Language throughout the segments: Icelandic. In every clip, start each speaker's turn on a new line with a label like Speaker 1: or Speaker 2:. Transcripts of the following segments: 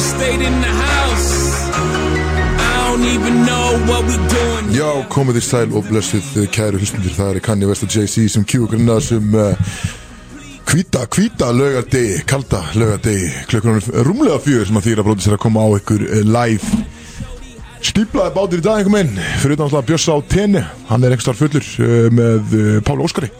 Speaker 1: stayed in the house. I don't even know what we doing.
Speaker 2: Já, komið þér sæl og blessið eh, kæru hlustundir, það er Kanye West og Jay-Z sem kjú okkur inn að þessum uh, hvíta, hvíta laugardegi, kalda laugardegi, klukkan er rúmlega fjögur sem að þýra bróðis er að koma á ykkur uh, live. Stíplaði bátir í dag einhver minn, fyrir utan alltaf Bjössa á tenni, hann er einhverstaðar fullur uh, með uh, Pála Óskari.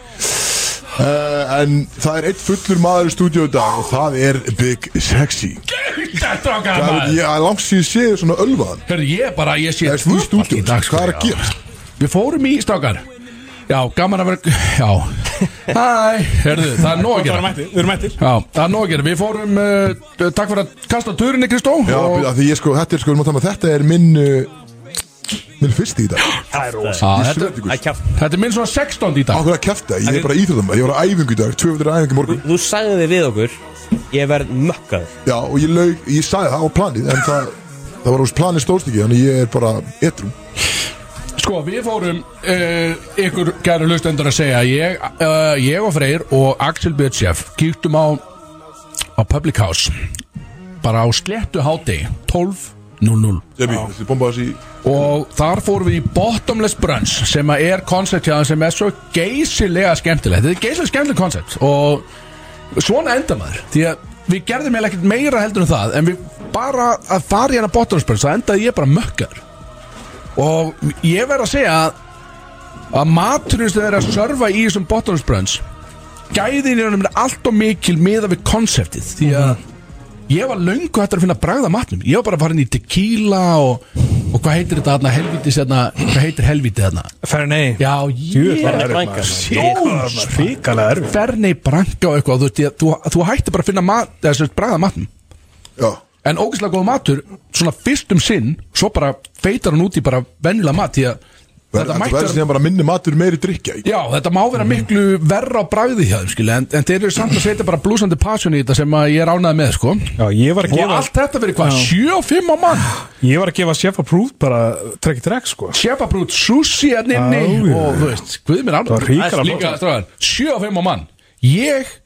Speaker 2: Uh, en það er eitt fullur maður í stúdíu í dag og það er Big Sexy.
Speaker 3: Þetta strákar
Speaker 2: Það
Speaker 3: maður
Speaker 2: er ég að langt síðan séð svona ölvaðan.
Speaker 3: Hörðu ég bara, ég sé
Speaker 2: Það er í
Speaker 3: tvöfalt
Speaker 2: stúdíu,
Speaker 3: í dag, sko,
Speaker 2: hvað er að
Speaker 3: já.
Speaker 2: gera?
Speaker 3: Við fórum í strákar Já, gaman að vera Já, hæ, hörðu, það er nóg að
Speaker 4: Við erum
Speaker 3: gera
Speaker 4: mættir, við erum mættir
Speaker 3: Já, það er nóg að gera, við fórum uh, Takk fyrir að kasta turinni, Kristó
Speaker 2: Já,
Speaker 3: og-
Speaker 2: og... því ég sko, þetta er sko, við má tala um að þetta er minn uh, minn fyrsti í dag
Speaker 4: Það er rosa
Speaker 3: Já,
Speaker 2: Ég
Speaker 3: þetta,
Speaker 2: svet ykkur,
Speaker 4: Það er kjátt
Speaker 3: þetta er minn svona 16 í dag
Speaker 2: ákveð að kæfta, ég er bara íþjóðum ég var á æfingu í dag, tvöfundur æfingu í morgun
Speaker 4: Þú sagði við okkur Ég verð mökkaður
Speaker 2: Já, og ég laug, ég sagði það á planið en það, það var úr planið stóðst ekki þannig ég er bara etrum
Speaker 3: Sko, við fórum uh, ykkur gæru hlustendur að segja ég, uh, ég og Freyr og Axel Björnsjef kýktum á á Public House bara á sléttu háti 12.00
Speaker 2: Jebbi, þessi bomba þessi
Speaker 3: og þar fórum við í Bottomless Brunch sem að er koncept hjá það sem er svo geysilega skemmtilegt þetta er geysilega skemmtilegt koncept og svona enda maður því að við gerðum eiginlega ekkert meira heldur en það en við bara að fara í hana Bottomless Brunch þá endaði ég bara mökkar og ég verð að segja að að maturinn sem þeir eru að serva í þessum Bottomless Brunch gæðin í honum er allt og mikil miða við konceptið því að Ég var löngu hættur að finna bragð af matnum Ég var bara farin í tequila og, og hvað heitir þetta þarna helvítis þarna Hvað heitir helvítið þarna
Speaker 5: Ferney
Speaker 3: Já, ég
Speaker 4: Fernet Branca.
Speaker 3: Jós
Speaker 5: Fíkala erfið
Speaker 3: Fernei branka og eitthvað Þú, veist, ég- þú, þú hættir bara að finna mat, þessi, bragð af matnum
Speaker 2: Já,
Speaker 3: En ógeðslega góð matur Svona fyrst um sinn Svo bara feitar hann út í bara venjulega mat Því að
Speaker 2: þetta
Speaker 3: mætti
Speaker 2: verður
Speaker 3: vera-
Speaker 2: síðan bara minni matur meiri drikja í
Speaker 3: Já, þetta má vera miklu verra á bragði hjá þeim skilja, en, en þeir eru samt að setja bara blúsandi passion í þetta sem að ég er ánæði með sko.
Speaker 5: Já, ég var að
Speaker 3: Og
Speaker 5: gefa
Speaker 3: allt þetta verið hvað, 7 og 5 á mann
Speaker 5: Ég var að gefa Chef Approved bara trekk í trekk sko
Speaker 3: Sjefabrút sushi að
Speaker 5: Á,
Speaker 3: nynni
Speaker 5: já.
Speaker 3: og þú veist, guð mér
Speaker 5: Það var hrikalega
Speaker 3: líka,
Speaker 5: flott.
Speaker 3: stráðan, sjö og fimm á mann ég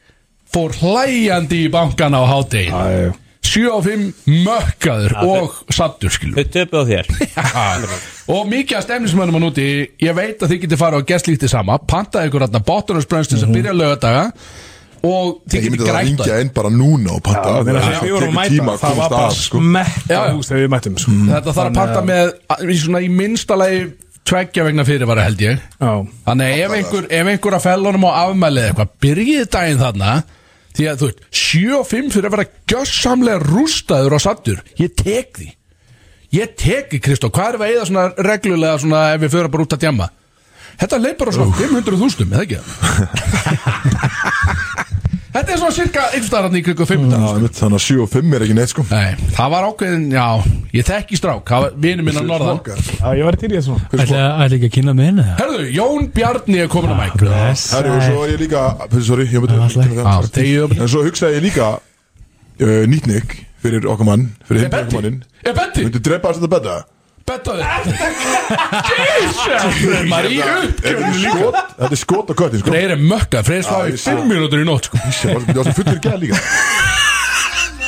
Speaker 3: fór hlæjandi í bankan á hátegi
Speaker 5: Æ,
Speaker 3: sjö og fimm mökkaður og sattur skilur
Speaker 4: Þau töpu á þér
Speaker 3: og mikið af stemnismönnum hann úti ég veit að þið getið farið og gert slíktið sama pantaði ykkur þarna bottunarsprennstin
Speaker 5: Mhm.
Speaker 3: sem byrja lögadaga og þið
Speaker 2: Ég myndi
Speaker 3: getið
Speaker 2: það að
Speaker 3: grætt á
Speaker 2: ringja inn bara núna og panta
Speaker 5: Það er að við vorum að
Speaker 2: tekur tíma
Speaker 5: mæta
Speaker 2: að
Speaker 5: Það var
Speaker 2: komast
Speaker 5: bara
Speaker 2: að sko
Speaker 5: smetta
Speaker 3: Já, já.
Speaker 5: hús þegar við mættum sko
Speaker 3: þetta þarf að panta með að- í svona í minnsta lagi tveggja vegna fyrirvara held ég
Speaker 5: Já
Speaker 3: Þannig að ef einhver, ef einhver að fellunum á afmælið eitthvað, byrjið daginn þarna því að þú veist, 7 og 5 fyrir að vera gjössamlega rústaður og sattur ég tek því ég tek því Kristó, hvað erum við að eða svona reglulega svona ef við fyrir bara út að djama þetta leipar á svona 500.000 eða ekki þetta er svona cirka einnstæðan í krigu 500
Speaker 2: Já, einmitt, Þannig að 7 og 5 er ekki neitt sko
Speaker 3: Nei, það var ákveðin, já, ég þekki strák það var vinur minn að Hérna norðan
Speaker 2: Fokkar.
Speaker 5: Já, ég var til í sko. þessu
Speaker 6: Ætla, ætla ekki að kynna mig henni
Speaker 3: Herðu, Jón Bjarni er komin að mæk
Speaker 6: Bless
Speaker 2: Herri, og svo er ég líka Sorry, ég myndi
Speaker 6: Það var slæmt.
Speaker 2: kemur
Speaker 3: Já,
Speaker 2: það.
Speaker 3: þegiðu.
Speaker 2: En svo hugsaði ég líka uh, Nýtnik fyrir okkar mann Fyrir hinn
Speaker 3: Er
Speaker 2: okkar
Speaker 3: Betti?
Speaker 2: mannin
Speaker 3: Er Betti?
Speaker 2: Myndi drepa þess að þetta betta
Speaker 3: Bettaði Jesus Maríu
Speaker 2: Þetta er skot, þetta er skot á köttin sko
Speaker 3: Freyr er mökka, Freyr
Speaker 2: Já,
Speaker 3: svaf í
Speaker 2: ég sé
Speaker 3: 5
Speaker 2: það.
Speaker 3: mínútur í nótt sko.
Speaker 2: Ísja, var það var fullur gæð líka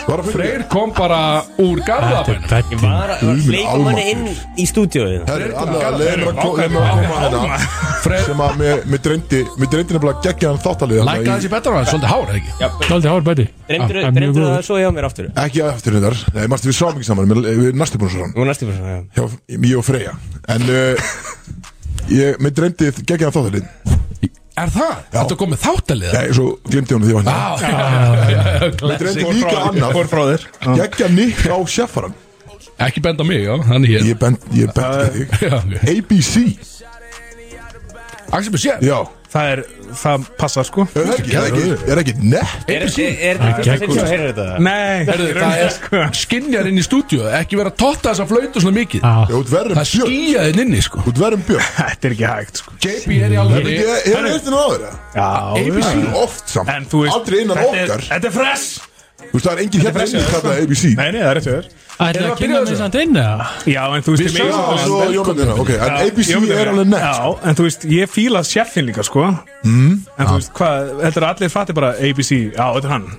Speaker 2: Var það fullur
Speaker 3: Freyr kom bara úr garðabæn
Speaker 4: Ég var að
Speaker 2: Guð minn
Speaker 4: leikum hann inn
Speaker 2: almáttugur.
Speaker 4: í stúdíóið
Speaker 3: Ah,
Speaker 2: Herri, allavega, leiðum að koma leiðum að koma hérna
Speaker 3: Freyr
Speaker 2: sem að mér mér dreymdi mér dreymdi nefnilega geggjaðan þáttalið þarna
Speaker 3: lækkaði þessi
Speaker 2: í-
Speaker 3: betur á hann, svolítið hár eða ekki
Speaker 6: Daldi hár bæti
Speaker 4: Dreymdur dreymdur það svo hjá mér aftur
Speaker 2: ekki að eftir hundar nei, marstu við sáum ekki saman mér- við erum næstu búin svo
Speaker 4: Nú næstu bara svona já.
Speaker 2: hann ég og Freyja en uh, ég mér dreymdi geggjaðan þáttalið
Speaker 3: Er það? Þetta komið þáttalið
Speaker 2: nei, svo glemdi hún því hann mér dreymdi líka annað
Speaker 5: Hvor frá þér
Speaker 2: geggjað nýtt á seffaran
Speaker 3: Ekki benda á mig, já, hann er hér
Speaker 2: ég bent ég bent ekki þig
Speaker 3: Já, ok.
Speaker 2: ABC
Speaker 3: Axel Bessé
Speaker 2: já
Speaker 5: Það er, það passar sko
Speaker 2: er ekki er ekki er ekki nett
Speaker 4: Er
Speaker 3: Ah,
Speaker 4: er sko. þetta fyrsta sinn sem heyrir þetta?
Speaker 5: Nei
Speaker 3: Herðu, það er skinjar inn í stúdíu Ekki vera að totta þess að flautu svona mikið
Speaker 2: þú ert verður
Speaker 3: Ah, Það
Speaker 2: björn
Speaker 3: skýjaði inn inni, sko
Speaker 2: þú ert verður björn
Speaker 5: Þetta er ekki hægt sko
Speaker 3: JB er í alveg
Speaker 2: ég ég er auðvitað á þeirra
Speaker 5: Já
Speaker 3: ABC.
Speaker 5: já.
Speaker 2: oft samt
Speaker 5: En þú veist
Speaker 2: aldrei innan
Speaker 5: þetta er-
Speaker 2: okkar
Speaker 5: Þetta er fresh
Speaker 2: Þú veist, það er enginn hérna inni kallað ABC
Speaker 5: Nei, nei, það er rétt fyrir
Speaker 3: Erum við að
Speaker 6: Ætla að
Speaker 3: byrja
Speaker 6: kynna mig
Speaker 3: þessu?
Speaker 6: samt inn eða?
Speaker 5: Já, en þú veist
Speaker 3: Við
Speaker 5: ég meina-
Speaker 2: Já, svo Jómundina, ok, en
Speaker 5: Já,
Speaker 2: ABC
Speaker 5: ég myndi
Speaker 2: er
Speaker 5: vera.
Speaker 2: alveg nett sko.
Speaker 5: Já, en þú veist, ég fíla sjeffin líka, sko mm. En þú veist, hvað, heldur að allir fatti bara ABC, já, þetta er hann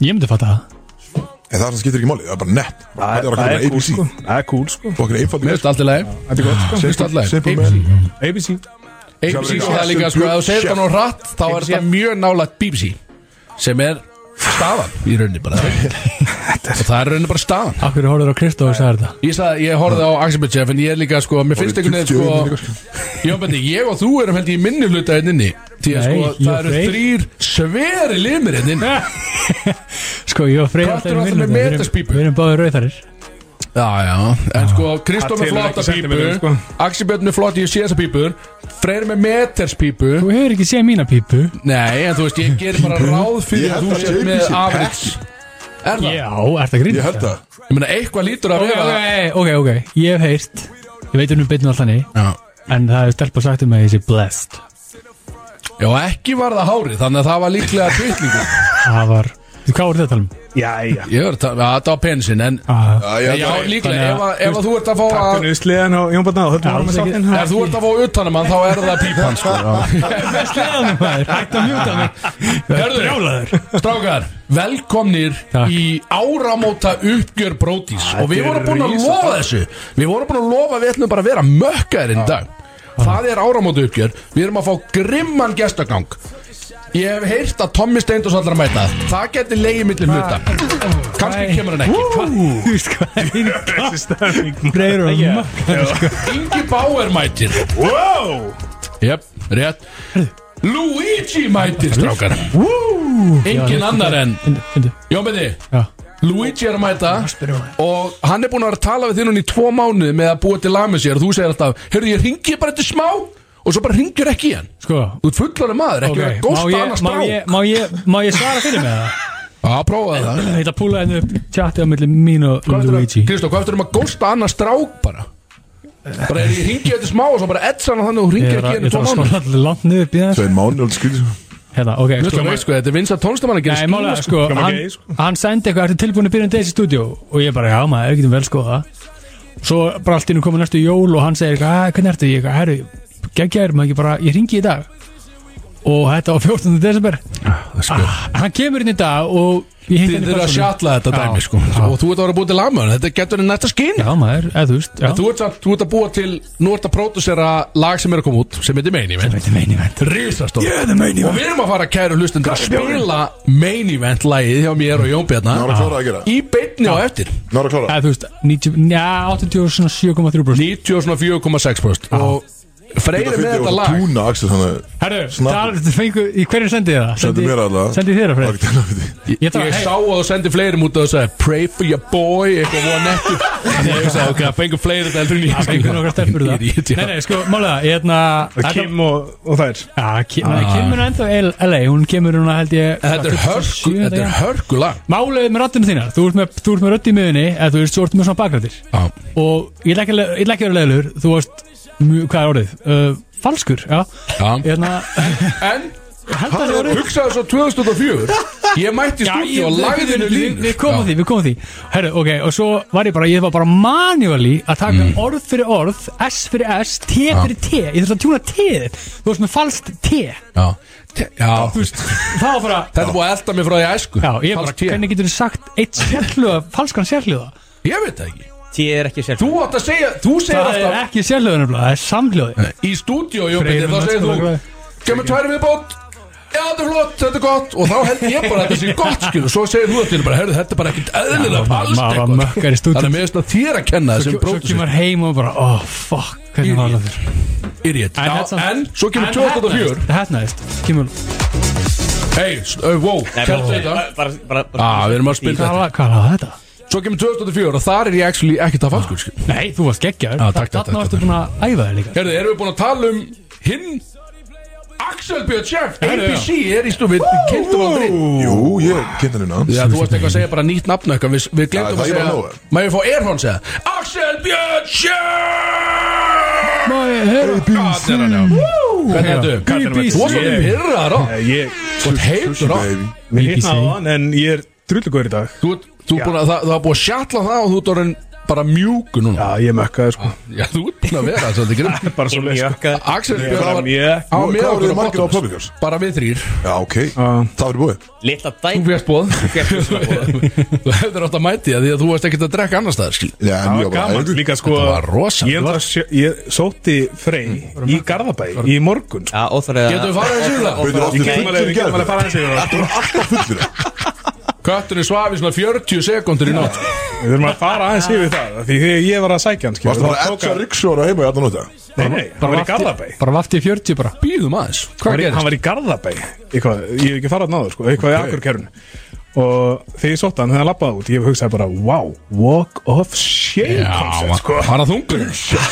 Speaker 6: Ég myndi fatta það
Speaker 2: En það er sem skiptir ekki máli, það er bara nett Það er
Speaker 5: Það
Speaker 2: bara
Speaker 5: er cool,
Speaker 2: ABC
Speaker 5: sko. Það er cool, sko.
Speaker 2: Og okkur einfaldi
Speaker 3: Mér finnst allt í lagi
Speaker 5: Þetta er gott, sko.
Speaker 3: Mér finnst allt í lagi
Speaker 2: Simple
Speaker 3: ABC.
Speaker 2: man
Speaker 5: ABC.
Speaker 3: ABC og það er líka sko, ef þú segir það nú hratt þá er það mjög nálægt BBC sem er staðan í rauninni bara og það er í rauninni bara staðan
Speaker 6: Akkur horfður á Kristof og sagði þetta
Speaker 3: ég, sagði, ég horfði á Axelbjörnsef en ég er líka sko, mér finnst
Speaker 2: Orðið
Speaker 3: einhvern veginn
Speaker 2: 20
Speaker 3: sko, Jón Bendi, ég og þú erum held ég í minni hluta hérna inni því að
Speaker 6: Nei,
Speaker 3: sko,
Speaker 6: ég
Speaker 3: það
Speaker 6: og
Speaker 3: eru
Speaker 6: Freyr.
Speaker 3: þrýr sveri limir hérna inni
Speaker 6: Sko, ég og Freyr
Speaker 3: Köttur
Speaker 6: alltaf í
Speaker 3: var alltaf með
Speaker 6: minni Við erum-
Speaker 3: meterspípu.
Speaker 6: við erum báðir rauðarir
Speaker 3: já, já, en sko, Kristóf með
Speaker 5: telur ekki
Speaker 3: flotta pípu
Speaker 5: sentimeter, sko.
Speaker 3: Axelbjörn með flotta, ég sé þessa pípur Freyr með meterspípu
Speaker 6: Þú hefur ekki séð mína pípu
Speaker 3: Nei, en þú veist, ég ger bara
Speaker 2: Ég
Speaker 3: ráð fyrir að
Speaker 2: held
Speaker 3: þú
Speaker 2: að
Speaker 3: sér
Speaker 2: JP
Speaker 3: með
Speaker 2: sé
Speaker 3: afriks Er það?
Speaker 6: Já, er það grinn
Speaker 2: Ég held það
Speaker 3: Ég meina, eitthvað lítur að
Speaker 6: Ok,
Speaker 3: vera
Speaker 6: ok, ok, ok, ég hef heyrt Ég veit um byrnu alltaf nei
Speaker 3: Já.
Speaker 6: En það hefur stelpa sagt um að ég sé blessed
Speaker 3: Já, ekki var það hárið, þannig að það var líklega tveitlingu
Speaker 6: Það var Þú, Hvað voru þetta að tala um?
Speaker 5: Jæja.
Speaker 3: Ég verður það, já, það var pensin, en
Speaker 6: Ah,
Speaker 2: Já, ég held
Speaker 3: Já,
Speaker 2: það
Speaker 3: líklega,
Speaker 6: Þannig að-
Speaker 3: ef, að, ef að þú ert að fá að
Speaker 5: Takk fyrir sliðan á Jón Barnar og höldum
Speaker 6: Já,
Speaker 5: ára með
Speaker 6: alls ekki.
Speaker 5: sáttinn.
Speaker 3: Ef þú ert að fá utanum hann, þá er það pípan, sko
Speaker 6: Best leðanum maður, hægt að mjúta mig
Speaker 3: Hörður, strákar, velkomnir
Speaker 6: Takk.
Speaker 3: í áramóta uppgjör brótis Og við
Speaker 5: þetta er
Speaker 3: vorum búin að
Speaker 5: risa-
Speaker 3: lofa þessu Við vorum búin að lofa að við ætlum bara að vera mökkaðir í dag Það er áramóta uppgjör Við erum að fá grimman gestagang Ég hef heyrt að Tommi Steindors allar að mæta Það geti leiði millir hluta Kanski kemur hann ekki
Speaker 6: Þú veist hvað er þín
Speaker 5: Þessi stafning.
Speaker 6: Freyr og makk
Speaker 3: Ingi Bauer mætir
Speaker 5: Wow!
Speaker 3: Jep, rétt Luigi mætir, strákar Engin annar en
Speaker 6: Findu, findu
Speaker 3: Jómiði,
Speaker 6: Já
Speaker 3: Luigi er að mæta
Speaker 6: spyrir maður.
Speaker 3: og hann er búin að vera að tala við þinn hún í tvo mánuði með að búa til lag með sér og þú segir alltaf, heyrðu ég ringi bara þetta smá og svo bara ringjur ekki í hann
Speaker 6: Sko
Speaker 3: Þú ert fullan maður, ekki vera
Speaker 6: Ok,
Speaker 3: að
Speaker 6: má
Speaker 3: gósta
Speaker 6: ég,
Speaker 3: annars
Speaker 6: má,
Speaker 3: brá Já,
Speaker 6: ég, má, ég, má ég svara fyrir mig það?
Speaker 3: prófaði það
Speaker 6: Ég ætla að púla henni upp tjatti á milli mín og Luigi
Speaker 3: Kristó, hvað eftir um að gósta annars strák bara? Bara er ég ringi þetta smá og svo bara etsa hann þannig og þú
Speaker 6: Ég
Speaker 3: ringir
Speaker 6: er
Speaker 3: ekki í
Speaker 6: að-
Speaker 3: hann í tvo
Speaker 6: ég þarf að
Speaker 3: mánuði
Speaker 6: skóla allir langt niður býða
Speaker 2: Svein Máni, alveg skrýtis
Speaker 6: Hérna, ok
Speaker 3: Þú veist
Speaker 6: sko,
Speaker 3: hvað veist sko, þetta er vinsað tónstamann að gera
Speaker 6: Nei, málega,
Speaker 3: skýra
Speaker 6: sko,
Speaker 5: Hljómar
Speaker 6: hann,
Speaker 5: gay, sko.
Speaker 6: hann sendi eitthvað, ertu tilbúin að byrja um þessi stúdíu og ég bara, já maður, við getum vel skoða það. svo bara allt innum komið næstu jól og hann segir, eitthvað, "Ah, hvernig ertu, ég, eitthvað, herru geggjær, maður ekki bara, ég ringi í dag og þetta var 14. desember
Speaker 3: sko.
Speaker 6: ah, hann kemur inn í dag og ég hitt
Speaker 3: Þið
Speaker 6: henni
Speaker 3: eru að
Speaker 6: persónulega.
Speaker 3: sjatla þetta
Speaker 6: Já,
Speaker 3: dæmi sko
Speaker 6: já.
Speaker 3: og þú ert að vera að búa til lag með hann, þetta getur henni næsta skinn
Speaker 6: já maður, eða þú veist, já
Speaker 3: En þú ert, samt, þú ert að búa til, nú ert að pródusera lag sem er að koma út, sem heitir Main Event
Speaker 6: þetta er meini vend
Speaker 3: Rísastór
Speaker 6: Ég er það main event.
Speaker 3: Og við erum að fara kæru hlustundur að spila Main Event lagið hjá mér og Jón
Speaker 2: Nára
Speaker 3: Bjarnar
Speaker 2: klára að gera
Speaker 3: Í beinni á eftir
Speaker 2: Nára klára
Speaker 6: eða þú veist, 90, njá, 87,3%
Speaker 3: 94,6% Og Freyri með þetta lag
Speaker 2: Túna, Axel, þannig að
Speaker 6: herru,
Speaker 2: Snappur.
Speaker 6: það fengu, í hverju sendið þið það?
Speaker 2: Sendi mér allavega.
Speaker 6: sendið þér að
Speaker 2: Það er ekki
Speaker 6: fyrir
Speaker 2: til að um viti
Speaker 3: Ég,
Speaker 6: Ég þarf að-
Speaker 3: ég sá að þú sendi fleirum út og þú sagði Pray for your boy, eitthvað voru nettu Þannig að ég sagði, ok, það fengur fleiri þetta heldur en ég
Speaker 6: Það fengur nokkra stelpur það Nei, nei, sko, málega, ég hérna þetta-
Speaker 5: Kim og, og þær.
Speaker 6: Já, Kim, ah. Kim er ennþá í LA, hún kemur hún held ég
Speaker 3: Þetta er
Speaker 6: 57.
Speaker 3: hörku, þetta er hörku lag
Speaker 6: Málið með rættinu þínar, þú ert með, þú ert með rödd í miðunni eða þú ert, þú ert með svona bakrættir og ég ætla ekki að- ég ætla ekki að vera leðlur þú ert, mjög- hvað er orðið? Uh, falskur, já
Speaker 3: Já.
Speaker 6: Hérna,
Speaker 3: En,
Speaker 6: held að það er orðið
Speaker 3: hugsaðu svo 2004 Ég mætti
Speaker 6: Já,
Speaker 3: stúdíu
Speaker 6: ég-
Speaker 3: og lagði henni
Speaker 6: við- við-
Speaker 3: línur
Speaker 6: Við
Speaker 3: Já.
Speaker 6: komum að því, við komum að því Herru, ok, og svo var ég bara, ég var bara manually að taka
Speaker 3: Mm.
Speaker 6: orð fyrir orð S fyrir S, T fyrir T Ég þurfti að tjúna T Þú veist með falskt T
Speaker 3: Já, já.
Speaker 6: Þú veist, það var bara
Speaker 3: Þetta er búið að elda mig frá því æsku
Speaker 6: Já, ég bara,
Speaker 3: Falskt ég.
Speaker 6: hvernig getur þið sagt eitt sérhljóða, falskan sérhljóða?
Speaker 3: Ég veit það ekki
Speaker 4: Tíð er ekki sjálf
Speaker 3: Þú átt að segja, þú segir
Speaker 6: Það er
Speaker 3: alltaf
Speaker 6: ekki sérhljóða nefnilega, það er samhljóði.
Speaker 3: Í stúdíu, Jónbjörn,
Speaker 6: Freyr
Speaker 3: þá
Speaker 6: með
Speaker 3: segir þú
Speaker 6: náttúrulega.
Speaker 3: Kemur tværi viðbót Já, þetta er flott, þetta er gott Og þá held ég bara að þetta sé gott skil Og svo segir þú þetta til bara, heyrðu, þetta er bara ekkert eðlilega
Speaker 6: maður-
Speaker 3: Alls
Speaker 6: maður var
Speaker 3: eitthvað
Speaker 6: mökkar í stúdíu.
Speaker 3: Þannig að mér finnst að þér að kenna
Speaker 6: Svo
Speaker 3: þessum
Speaker 6: svo
Speaker 3: bróðusir
Speaker 6: kemur heim og bara, oh fuck, hvernig var það þér?
Speaker 3: Idiot
Speaker 6: þetta
Speaker 3: Já,
Speaker 6: samt-
Speaker 3: En svo kemur
Speaker 6: hérna- en hérna-
Speaker 3: 2004
Speaker 6: heppnaðist, Það hefnaðist, kemur,
Speaker 3: Hei, s- uh, wow, kemur þetta Ah, við erum að spila
Speaker 6: hvað
Speaker 3: þetta
Speaker 6: var- hvað var þetta?
Speaker 3: Svo kemur 2004 og þar er ég actually ekkert að sko. falskur skil
Speaker 6: Nei, þú varst geggjar,
Speaker 3: Já, takk, takk, takk,
Speaker 6: þarna varstu
Speaker 3: takk.
Speaker 6: búin að æfa þér líka.
Speaker 3: Herðu, erum við búin að tala um hinn Axel Björn Sjöf
Speaker 6: Herðu, já.
Speaker 3: ABC er í stúfið Kynntum aldrei
Speaker 2: Jú, ég kynnti hann núna
Speaker 3: Já, þú varst eitthvað að segja bara nýtt nafn eitthvað Við, við glemtum
Speaker 2: Já, það er
Speaker 3: að
Speaker 2: bara
Speaker 3: segja
Speaker 2: nóg.
Speaker 3: Má ég fá Erfón segja Axel Björn Sjöf
Speaker 6: Má ég heyra?
Speaker 3: Hvað er hann já Hvernig er þetta?
Speaker 5: Katrin var-
Speaker 3: Þú varst svona
Speaker 5: Ég-
Speaker 3: pyrraðar á
Speaker 5: Eh, Ég,
Speaker 3: Þú ert heitur á
Speaker 2: Baby
Speaker 5: mér hitnaði á hann en ég er drullugóður í dag.
Speaker 3: Þú ert- þú ert búin að það það er búið að sjatla það og þú ert orðin bara mjúku núna
Speaker 5: Já, ég mökkaði sko
Speaker 3: Já, þú ert búin að vera svolítið grimm
Speaker 5: Bara svo leys
Speaker 2: sko-
Speaker 4: Jökkaði
Speaker 3: Axel
Speaker 5: Ég
Speaker 3: Björn
Speaker 5: bara
Speaker 3: var
Speaker 5: mjög-
Speaker 3: á
Speaker 2: Hvað
Speaker 3: með
Speaker 2: voru
Speaker 3: okkur
Speaker 2: þið margir á
Speaker 3: á Bottomless.
Speaker 2: Public House?
Speaker 3: Bara við þrýr
Speaker 2: Já, ok,
Speaker 5: Já.
Speaker 2: það verið búið
Speaker 4: Litla
Speaker 3: Þú
Speaker 4: dæn
Speaker 3: férst bóð
Speaker 4: Gertu svona bóð
Speaker 3: Þú hefur átt að mæti það því að þú varst ekkert að drekka annar staðar skil
Speaker 2: Já,
Speaker 5: Það var
Speaker 2: mjög bara
Speaker 5: gaman líka sko
Speaker 3: Þetta var rosa.
Speaker 5: Ég, var, ég sótti Frey
Speaker 2: Mm.
Speaker 5: í Garðabæ í morgun sko.
Speaker 4: Já, óþarlega
Speaker 3: Getum við farið þessu það?
Speaker 2: Bauður aftur
Speaker 4: Óþarlega
Speaker 2: fullur
Speaker 5: Ég kem
Speaker 2: í
Speaker 5: alveg- ég kem alveg
Speaker 2: gerð
Speaker 5: fara aðeins yfir það.
Speaker 2: Þetta var alltaf fullur
Speaker 3: Kötturinn svaf í svona 40 sekundur í nótt
Speaker 5: Við þurfum að fara aðeins yfir það af Því þegar ég var að sækja hans
Speaker 2: Varstu bara edsa ryggsjóra heima í allan óta
Speaker 5: Nei, nei, hann var í Garðabæ
Speaker 6: Bara vafti í 40 bara
Speaker 3: Býðum aðeins
Speaker 5: Hann
Speaker 3: Hvað
Speaker 5: var í- Hann
Speaker 3: gerist?
Speaker 5: var í Garðabæ eitthvað, Ég hef ekki farað náður sko, eitthvað í akkurkerun Og þegar ég sótti hann, þegar hann lappaði út Ég hugsaði bara, wow, walk of shame
Speaker 3: Já,
Speaker 5: concept, sko.
Speaker 3: hann að þungur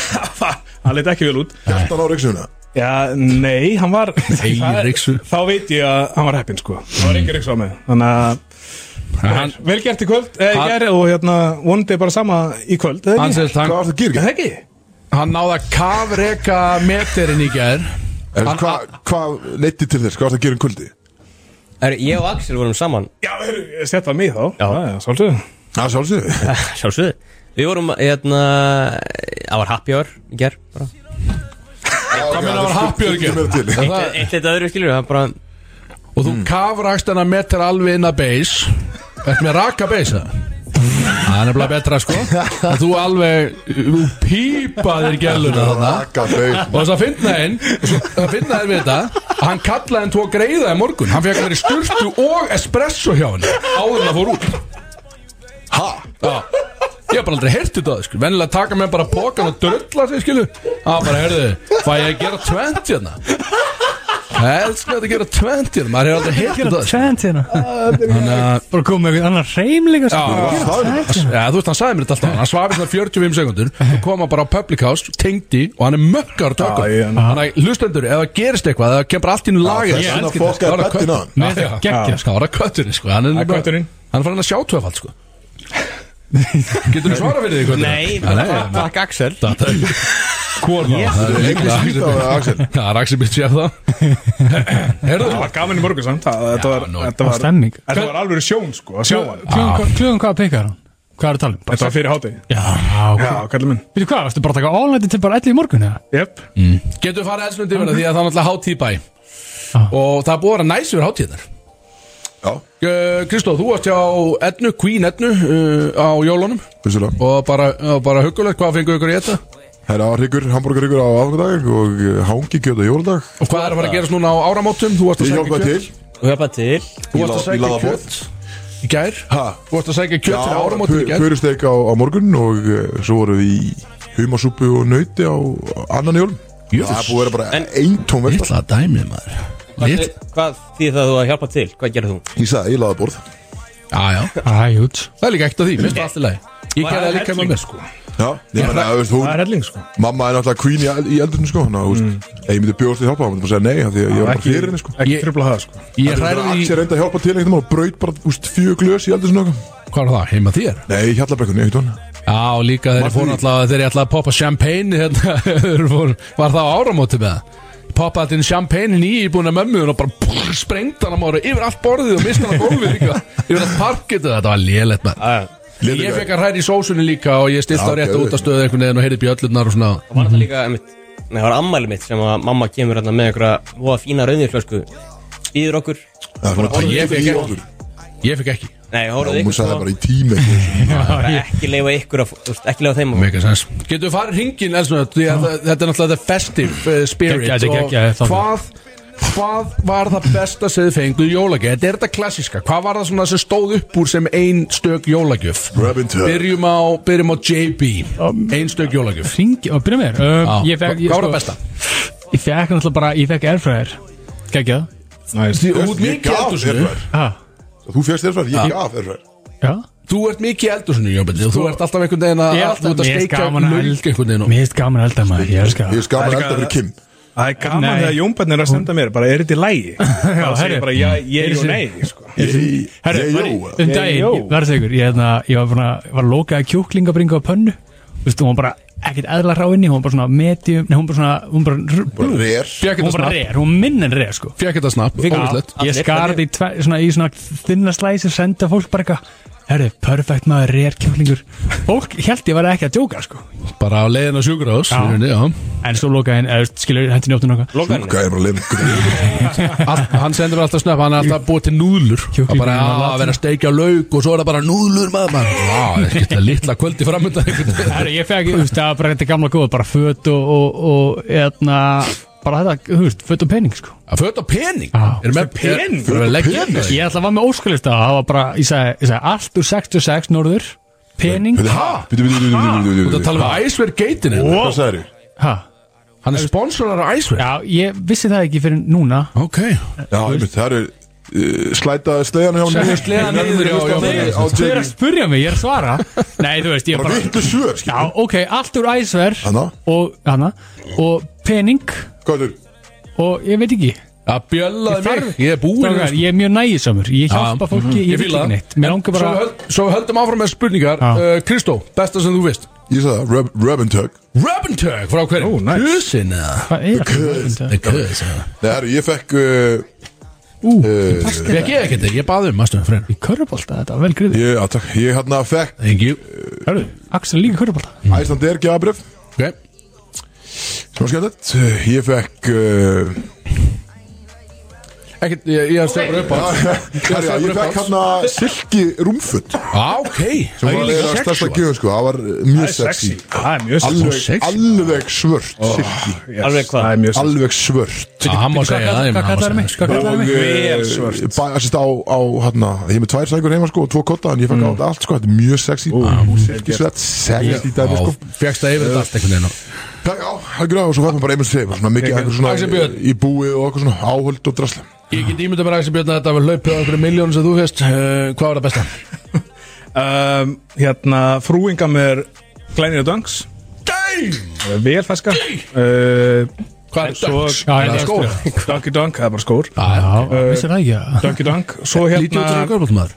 Speaker 5: Hann leit ekki vel út
Speaker 2: Þetta ná ryggsjóna
Speaker 5: Já, nei, hann var
Speaker 3: Nei,
Speaker 5: það-
Speaker 3: ryksu.
Speaker 5: Þá veit ég að hann var heppinn sko Það var engin riksu á mig Þannig að
Speaker 3: Hann,
Speaker 5: vel gert í kvöld eh,
Speaker 3: Hann-
Speaker 5: hann, geri, Og hérna, vonandi bara sama í kvöld eða
Speaker 3: hann,
Speaker 5: ekki?
Speaker 3: segist, hann,
Speaker 2: Hvað var það gýr
Speaker 5: Er
Speaker 2: ekki?
Speaker 5: Það ekki?
Speaker 3: hann náða kafreka meterinn í gær
Speaker 2: En Hvað hva leytti til þess? Hvað var það að gera um kvöldi?
Speaker 4: Herru, Ég og Axel vorum saman
Speaker 5: Já, heyrðu, ég sett var mig þá Já, já, svolítið
Speaker 2: Það sjálfsögðu
Speaker 4: Sjálfsögðu Við vorum, hérna Það var happy hour í ger
Speaker 2: Hvað
Speaker 3: meina var happy hour í gerð?
Speaker 2: gerð?
Speaker 3: Það-
Speaker 4: Eitt eitt öðru skilur Það bara
Speaker 3: Og þú kafrakst hennar meter alveg inn að beis Þetta með raka beis það Það er nefnilega betra sko að Þú alveg, þú pípaðir gæluna þarna
Speaker 2: Raka bein
Speaker 3: Og þess að finna einn Það finna þeir við þetta að Hann kallaði hann tvo greiða í morgun Hann fekk að vera í sturtu og espresso hjá hann Áður en að fór út
Speaker 2: Ha?
Speaker 3: Já Ég hef bara aldrei heyrt þetta að sko Vennilega taka mér bara pokan og drölla sig skilu Það bara, heyrðu, fæ ég að gera 20 hérna Elsku þetta að gera 20 hérna Maður hefur aldrei heyrt þetta sko
Speaker 6: Tvent hérna
Speaker 3: Þannig að
Speaker 6: Bara komið með einhvern annan reym líka sko.
Speaker 3: Já,
Speaker 6: Gera
Speaker 2: það er-
Speaker 6: tvent hérna.
Speaker 3: Já, þú veist, hann sagði mér þetta alltaf Hann svafi svona 45 sekundur Svo kom hann bara á Public House, tengdi Og hann er mökkar
Speaker 5: Já, ég-
Speaker 3: tökum Þannig að hlustendur, ef það gerist eitthvað Það kemur allt í nú lagið
Speaker 2: þess vegna
Speaker 3: elska þetta.
Speaker 2: fokkaði
Speaker 3: Það
Speaker 2: beddin
Speaker 3: var
Speaker 2: á
Speaker 3: kött-
Speaker 2: hann.
Speaker 3: Nei, það er
Speaker 6: geggjað.
Speaker 3: geggjað, sko, Það var að kötturinn, sko Hann
Speaker 5: Það
Speaker 3: er
Speaker 5: er kötturinn.
Speaker 3: Hann er farin að sjá tvöfald, sko Getur þú svara fyrir því, kötturinn?
Speaker 4: Nei,
Speaker 3: Já, nei, nei.
Speaker 4: takk Axel
Speaker 3: Þetta er Hvor var það? er
Speaker 2: Engin
Speaker 3: líklega-
Speaker 2: skýta á það, Axel
Speaker 3: Það er Axel Bitt séf það Herðu
Speaker 5: Það var gaman í morgun samt það- Þetta var,
Speaker 3: nú-
Speaker 5: þetta var,
Speaker 6: Stemming
Speaker 5: þetta var alveg sjón sko að sjá hann
Speaker 6: Klugum hvað- Klugum hvað peikar hann? Hvað er að tala um? Bara
Speaker 5: Þetta var fyrir hátti
Speaker 6: Já, ok
Speaker 5: Já, kallið minn
Speaker 6: Veitu hvað, varstu bara að taka all nighti til bara 11 í morgun eða?
Speaker 5: Jep
Speaker 3: Getur farið elslundi yfir það því að það er náttúrulega hátíð í bæ
Speaker 5: Ah.
Speaker 3: Og það er búið að vera næs yfir hátíðnar
Speaker 2: Já,
Speaker 3: Uh, Kristó, þú varst hjá Ednu, Queen Ednu uh, á jólunum
Speaker 2: vissulega
Speaker 3: og bara, og bara huggulegt, hvað fengur ykkur í þetta?
Speaker 2: Það er áhryggur, hamburgarryggur á aðfangadag og hangi gjöta jóladag
Speaker 3: Og hvað er að fara að gerast núna á áramótum? Þú varst að
Speaker 2: Ég
Speaker 3: sækja
Speaker 2: hjálpaði
Speaker 3: kjöt
Speaker 2: til
Speaker 4: Þú hefði til
Speaker 3: Þú
Speaker 2: Ég
Speaker 3: varst að
Speaker 2: lá- ég
Speaker 3: sækja
Speaker 2: lagði á borð.
Speaker 3: kjöt í gær
Speaker 2: Ha?
Speaker 3: Þú varst að sækja kjöt fyrir
Speaker 2: Já,
Speaker 3: áramótum í gær
Speaker 2: fyrirsteik á, á morgun og uh, svo vorum við í humasúpu og nauti á annan jólum
Speaker 3: Jöfull.
Speaker 2: Það er búið að vera bara
Speaker 4: En-
Speaker 2: eintóm versta
Speaker 3: Lilla dæmið maður Litt
Speaker 4: Hvað þýð það að þú að hjálpa til? Hvað gerði þú?
Speaker 2: Ég sagði, ég laði borð
Speaker 3: Já, já,
Speaker 6: Æ, jút
Speaker 3: það er líka eitt af því, minnst allt í lagi Ég gerði það líka með mér
Speaker 5: sko
Speaker 2: Já, ég menna, þú veist,
Speaker 5: Það
Speaker 2: hún
Speaker 5: er helling sko
Speaker 2: Mamma er náttúrulega queen í, el- í eldurinn, sko Þannig að, þú veist, ef ég myndi bjóðast til hjálpa Það myndi bara segja nei, af því að ég var bara
Speaker 5: Ekki,
Speaker 2: fyrir henni, sko
Speaker 5: ekki
Speaker 3: Ég-
Speaker 5: trubla það sko
Speaker 3: Ég
Speaker 2: Það er
Speaker 3: hræði
Speaker 2: Axel
Speaker 3: í,
Speaker 2: reyndi að hjálpa til einhvern veginn og braut bara, þú veist, fjögur glös í eldurinn, sko
Speaker 3: hvað er það, heima þér?
Speaker 2: Nei, hjallabrekkunni, einhvern veginn
Speaker 3: Já, líka þeir
Speaker 2: Martin
Speaker 3: fóru
Speaker 2: í.
Speaker 3: alltaf þeir alltaf að poppa champagne hérna, þeir fóru, var það á áramóti með það poppaði alltaf inn champagne í búin að mömmuðun og bara brr, sprengt hann á móru yfir allt borðið og misti hann á gólfið líka yfir allt parkitið, þetta var lélegt með
Speaker 2: Lélegt,
Speaker 3: Ég
Speaker 2: já.
Speaker 3: fekk að hræri í sósunni líka og ég stilt á
Speaker 2: Já,
Speaker 3: rétt
Speaker 2: geðveikt.
Speaker 3: út að stöðu einhvern veginn og heyrði bjöllurnar og svona
Speaker 4: Það var alltaf líka einmitt, Nei, það var ammæli mitt sem að mamma kemur hérna með einhverja Voða fína raunirflösku Býður okkur
Speaker 2: Það er svona tíu
Speaker 3: Ég fekk
Speaker 2: í
Speaker 3: ekki-
Speaker 2: okkur
Speaker 3: Ég fekk ekki,
Speaker 4: Nei, hóruðu
Speaker 2: Hún
Speaker 4: ykkur
Speaker 2: sagði
Speaker 4: sko
Speaker 2: bara í tími eitthvað.
Speaker 4: Bara Ekki leifa ykkur að, þú veist, Ekki leifa þeim að
Speaker 3: mega sens Getur við farið hringin, elsnum þetta því að það- Þetta er náttúrulega the festive uh, spirit
Speaker 6: Geggjað, geggjað,
Speaker 3: og
Speaker 6: það-
Speaker 3: hvað Hvað var það besta sem þið fenguð í jólagjöf? Þetta er þetta klassiska. Hvað var það svona sem stóð upp úr sem ein stök jólagjöf?
Speaker 2: Grab and tug.
Speaker 3: Byrjum á, byrjum á JB Einstök jólagjöf
Speaker 6: Ringi, og byrja mér uh,
Speaker 3: Já.
Speaker 6: Um, ég fekk, ég,
Speaker 3: Hvað var það besta?
Speaker 6: Ég fekk náttúrulega bara, ég fekk airfryer Gægjað
Speaker 3: Því Þú ert mikið í
Speaker 2: gaf þér
Speaker 3: eldursinu
Speaker 2: þær.
Speaker 6: Ha,
Speaker 2: Þú fjast þér fær, ég gaf þér fær
Speaker 6: já
Speaker 3: Þú ert mikið í eldursinu, Jónbjörn og Þú
Speaker 2: Sko-
Speaker 3: ert alltaf einhvern veginn að
Speaker 6: Ég er
Speaker 3: alltaf út að
Speaker 6: mér finnst
Speaker 3: steikja
Speaker 6: gaman að
Speaker 3: lög
Speaker 6: elda-
Speaker 3: einhvern veginn og-
Speaker 6: Mér finnst gaman að elda maður, ég elska
Speaker 2: Ég
Speaker 6: það
Speaker 2: er skaman að
Speaker 5: Það er
Speaker 2: elda fyrir
Speaker 5: líka-
Speaker 2: Kim
Speaker 5: Það er gaman
Speaker 6: Nei.
Speaker 5: þegar Jónbjörn er að senda mér bara, er þetta í lægi?
Speaker 6: Já,
Speaker 5: Það
Speaker 6: herri.
Speaker 5: segir bara, já, ég er og nei sko.
Speaker 2: Ég-
Speaker 6: Herru,
Speaker 2: ég-
Speaker 6: var-
Speaker 2: jó.
Speaker 6: um
Speaker 5: Ég-
Speaker 6: daginn,
Speaker 5: jó.
Speaker 6: ég- verð þegur Ég hérna, ég var búin að, var lokað að kjúklingabringa á pönnu Þú veist, hún var bara ekkert eðla ráinni Hún var bara svona medium, nei, hún bara svona Hún bara, hún
Speaker 2: Bara ver
Speaker 3: Fékk
Speaker 6: var
Speaker 3: þetta
Speaker 6: bara
Speaker 3: snapp
Speaker 6: reyr, hún var minn en reyr, sko
Speaker 3: Fékk þetta snapp,
Speaker 6: Já,
Speaker 3: óvislegt
Speaker 6: Ég
Speaker 4: Allir
Speaker 6: skar þetta í tve- svona, í svona þinna slæsi senda fólk bara eitthvað herru, perfect maður, rare kjúklingur fólk held ég var ekki að djóka sko.
Speaker 3: Bara á leiðin á sjúkrós
Speaker 6: Já. en svo lokaði henn, eða skilur henni njóttun okkar
Speaker 4: Lokaðinu
Speaker 2: Sjúka er bara leið
Speaker 3: Hann sendur mér alltaf snöpp, hann er alltaf búið til núðlur Það
Speaker 6: Kjúklingur
Speaker 3: bara
Speaker 6: í
Speaker 3: að
Speaker 6: latínu.
Speaker 3: vera að steikja lauk og svo er það bara núðlur maður maður. Já, það er skilja litla kvöldi framöndan
Speaker 6: herru, ég fekk, þú veist, það var bara þetta gamla góð bara föt og, og, og eðna, bara þetta, þú veist, föt og pening sko.
Speaker 3: Að föta pening
Speaker 6: Já.
Speaker 3: Erum með pening Erum við að leggja í það?
Speaker 6: ég ætla að var með óskalista það var bara, ég sagði, ég sagði allt úr 66 norður, pening
Speaker 2: Býtu, býtu, býtu, býtu,
Speaker 3: Þú ert
Speaker 2: býtu
Speaker 3: að tala um Icewear Gatein hérna.
Speaker 2: Hvað sagði þér?
Speaker 6: ha,
Speaker 3: Hann er sponsorar á Icewear
Speaker 6: já, ég vissi það ekki fyrir núna
Speaker 3: Ok
Speaker 2: Já, einmitt, það eru uh, slætaði sleðan hjá
Speaker 3: Sækja
Speaker 2: henni
Speaker 3: sleðan niður, já, já, já.
Speaker 2: á
Speaker 6: Þau eru að
Speaker 2: JB
Speaker 6: spurja mig, ég er að svara Nei, þú veist, ég er
Speaker 2: Bara
Speaker 6: bara
Speaker 2: vittu svör, skil
Speaker 6: Já, ok, allt úr æsver
Speaker 2: Hanna?
Speaker 6: og, hana, og pening
Speaker 2: Hvað er þér?
Speaker 6: og ég veit ekki
Speaker 3: Að bjöllaði
Speaker 6: Ég
Speaker 3: mig Ég er búin
Speaker 6: Strákar, Ég er mjög nægisamur, ég hjálpa fólki, ég,
Speaker 3: Ég
Speaker 6: veit
Speaker 3: fíla
Speaker 6: ekki
Speaker 3: það.
Speaker 6: neitt Mér
Speaker 3: En
Speaker 6: langar bara
Speaker 3: svo höld- Svo höldum áfram með spurningar
Speaker 6: Já.
Speaker 3: Uh, Kristó, besta sem þú veist
Speaker 2: Ég sagði það, Rub- Rub and Tug
Speaker 3: Rubentug frá hverju?
Speaker 5: Ó, nice.
Speaker 3: Kusin eða?
Speaker 6: Hvað er það?
Speaker 3: Kus
Speaker 2: Nei, herru, ég fekk uh,
Speaker 3: Ég ekki ekkert þig, ég baði um aðstöðum freyna
Speaker 6: Í körubólta, þetta var vel griðið
Speaker 2: Ég, að, takk, ég hérna fekk
Speaker 3: Thank you
Speaker 6: Hörðu, Axel er líka körubólta
Speaker 2: Æslandeir gjafabrif
Speaker 3: Ok
Speaker 2: sem var skemmtilegt Uh, Ég fekk uh,
Speaker 3: Ekkert, ég, ég stöður upp á
Speaker 2: herru, já, Ég fekk hérna silki rúmfutt sem
Speaker 3: Á, Ah, ok Það
Speaker 2: var
Speaker 3: líka
Speaker 2: eða stærsta
Speaker 3: sexual.
Speaker 2: gjöf, sko Það var uh, mjög sexy
Speaker 5: Það er mjög sexy
Speaker 3: Svo sexy.
Speaker 2: Alveg, alveg svört silki
Speaker 5: Yes,
Speaker 4: Alveg hvað?
Speaker 5: Það er mjög sexy
Speaker 2: Alveg svört
Speaker 3: Já, hann má segja það ég meina,
Speaker 6: Hvað
Speaker 3: hann má segja
Speaker 6: kallar mig?
Speaker 3: það,
Speaker 2: Og
Speaker 6: Hvað kallar mig?
Speaker 5: Vel svört.
Speaker 2: eh, bæ- sérst, á, á hérna, ég er með tvær sækur heima sko og tvo kotta en ég
Speaker 3: Mm.
Speaker 2: fekk á þetta allt sko, þetta er mjög sexy Silki svett, sexy dæmi
Speaker 3: sko.
Speaker 2: sko
Speaker 3: Já, Fékkst það yfir þetta allt einhvern veginn og-
Speaker 2: Takk, Já, hægur á og svo fætt mér bara einmitt segið svona mikið eitthvað
Speaker 3: Axel
Speaker 2: svona
Speaker 3: Björn.
Speaker 2: í búi og eitthvað svona áhöld og drasla
Speaker 3: Ég get ímynda bara ekki björna þetta að við hlaupið á einhverju miljónu sem þú veist Uh, Hvað var það besta?
Speaker 5: um, Hérna, frúinga mér Glænir og Dungs
Speaker 3: Damn!
Speaker 5: Vel feska uh,
Speaker 3: Hvað er
Speaker 5: Svo
Speaker 3: þetta?
Speaker 6: já,
Speaker 3: það
Speaker 6: já,
Speaker 3: skóra?
Speaker 5: Dunky Dunk, það er bara skór
Speaker 3: Já,
Speaker 6: Já, vissir það ekki að
Speaker 5: Dunky Dunk, svo
Speaker 3: lítið út af
Speaker 5: hérna
Speaker 3: görbóltmaður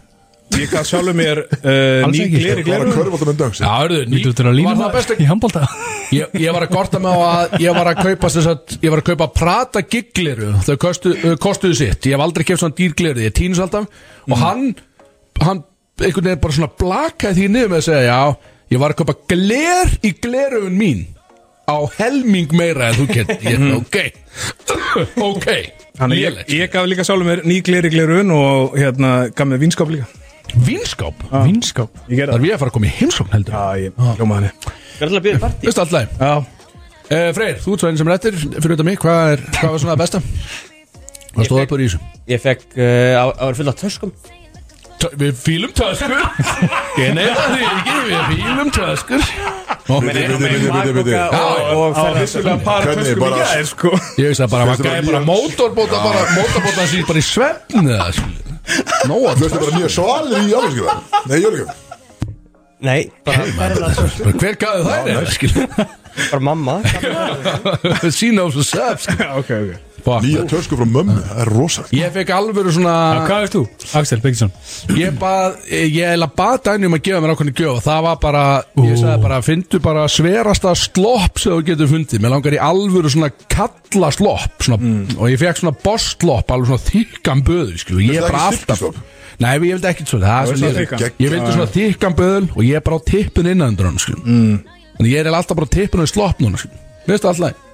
Speaker 5: Ég gaf sjálfur mér uh,
Speaker 6: Alls
Speaker 5: ný
Speaker 6: ekki, sko.
Speaker 5: gleri
Speaker 2: Bara
Speaker 5: gleri
Speaker 2: körfaldar með döng
Speaker 3: Já, hörðu, ný-
Speaker 6: Lítur til að lína
Speaker 3: Var það besta
Speaker 6: maður í handbólta
Speaker 3: Ég, ég var að gorta með á að ég var að kaupa sem sagt, ég var að kaupa prata gigliru þau kostu, uh, kostuðu sitt ég hef aldrei keft svona dýrgliru, ég týnus alltaf og hann, hann einhvern veginn bara svona blakaði því niður með að segja já, ég var að kaupa gler í glerufun mín á helming meira en þú kent ég, ok, ok
Speaker 5: Þannig ég,
Speaker 3: Lélegt.
Speaker 5: ég gaf líka sjálfur mér ný gleri glerun og hérna gaf mér vinskap líka
Speaker 3: Vínskáp,
Speaker 6: Vinskáp
Speaker 5: Ég gerði
Speaker 3: þar
Speaker 5: það
Speaker 3: við að fara að koma í heimsókn heldur
Speaker 5: Já, ég hljóma þannig
Speaker 4: Við erum alltaf að byrja partí
Speaker 3: Veistu alltaf,
Speaker 5: Já,
Speaker 3: uh, Freyr, þú ert svo einn sem er eftir fyrir þetta mig, hvað, er, hvað var svona það besta? Hvað stóð upp úr í þessu?
Speaker 4: Ég fekk, uh, á- það var fullt af töskum
Speaker 3: Tö- Við fýlum töskur Ég nefna því ekki Við fýlum töskur
Speaker 2: Hvernig,
Speaker 5: og það er vissulega para
Speaker 2: Hvernig,
Speaker 5: töskum í
Speaker 2: bara-
Speaker 5: gæðir sko
Speaker 3: Ég veist að bara Var gæði bara
Speaker 2: nýja-
Speaker 3: mótorbóta bara Mótorbóta síðan bara í svefn eða skilur. Nóa
Speaker 2: Þú veist það bara nýja svalir í afhanskjöða Nei, Jörgjum
Speaker 4: Nei, bara,
Speaker 3: bara, Hver gæði þær eða skilur?
Speaker 4: bara mamma
Speaker 3: Sína á svo sef skilur.
Speaker 5: Já, ok, ok
Speaker 3: Fuck,
Speaker 2: Nýja
Speaker 3: man.
Speaker 2: tösku frá mömmu, það er rosalegt
Speaker 3: Ég fekk alvöru svona
Speaker 6: Hvað veist þú? Axel Byggsson
Speaker 3: Ég bað Ég eða bað Dæni um að gefa mér ákveðni gjöf og Það var bara Ég sagði bara Fyndu bara sverasta slopp sem þú getur fundið Mér langar í alvöru svona kalla slopp svona,
Speaker 2: Mm.
Speaker 3: Og ég fekk svona boss slopp Alveg svona þykkan böðu skilur. Ég
Speaker 2: Viltu
Speaker 3: bara
Speaker 2: ekki
Speaker 3: alltaf
Speaker 2: silkislopp?
Speaker 3: Nei, ég vildi ekkert svona Það er
Speaker 5: það
Speaker 3: svona
Speaker 5: þykkan?
Speaker 3: liður. Ég vildi
Speaker 2: Ah.
Speaker 3: svona þykkan böðul og ég er bara á tippun innan undir hann skilur.
Speaker 2: Mm.
Speaker 3: Þannig ég er eiginlega alltaf bara á tippun og í slopp núna skilur. Mér finnst það alltaf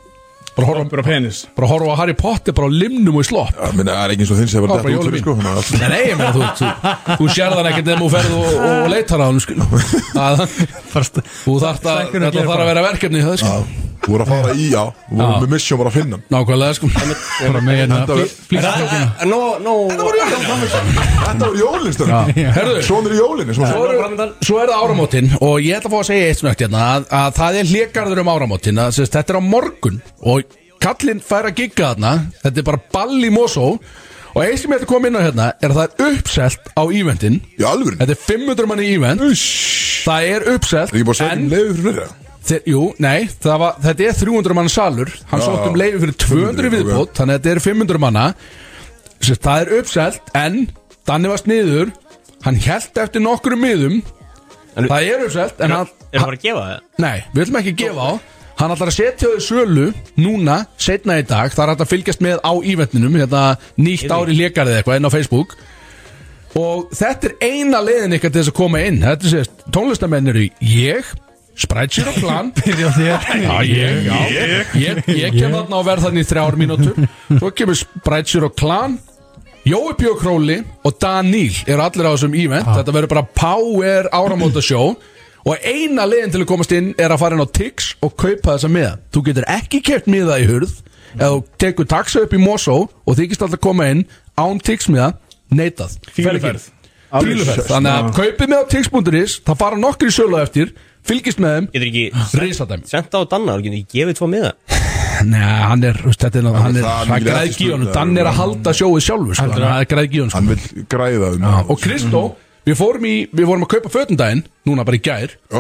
Speaker 3: Bara horfa,
Speaker 5: Rompur og penis
Speaker 3: bara horfa á Harry Potter bara á limnum og í slopp
Speaker 2: Ég meina, Það er ekki eins og þinn sem
Speaker 3: Það
Speaker 2: var
Speaker 3: var bara
Speaker 2: dætt út fyrir sko
Speaker 3: jólabíl.
Speaker 2: þannig að-
Speaker 3: Nei, nei, ég meina, þú, þú, þú sér þann ekkert nefnum þú ferð og, og leitar á hann sko. að,
Speaker 6: Fast
Speaker 3: Þú þarft að
Speaker 6: Stækkunin
Speaker 3: þetta þarf
Speaker 6: gerir
Speaker 3: að
Speaker 6: bara.
Speaker 3: vera verkefni í það, sko.
Speaker 2: Þú voru að fara í, já Þú voru með misjón bara að finna hann.
Speaker 3: Nákvæmlega sko.
Speaker 6: bara með hérna
Speaker 2: Þetta var-
Speaker 4: Nó, nó
Speaker 2: Þetta var jólin stöðum
Speaker 3: Herðu,
Speaker 2: Svonir í jólinni svona.
Speaker 3: svo, eru- svo er það áramótin og ég ætla að fá að segja eitt snögt hérna að, að það er hlékarður um áramótin að, sérst, þetta er á morgun og kallinn fær að gigga þarna þetta er bara ball í Mosó og eitt sem ég ætla að koma inn á hérna er að það er uppselt á íventin
Speaker 2: Í alvörin
Speaker 3: þetta er 500 manni ívent það er uppselt
Speaker 2: Ég er bara að segja um leiðu fyrir fleira
Speaker 3: Þeir, jú, nei, það var, þetta er 300 mann salur Hann
Speaker 2: Já,
Speaker 3: sótt um
Speaker 2: já.
Speaker 3: leiði fyrir
Speaker 2: 500,
Speaker 3: 200 viðbót Þannig að þetta er 500 manna Sér, Það er uppselt, en Danni var sniður Hann held eftir nokkrum miðum
Speaker 4: En-
Speaker 3: Það er uppselt, en hann
Speaker 4: Erum bara að gefa það?
Speaker 3: Nei, við viljum ekki gefa á Hann ætlar að setja þau í sölu núna, setna í hérna, dag Það er hægt að fylgjast með á ívendinum Þetta nýtt ári lekarið eitthvað inn á Facebook og þetta er eina leiðin ykkar til þess að koma inn þetta sést, tónlistamenn eru ég Sprætsir og plan
Speaker 6: Byrja á þér
Speaker 3: Já, ég, já, ég, ég, kem þarna og verð þarna í þrjár mínútur Svo kemur Sprætsir og Klan Jói Bjó Króli og Daníl eru allir á þessum event Þetta verður bara power áramóta sjó Og eina leiðin til að komast inn er að fara inn á Tix og kaupa þessa miða Þú getur ekki keft miða í hurð Eða þú tekur taxa upp í Mosó og þykist alltaf að koma inn án Tix miða Neitað
Speaker 5: Fíluferð
Speaker 3: Bíluferð Þannig að kaupið miða á Tix.is Það fara nokkri í sölu á eftir Fylgist með þeim
Speaker 4: Getur ekki
Speaker 3: Rísadæmi
Speaker 4: sent á Danna og getur ekki gefið tvo miða
Speaker 3: Nei, hann er, veist, þetta er náttúrulega, hann
Speaker 2: það
Speaker 3: er,
Speaker 2: er
Speaker 3: það er
Speaker 2: mikið
Speaker 3: græðgi í honum,
Speaker 2: eftirspurn,
Speaker 3: Dan er að halda sjóið sjálfur, sko, það er græðgi í honum, sko.
Speaker 2: Hann vil græða um það.
Speaker 3: Og Kristó, við fórum í, við fórum að kaupa fötundaginn, núna bara í gær,
Speaker 2: Já.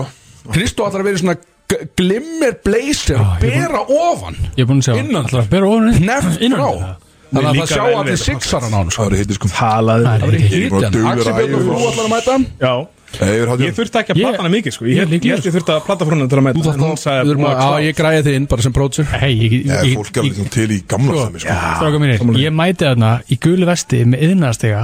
Speaker 3: Kristó ætlar að vera í svona g- glimmer blazer,
Speaker 6: Já, ég
Speaker 3: bera ofan,
Speaker 6: Ég er búin að sjá
Speaker 3: Innan.
Speaker 6: Alltaf að bera ofan
Speaker 3: neft
Speaker 6: Innan
Speaker 3: frá,
Speaker 6: það.
Speaker 3: þannig að
Speaker 5: Mér
Speaker 3: það
Speaker 5: líka
Speaker 3: sjá
Speaker 5: vel við
Speaker 3: allir
Speaker 5: þetta
Speaker 3: sixaran á hann, sko.
Speaker 2: Það er hittir sko
Speaker 5: Talaði
Speaker 6: Það er
Speaker 3: Það er
Speaker 6: ekki
Speaker 2: bara
Speaker 3: hitjan,
Speaker 2: duglegur
Speaker 3: Axel Björn og
Speaker 2: ægur.
Speaker 3: þú ætlar að mæta,
Speaker 6: Ehm,
Speaker 5: Já
Speaker 2: Eður
Speaker 5: Ég
Speaker 2: hattur
Speaker 5: þurfti ekki að
Speaker 6: Ég-
Speaker 5: plata hana mikið sko Ég
Speaker 6: ég
Speaker 5: held ég,
Speaker 6: líklega,
Speaker 5: held ég þurfti að plata frá hana til að mæta
Speaker 3: þú
Speaker 5: En hún
Speaker 3: þarf
Speaker 5: sagði
Speaker 3: þá,
Speaker 5: "Búa
Speaker 3: já,
Speaker 5: klárt."
Speaker 3: ég græði þig inn bara sem brótsur,
Speaker 6: Hei, ég,
Speaker 2: Já,
Speaker 6: ég,
Speaker 2: fólk er alveg svona til í gamla sami sko
Speaker 6: Stráka mínir, ég mæti þarna í gulu vesti með yðnastega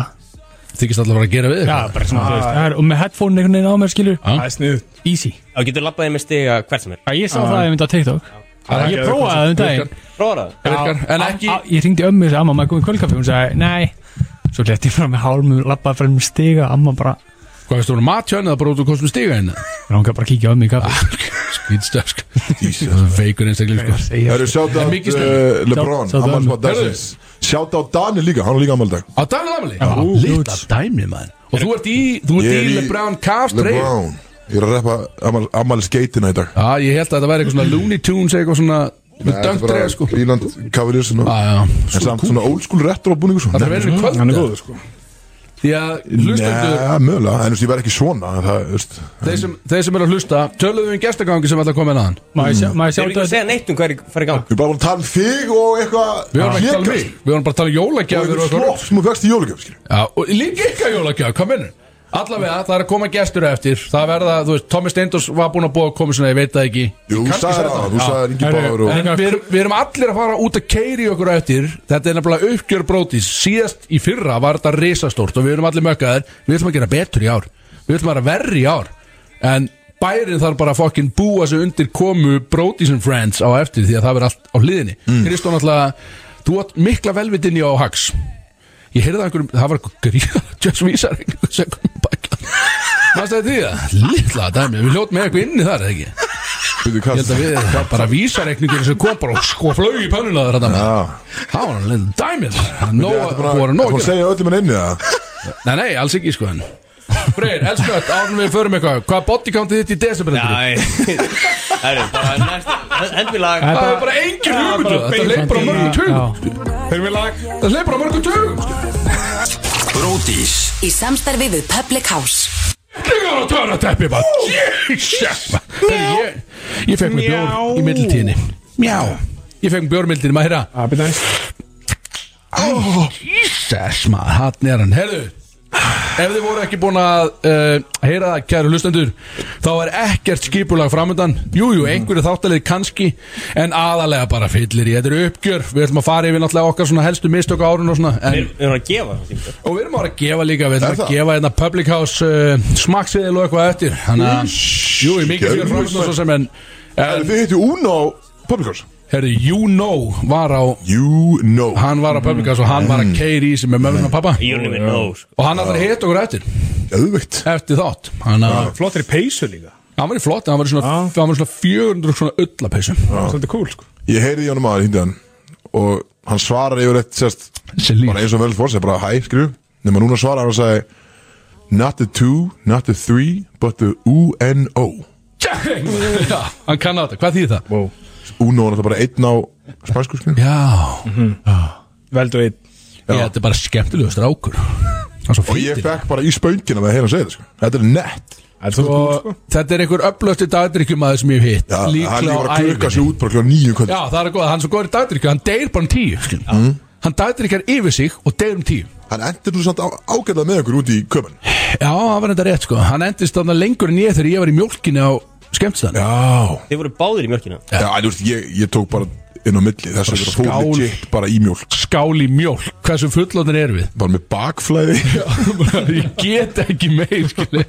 Speaker 3: þykist allar að vera að gera við,
Speaker 6: Já,
Speaker 3: þig.
Speaker 6: bara svona, þú veist það er- Og með headphone einhvern veginn á mér, skilur
Speaker 5: Það er sniðu
Speaker 6: Easy
Speaker 4: Já, getur labbaðið með stiga hvert sem er
Speaker 6: Já, Ég sá það einmitt á TikTok
Speaker 3: Það er
Speaker 6: Ég
Speaker 3: ekki-
Speaker 6: prófaði það um daginn
Speaker 3: virkar,
Speaker 4: Prófa það
Speaker 3: virkar, en ekki,
Speaker 6: Á- Ég ringdi ömmu og sagði, amma, maður komið í kvöldkaffi Hún sagði, nei Svo leti ég fram með hálmum, lappaði fram með um stiga Amma bara,
Speaker 3: hvað veist þú, matjön eða bara út og kostum stiga hérna,
Speaker 6: hún kan bara kíkja ömmu í kaffi
Speaker 3: skýtstösk, veikur einstaklega, sko.
Speaker 2: Það eru
Speaker 6: Segja-
Speaker 2: sjátt á
Speaker 3: mikið stuð.
Speaker 2: eh, Lebron
Speaker 6: Shout- shout out-
Speaker 2: Amalsmað Dagsins Sjátt á Daniel líka, hann er líka amaldag
Speaker 3: Á Daniel Amali?
Speaker 6: Já.
Speaker 3: Lilla dæmi maður Og þú ert í, þú ert í LeBron Cavs treyju.
Speaker 2: LeBron Ég er að reppa amal, amal skeitina í dag
Speaker 3: Já, ég held að þetta væri eitthvað svona Looney Tunes eitthvað svona með döngt treyja sko Já,
Speaker 2: Líland Cavaliers og-
Speaker 3: já,
Speaker 2: En samt svona old school retro sko. búningu svo
Speaker 3: það er verið kvöld
Speaker 5: Hann er góður sko
Speaker 3: Því að hlustendur,
Speaker 2: Nei, mögulega, en þú veist, ég verð ekki svona en það, þú veist,
Speaker 3: þeir sem, þeir sem eru að hlusta Töluðum við um gestagangi sem ætla að koma inn aðan
Speaker 6: Má ég sjá- má ég sjá
Speaker 4: Þeir eru ekki að
Speaker 6: þetta
Speaker 4: segja neitt um hvað er fara í gang
Speaker 2: Við erum bara búin að tala um þig og eitthvað
Speaker 3: Við vorum ekki að tala um mig,
Speaker 2: hlékast.
Speaker 3: við vorum bara að tala um
Speaker 2: Og eitthvað
Speaker 3: jólagjafir og eitthvað
Speaker 2: slopp sem þú vexti í jólugjöf, skilju
Speaker 3: Já, og líka ykkar jólagjafir, hvað minnur? Allavega, það er að koma gestur eftir Það verða, þú veist, Tommy Steindors var búin að búa að koma svona, ég veit það ekki
Speaker 2: Jú, þú
Speaker 3: Kannski
Speaker 2: sagði
Speaker 3: sagði
Speaker 2: það, þú
Speaker 3: Já.
Speaker 2: sagði Ingi
Speaker 6: Herru,
Speaker 2: Báður og
Speaker 3: En við erum, við erum allir að fara út að keiri okkur á eftir Þetta er nefnilega uppgjör brótis Síðast í fyrra var þetta risastórt Og við erum allir mökkaðir Við ætlum að gera betur í ár Við ætlum að vera verri í ár En bærin þarf bara að fokkin búa sig undir komu Brótis and Friends á eftir Því að það verður allt á hliðinni mm. Kristón alltaf, þú átt mikla velvitinni á Hags Ég heyrði að einhverjum, það var eitthvað gríða Just vísar einhverjum sem kom bækja Mæstu þetta því það? Lilla dæmi, við hljótum með eitthvað inni þar, eða ekki?
Speaker 2: Bíddu,
Speaker 3: Ég
Speaker 2: hvað-
Speaker 3: held að við bara vísareikningurinn sem kom bara og sko flög í pönnuna þar þetta
Speaker 2: Já.
Speaker 3: Það var hann lilla dæmið
Speaker 2: Ertu búin að-
Speaker 3: Nóa,
Speaker 2: ertu búin að segja öllum en einni það
Speaker 3: Nei, nei, alls ekki sko en Freyr, elskött, árum við förum eitthvað Hvað er bodycountið þitt í desember þetta?
Speaker 4: Já, það eru bara næst Endvilag
Speaker 3: Það er bara engin hugmyndu Það leif bara á mörgum tugum
Speaker 5: Þeir við lag
Speaker 3: Það leif bara á mörgum tugum sko.
Speaker 1: Bródís
Speaker 7: Í samstarfi við Public House
Speaker 3: Líka á törnateppi bara Jesus Herri, ég- Ég fekk mér bjór í middeltíðinni Mjá Ég fekk mér bjór í middeltíðinni, maður heyra
Speaker 5: Það byrja næst
Speaker 3: Jesus maður, hann er hann Herðu, ef þið voru ekki búin að uh, heyra það, kæru hlustendur þá er ekkert skipulag framöndan Jújú, einhverju þáttalegi kannski en aðalega bara fyllir í, þetta er uppgjör við ætlum að fara yfir náttúrulega okkar svona helstu mistök á árun og svona en,
Speaker 4: Við erum að gefa það
Speaker 3: og við erum að vera að gefa líka, við
Speaker 2: Er
Speaker 3: ætlum
Speaker 2: það?
Speaker 3: að gefa hérna Public House uh, smakksviðil og eitthvað eftir þannig að, jújú, mikið fyrir
Speaker 2: geðveikt.
Speaker 3: framöndan svo sem en,
Speaker 2: Herru,
Speaker 3: en
Speaker 2: Þið hittu Uno Public House
Speaker 3: herðu, You Know var á
Speaker 2: You know
Speaker 3: hann var á Public House og hann var
Speaker 2: Mm.
Speaker 3: að keiri í sem er mömmin og pappa
Speaker 4: Ég er nefnir nóg sko.
Speaker 3: og hann ætlar að hita okkur eftir
Speaker 2: Öðvögt
Speaker 3: eftir þátt hann, uh,
Speaker 5: Flottir í peysu líka
Speaker 3: hann var í flott, hann var í svona,
Speaker 5: Já.
Speaker 3: hann var í svona 400 svona öllapeysum
Speaker 5: Svolítið cool sko
Speaker 2: Ég heyrði í honum að hindi hann Og hann svarar yfir eitt sérst
Speaker 3: Þessi líf.
Speaker 2: Bara eins og vel fór Bara hæ, skrifu Nefnum núna svarar hann og sagði Not the two, not the three But the U-N-O
Speaker 3: Já, hann kann á þetta, hvað þýðir það?
Speaker 5: wow.
Speaker 2: Uno er þetta bara einn á spænsku skrifu
Speaker 3: Já,
Speaker 5: Veldur einn
Speaker 3: ég, þetta er bara skemmtilegust rákur Það er svo
Speaker 2: Og ég
Speaker 3: fýtir
Speaker 2: fekk bara í spöngina með að heyra hann segja þetta sko. Þetta er nett
Speaker 5: Það er svolítið cool
Speaker 3: og
Speaker 5: sko
Speaker 3: þetta er einhver upplöfti dagdrykkjumæður sem ég hef
Speaker 2: Já,
Speaker 3: hitt
Speaker 2: Hann líka
Speaker 3: Líklega
Speaker 2: bara
Speaker 3: á
Speaker 2: að klukka
Speaker 3: ævinni
Speaker 2: sig út Bara klukka nýju kvöld
Speaker 3: Já, það er góð, hann er svo góður í dagdrykkju, hann deyr bara um tíu skilur. Hann dagdrykkjar yfir sig og deyr um tíu
Speaker 2: Hann endur nú samt á- ágætlega með okkur út í kömmen
Speaker 3: Já, það var þetta rétt sko, hann endist þarna lengur en ég þegar ég var í mjólkinni á skemmtstæðan
Speaker 2: Já
Speaker 4: Þeir voru báðir í mjölkina
Speaker 2: Já, en þú veist, ég, ég tók bara inn á milli þess að vera
Speaker 3: Skál.
Speaker 2: fólk legit bara í mjólk
Speaker 3: skál í mjólk, hversu fullóttin erum við
Speaker 2: bara með bakflæði
Speaker 3: ég get ekki meir skilur.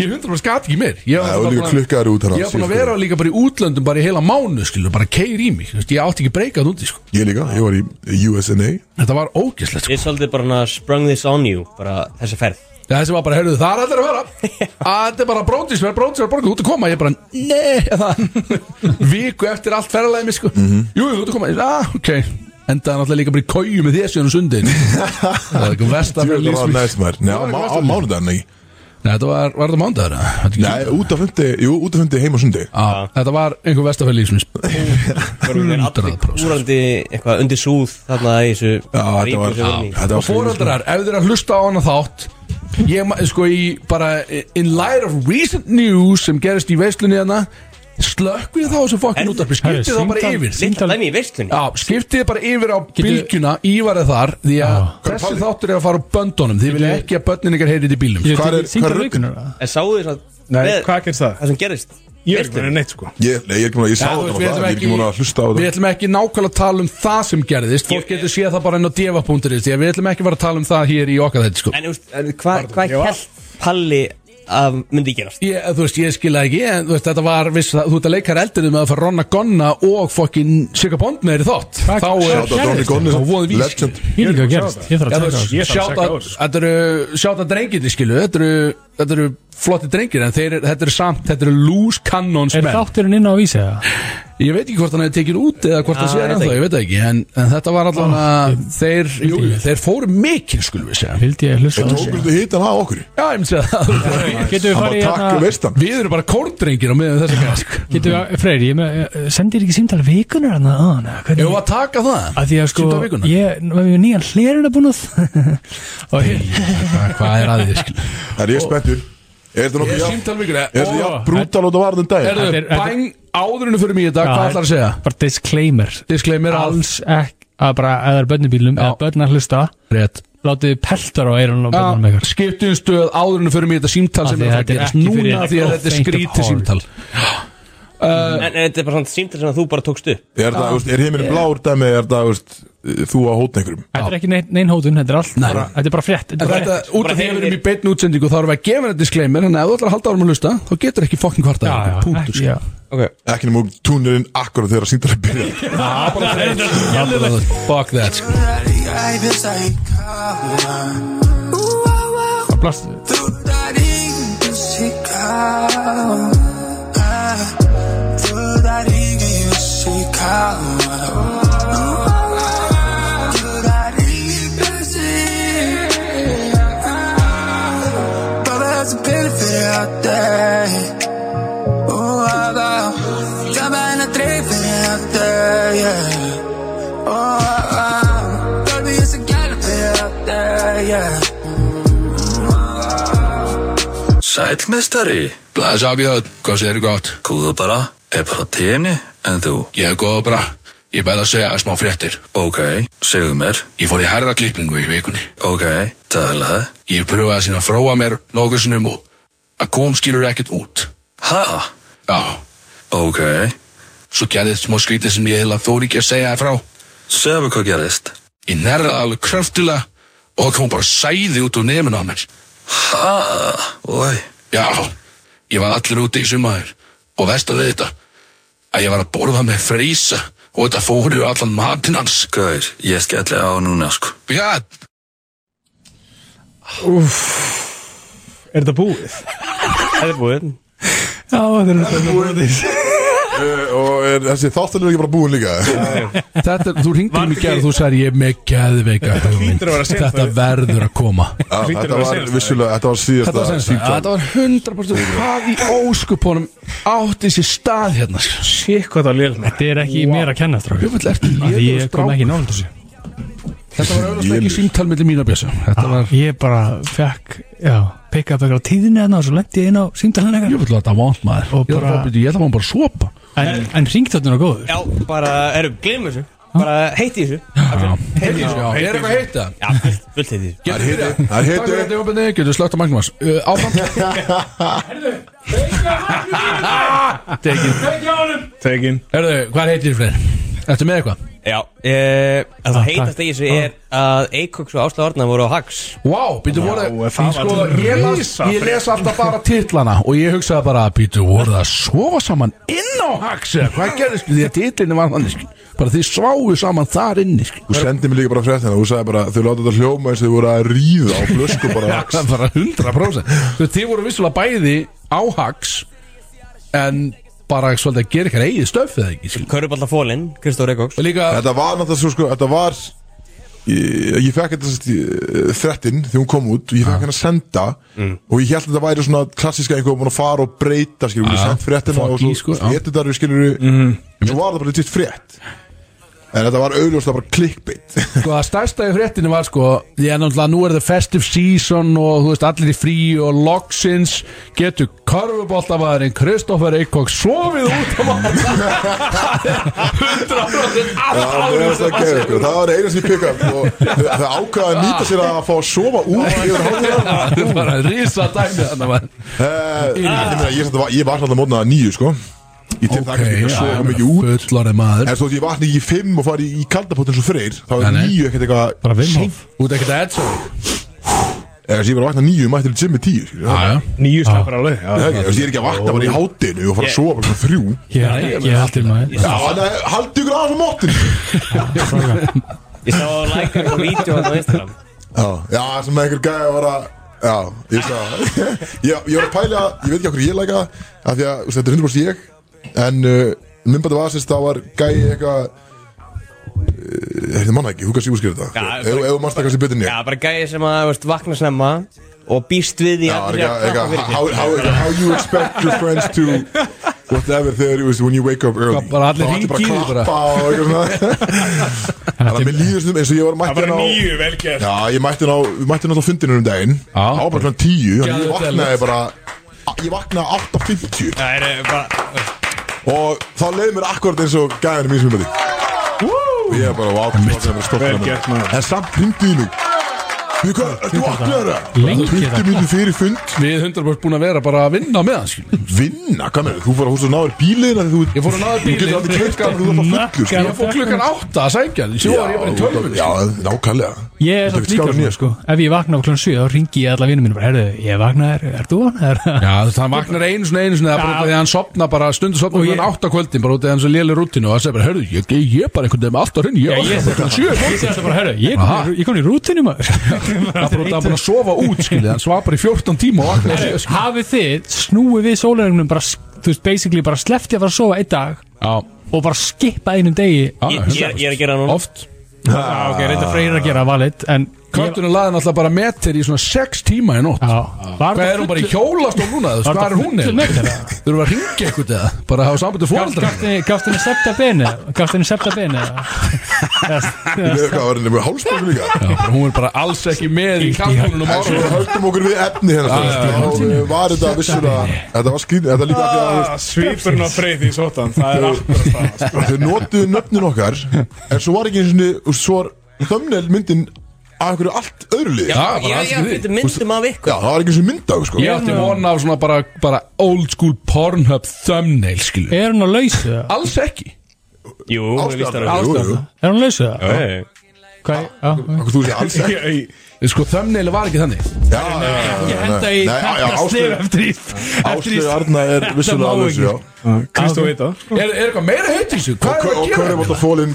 Speaker 3: ég hundra bara skat ekki meir ég
Speaker 2: Það
Speaker 3: var
Speaker 2: er líka
Speaker 3: bara-
Speaker 2: klukkaður út
Speaker 3: ég var búin að vera líka bara í útlöndum bara í heila mánu skilu, bara keir í mig þú veist, ég átti ekki breykað úti sko.
Speaker 2: Ég líka, ég var í USNA
Speaker 3: þetta var ógislegt sko.
Speaker 4: Ég svolítið bara svona sprung this on you Bara þessa ferð
Speaker 3: Ja, þessi var bara, heyrðu, það er allir að vera að þetta er bara bróndis, verð bróndis, verð borgið út að koma ég bara, nei, það viku eftir allt ferðalæmi, sko mm
Speaker 2: Mhm.
Speaker 3: -hmm. jú, jú, út að koma, Ég, ah, ok endaði náttúrulega líka bara í kóju með þessu en sundin það var eitthvað vest að
Speaker 2: Ég
Speaker 3: vera
Speaker 2: var næst maður Nei, á, má- á mánudaginn ekki
Speaker 3: Nei, þetta var, var þetta mándagur? eða? Þetta ekki
Speaker 2: Nei, út af fundi, jú, út af fundi heim á sundi
Speaker 3: Á, þetta var einhver vestafell lífsins
Speaker 4: Vorum við allir
Speaker 3: 100%
Speaker 4: Úrandi eitthvað undir súð Þarna í þessu
Speaker 2: þetta
Speaker 4: ríku
Speaker 2: var-
Speaker 4: sem við erum í.
Speaker 2: já, þetta var-
Speaker 3: og fóröldrar, ef þið er að hlusta á hana þátt ég ma- sko í bara in light of recent news sem gerist í veislunni hana slökkvið þá þessu fokkin
Speaker 4: Herðu,
Speaker 3: út af skiptið
Speaker 6: herðu,
Speaker 3: þá bara
Speaker 6: símtal-
Speaker 3: yfir
Speaker 4: Lilla dæmi í veistlunni
Speaker 3: Já, skiptið bara yfir á
Speaker 6: Getu-
Speaker 3: bylgjuna Ívarið þar, því að þessi
Speaker 2: Palli?
Speaker 3: þáttur er að fara á böndunum Þið vilja ekki að bönnin ykkar heyrið í bílum
Speaker 2: Hvar er- hvar
Speaker 6: Syngar
Speaker 2: er
Speaker 6: vikunar það?
Speaker 4: En sáu þið svona
Speaker 5: Nei,
Speaker 4: með-
Speaker 5: hvað gerst það?
Speaker 4: Það sem gerist
Speaker 5: Ég er ekki verið neitt sko
Speaker 2: Ég, nei, ég er ekki múin að, ég sá
Speaker 3: Já, þú
Speaker 2: þetta bara
Speaker 3: veist, við
Speaker 2: það, ég
Speaker 3: ætlum
Speaker 2: er ekki
Speaker 3: ekki-
Speaker 2: múin að hlusta á
Speaker 3: Við
Speaker 2: þetta
Speaker 3: ætlum ekki nákvæmlega að tala um það sem gerðist Fólk
Speaker 4: Ég-
Speaker 3: getur séð það bara inn á deva.is Því að við ætlum ekki að fara að tala um það hér í okkar þetta sko.
Speaker 4: En þú veist, en hvað hva held Palli að myndi gerast?
Speaker 3: ég, eh, Þú veist, ég skil það ekki En þú veist, þetta var viss Þú veist að leikar eldinu með að fara að ronna gonna Og fokkin Sigga Bond með þér í þátt
Speaker 6: Hvað-
Speaker 3: Þá
Speaker 6: hvað
Speaker 3: er
Speaker 2: Sjáta Donny
Speaker 3: Þá voðum
Speaker 2: Gonnis,
Speaker 3: við skilur.
Speaker 2: legend
Speaker 6: Ég
Speaker 5: Ég er
Speaker 6: er líka að
Speaker 5: búin að
Speaker 6: gerast,
Speaker 5: sjá
Speaker 6: ég þarf
Speaker 3: Já, þú
Speaker 6: að tjekka á
Speaker 3: veist,
Speaker 6: þessu
Speaker 5: ég-
Speaker 3: ég
Speaker 5: þarf að
Speaker 3: sjáta
Speaker 5: checka á þessu.
Speaker 3: Þetta eru sjáta drengirni skilu Þetta eru, þetta eru flotti drengir En þeir, eru- þetta eru samt, þetta eru loose cannons
Speaker 6: Er
Speaker 3: menn.
Speaker 6: þátturinn inn á vísi það?
Speaker 3: Ég veit ekki hvort hann hefði tekið út Eða hvort það
Speaker 4: Já,
Speaker 3: sé
Speaker 4: ég veit
Speaker 3: ennþá,
Speaker 4: ekki.
Speaker 3: ég veit það ekki En, en þetta var allan að þeir, Ah, jú, jú, þeir fóru mikil skulum við segja
Speaker 6: Vildi ég hlusta á
Speaker 2: Tókum
Speaker 6: þessu?
Speaker 2: þetta hittan á okkur
Speaker 3: Já, ég myndi segja það
Speaker 6: Getum við
Speaker 2: um- Hann
Speaker 6: farið
Speaker 2: bara takk
Speaker 6: hérna
Speaker 2: veistan
Speaker 3: Við erum bara kórdrengir á meðan þess að gæða
Speaker 6: Getum við, Freyr, ég með, eh, sendir ekki símtala vikunar hann að hana?
Speaker 3: Ég
Speaker 6: Ah, Hvernig?
Speaker 3: var að taka það
Speaker 6: Að því að sko,
Speaker 3: Símtal vikunnar?
Speaker 6: ég, við erum nýjan hleruna búin að sko?
Speaker 3: Hvað- Hvað er að þið skil
Speaker 2: Það er ég spenntur Er þetta nokkuð jafn
Speaker 3: Símtal vikur
Speaker 2: Er þetta jafn brútal og það var þenn dag?
Speaker 3: Erðu,
Speaker 6: Þetta er- þetta-
Speaker 3: bæn áðurinu fyrir mig í dag Hvað ætlar að segja?
Speaker 6: Bara disclaimer
Speaker 3: Disclaimer að
Speaker 6: Alls ekki, að bara, eða það er börnubílum,
Speaker 3: Já.
Speaker 6: eða börn að hlusta
Speaker 3: Rétt
Speaker 6: Látið þið peltar á eyrunum á börnunum
Speaker 3: Já,
Speaker 6: ykkar
Speaker 3: skiptum stöð áðurinn fyrir mér þetta símtal
Speaker 6: Af
Speaker 3: sem
Speaker 6: því
Speaker 3: er að fara að
Speaker 6: þetta er
Speaker 3: gerast
Speaker 6: ekki fyrir
Speaker 3: núna því að
Speaker 6: eitthvað
Speaker 3: þetta er
Speaker 6: faint of
Speaker 3: skrítið
Speaker 6: heart.
Speaker 3: símtal
Speaker 4: En, en þetta er bara svona símtæl sem að þú bara tókst upp
Speaker 2: Er það, veist, er heiminn blár dæmi Er það, veist, þú að hóta einhverjum
Speaker 6: Þetta er ekki neinn nein hótun, þetta er allt bara, Þetta er bara frétt
Speaker 3: En
Speaker 6: Þetta er bara
Speaker 3: þetta,
Speaker 6: frétt
Speaker 3: út af því að við erum í beinni útsendingu þá erum við að gefa þetta disclaimer en ef þú ætlar að halda árum að hlusta þá getur ekki fokkin kvarta
Speaker 6: Já, já,
Speaker 3: Punktur,
Speaker 6: ekki,
Speaker 3: sko.
Speaker 6: já.
Speaker 4: okay.
Speaker 2: Ekki nema túnurinn akkurat þegar að sínda að byrja
Speaker 3: Það er bara- Fuck that sko.
Speaker 6: Blast,
Speaker 8: Ah, Oh, Yeah. Oh, uh, uh, baby, it's a galloping out there, yeah.
Speaker 9: Sæll mestari,
Speaker 3: Blæs af ég það, hvað segir þú gott?
Speaker 9: góðu bara, er bara tíðinni en þú,
Speaker 3: Ég er góð bara, ég bæði að segja smá fréttir
Speaker 9: ok, segðu mér,
Speaker 3: Ég fór í herra klippingu í vikunni
Speaker 9: ok, talaði,
Speaker 3: Ég pröfaði síðan að fróa mér nógusunum og að kom skilur ekkert út
Speaker 9: ha,
Speaker 3: Já,
Speaker 9: ok,
Speaker 3: svo gerðið smá skrítið sem ég heila þóri ekki að segja þér frá
Speaker 9: segðu mér hvað gerðist,
Speaker 3: Ég nærði alveg kröftilega og það kom bara sæði út úr nefn á mér.
Speaker 9: ha, oi,
Speaker 3: Já, ég var allir úti í sumaður og verst að við þetta að ég var að borða með freysa og þetta fóru allan matinn hans.
Speaker 9: gaur, ég skelli á núna sko,
Speaker 3: Já,
Speaker 5: Er þetta búið?
Speaker 4: Þetta er búið
Speaker 6: Já, þetta er þetta
Speaker 2: Eh, Og er þessi þáttanur ekki bara búin líka?
Speaker 3: þetta, þú ringdi
Speaker 5: Var
Speaker 3: mig í
Speaker 5: þetta
Speaker 3: gerð
Speaker 5: ekki-
Speaker 3: og þú sagði ég er með geðveika hugmynd.
Speaker 5: hlýtur að vera að segja
Speaker 3: Þetta
Speaker 5: það.
Speaker 3: verður að koma.
Speaker 2: Já,
Speaker 5: Hlýtur að
Speaker 2: Þetta
Speaker 5: vera
Speaker 2: var
Speaker 5: síðasta.
Speaker 2: vissulega, þetta var
Speaker 3: Þetta var
Speaker 2: síðasta
Speaker 3: senst
Speaker 2: símtal
Speaker 3: Þetta var 100% hvað í óskupunum átti sér stað hérna.
Speaker 5: Shit, hvað það var lélega
Speaker 6: Þetta er ekki mér að kenna strákur
Speaker 3: Jöfull, ertu
Speaker 6: Af því
Speaker 3: lélegur
Speaker 6: Ég kom
Speaker 3: strákur.
Speaker 6: ekki nálega þessu
Speaker 3: Þetta var auðvitað ekki
Speaker 2: Lélegur.
Speaker 3: símtal millir mín að bjösa. Þetta
Speaker 9: Ah.
Speaker 3: var,
Speaker 6: Ég bara fekk, já, pikka upp eitthvað á tíðinni þarna og svo lendi ég inn á símtalinn
Speaker 3: ég
Speaker 6: eitthvað
Speaker 3: vil að þetta vant maður. Ég
Speaker 6: Og
Speaker 3: ætla
Speaker 6: bara-
Speaker 3: bara- ég ætla bara bara að sopa.
Speaker 6: En, en ringt þarna er góður
Speaker 4: Já, bara, erum, gleymum þessu Bara heiti þessu
Speaker 3: Heiti, já, er eitthvað heita?
Speaker 4: Já, fullt, fullt heiti þessu
Speaker 2: Það er hiti, það er
Speaker 3: Takk fyrir
Speaker 2: hiti
Speaker 3: þetta, Jópenni, getur slögt á Magnús uh, Áfram Tekin
Speaker 5: Tekin
Speaker 3: Herðu, hvað heitir þér fleiri? Ertu með eitthvað?
Speaker 4: Já eh, Það
Speaker 6: Ah,
Speaker 4: heitast
Speaker 6: takk.
Speaker 4: í þessu er að Eikoks og Ásla Orna voru á Hax
Speaker 3: Wow, býtu voru
Speaker 5: Já, það var
Speaker 3: sko, ég, las,
Speaker 5: risafrétt.
Speaker 3: ég les alltaf bara titlana Og ég hugsaði bara, býtu voru það að sofa saman inn á haxi Hvað gerði sko, því að titlinni var þannig sko Bara þið sváu saman þar inni sko
Speaker 2: Þú sendið mér líka bara fréttina Þú sagði bara, þau láta þetta hljóma eins og þau voru að ríða á flösku bara
Speaker 3: Já, það er bara 100% Þú veist, þið voru vissulega bæði á hax En bara svolítið að gera eitthvað eigið stöf eða ekki skilur.
Speaker 4: Köruballa Fólin, Kristór Eikoks
Speaker 3: Og líka,
Speaker 2: Þetta var náttúrulega svo sko, þetta var Ég, ég fekk þetta sérst í- þrettinn þegar hún kom út og ég fekk henni að senda
Speaker 3: Mm.
Speaker 2: og ég held að þetta væri svona klassiska einhver búin að fara og breyta skilur, ah,
Speaker 3: Ah,
Speaker 2: sent fréttina
Speaker 3: fuck
Speaker 2: og svo
Speaker 3: í, sko, já. Mhm.
Speaker 2: hétu þar við skilur mm. svo var það bara lítið frétt en þetta var augljóslega bara clickbait
Speaker 3: sko, að stærsta í fréttinu var sko Því að náttúrulega nú er það festive season Og þú veist, allir í frí og loksins Getur korfuboltamaðurinn Kristoffer Eikók sofið út á maður
Speaker 2: Já,
Speaker 3: 100%
Speaker 2: það var það að gera, sko. það var einu sem ég pikka upp og þau- þau ákvaða að nýta sér að fá að sofa út yfir hálftíðan
Speaker 3: Það er bara rísa dæmi þannig maður
Speaker 2: Eh, ég, meina, ég, samt var- ég vaknaði að mótna að nýju sko ég til það ekki að sofa mikið út
Speaker 3: fullorðið maður
Speaker 2: En svo því ég vakna ekki í fimm og fari í kaldapott eins og freyr Þá er
Speaker 3: Nei, nei.
Speaker 2: nýju ekkert eitthvað
Speaker 6: Bara Wim Hof.
Speaker 3: Út ekkert að edsa
Speaker 2: Eða þess að Eh, ég var að vakna nýju, mætti til gymmi tíu skilur. Það
Speaker 3: Jájá
Speaker 5: Nýju slappar alveg já.
Speaker 2: er ekki, Þess að ég er ekki að vakna bara í hátinu og fara að sofa bara svona þrjú
Speaker 6: Ég ég er allir maður
Speaker 2: Já, þannig að haldi ykkur aðeins á móttin
Speaker 4: Ég sá að læka eitthvað vídeo hann á Instagram
Speaker 2: Já, já, sem einhver gæði var að Já, ég veist að ég, ég var að pæla, ég veit ekki okkur ég læka það, Af því að þú veist, þetta er 100% ég En uh, minnbæti var sérst, það var gæði eitthvað eh, Ég manna ekki, þú kannski útskýra þetta
Speaker 4: Já,
Speaker 2: Ef ef þú mannst það kannski betur en
Speaker 4: Já,
Speaker 2: ég
Speaker 4: bara gæði sem að þú veist, vakna snemma og býst við því
Speaker 2: Já,
Speaker 4: að
Speaker 2: er eitthvað,
Speaker 4: allir að klappa
Speaker 2: eitthvað,
Speaker 4: fyrir
Speaker 2: how,
Speaker 4: sér.
Speaker 2: how, how you expect your friends to whatever þegar, you know, when you wake up early
Speaker 3: Bara allir
Speaker 2: Þá ætti bara að
Speaker 3: hringi í þig bara.
Speaker 2: klappa og eitthvað svona Þannig að mér líður svona eins og ég var
Speaker 5: Það
Speaker 2: mættin
Speaker 5: var
Speaker 2: á
Speaker 5: nýju velgerð
Speaker 2: Já, ég mættin á, við mættin á fundinu um daginn
Speaker 3: Já.
Speaker 2: Það var bara svona tíu, þannig að ég
Speaker 3: Geðveikt
Speaker 2: vaknaði bara Ég vaknaði 8.50
Speaker 5: Það er eh, bara
Speaker 2: og þá leiði mér akkurat eins og gæðinu mín sem við og ég er bara, vá, hvað er bara stolt
Speaker 5: Vel
Speaker 2: af mér.
Speaker 5: gert, maður.
Speaker 2: En samt hringdu í mig Við hvað, ertu vaknaður það?
Speaker 6: Lengi
Speaker 2: 20
Speaker 6: það.
Speaker 2: mínútur fyrir fund
Speaker 3: Við 100% búin að vera bara að vinna með hann skilur.
Speaker 2: Vinna, hvað með þú fór að húsa og náður bílina þegar þú
Speaker 3: Ég fór að náður
Speaker 2: Þú getur
Speaker 3: bílinn.
Speaker 2: aldrei keirt gaman, þú er bara fullur sko.
Speaker 3: Ég fór klukkan átta að sækja hann Svo var ég bara í tölvunni
Speaker 2: Já,
Speaker 3: sko.
Speaker 2: nákvæmlega
Speaker 6: Ég er
Speaker 2: Þú
Speaker 6: samt
Speaker 2: tekur
Speaker 6: líka
Speaker 2: skálinn í
Speaker 6: svona
Speaker 2: það,
Speaker 6: sko Ef ég vakna á klán 7 þá ringi ég alla vinnum mínum bara, Herðu, ég vaknaði, er, er þú hann?
Speaker 3: Já, þú veist, hann vaknar einu svona einu svona Það er bara
Speaker 6: Já.
Speaker 3: út af því að hann sopna bara stundu sopna
Speaker 6: Og
Speaker 3: Hvernig
Speaker 6: ég-
Speaker 3: um átta á kvöldin bara út af því að hann svo léli rútinu Og það segir bara, hörðu, ég, ég, ég er bara einhvern veginn með allt á hreinu Ég
Speaker 6: Ég
Speaker 3: er bara sjö
Speaker 6: ég segi alltaf bara, herðu, ég kom
Speaker 3: Aha.
Speaker 6: í- ég kom í rútinu maður
Speaker 3: Það er bara út af að hann búin að sofa út, skiljið Hann svaf bara í 14 tíma og vaknaði sjö, skilið.
Speaker 6: Hafið þið snúið við sólæringunum bara, þú veist, basically bara sleppti að fara að sofa einn dag
Speaker 3: Já,
Speaker 6: og bara skipa einum degi
Speaker 3: já,
Speaker 4: Ég- ég- Ég er að gera það núna
Speaker 3: Oft
Speaker 6: Já, ok, reynda freyr að gera valið En
Speaker 3: Kvöldunum laði náttúrulega bara metir í svona 6 tíma í nótt
Speaker 6: Já, var
Speaker 3: Hvað er hún bara í hjólast og núna? þú veist, Hvað
Speaker 6: Var það
Speaker 3: er hún?
Speaker 6: fullur
Speaker 3: eiginlega?
Speaker 6: metir, eða?
Speaker 3: Þurfum við að ringja eitthvað eða? Bara hafa sambandi fóreldra
Speaker 6: Gafst henni- gafst henni septa beni Gafst henni septa beni
Speaker 2: Ég veit hvað, var henni með hálsbóku líka
Speaker 3: Já, bara, hún er bara alls ekki með í um kalkunum
Speaker 2: En svo
Speaker 3: ára
Speaker 2: höldum okkur við efni hérna
Speaker 3: Já, já, já.
Speaker 2: Og eh, var þetta vissulega Þetta var skrýn, þetta líka af því að þú veist,
Speaker 5: Svipurinn á freyði í sótan Það er akkurat það sko.
Speaker 2: Þau notuðu nöfnin okkar En svo var ekki eins og svo var thumbnail myndin Af einhverju allt öðru lið
Speaker 3: Já, bara alls
Speaker 4: Já, já,
Speaker 3: ekki því
Speaker 4: þetta myndum af ykkur
Speaker 2: Já, það var ekki eins og myndag sko
Speaker 3: Ég átti vona á svona bara, bara old school Pornhub thumbnail skilu
Speaker 6: Er hún á lausu? það?
Speaker 3: Alls ekki
Speaker 4: Jú, við víst
Speaker 2: Ástæðan Jú,
Speaker 4: það
Speaker 2: jú
Speaker 6: Er hún á lausu? það? Hvað? Já, ok.
Speaker 2: Akkur þú sé alls ekki
Speaker 5: Ég- ég-
Speaker 3: Sko thumbnail var ekki þannig
Speaker 2: Já, já, já, já, já,
Speaker 6: Ég henda í
Speaker 2: nei. Nei, já, já,
Speaker 6: kakkastir
Speaker 2: Áslaug-
Speaker 6: eftir í eftir í
Speaker 2: Áslaug Arna er vissulega
Speaker 6: má
Speaker 2: alveg
Speaker 6: ekki.
Speaker 2: þessu, já
Speaker 5: Ah, Kristó veit það
Speaker 3: Er, er eitthvað meira heitt í þessu? Hvað er
Speaker 2: Og
Speaker 3: að
Speaker 2: hverju
Speaker 3: gera?
Speaker 2: bóta fólinn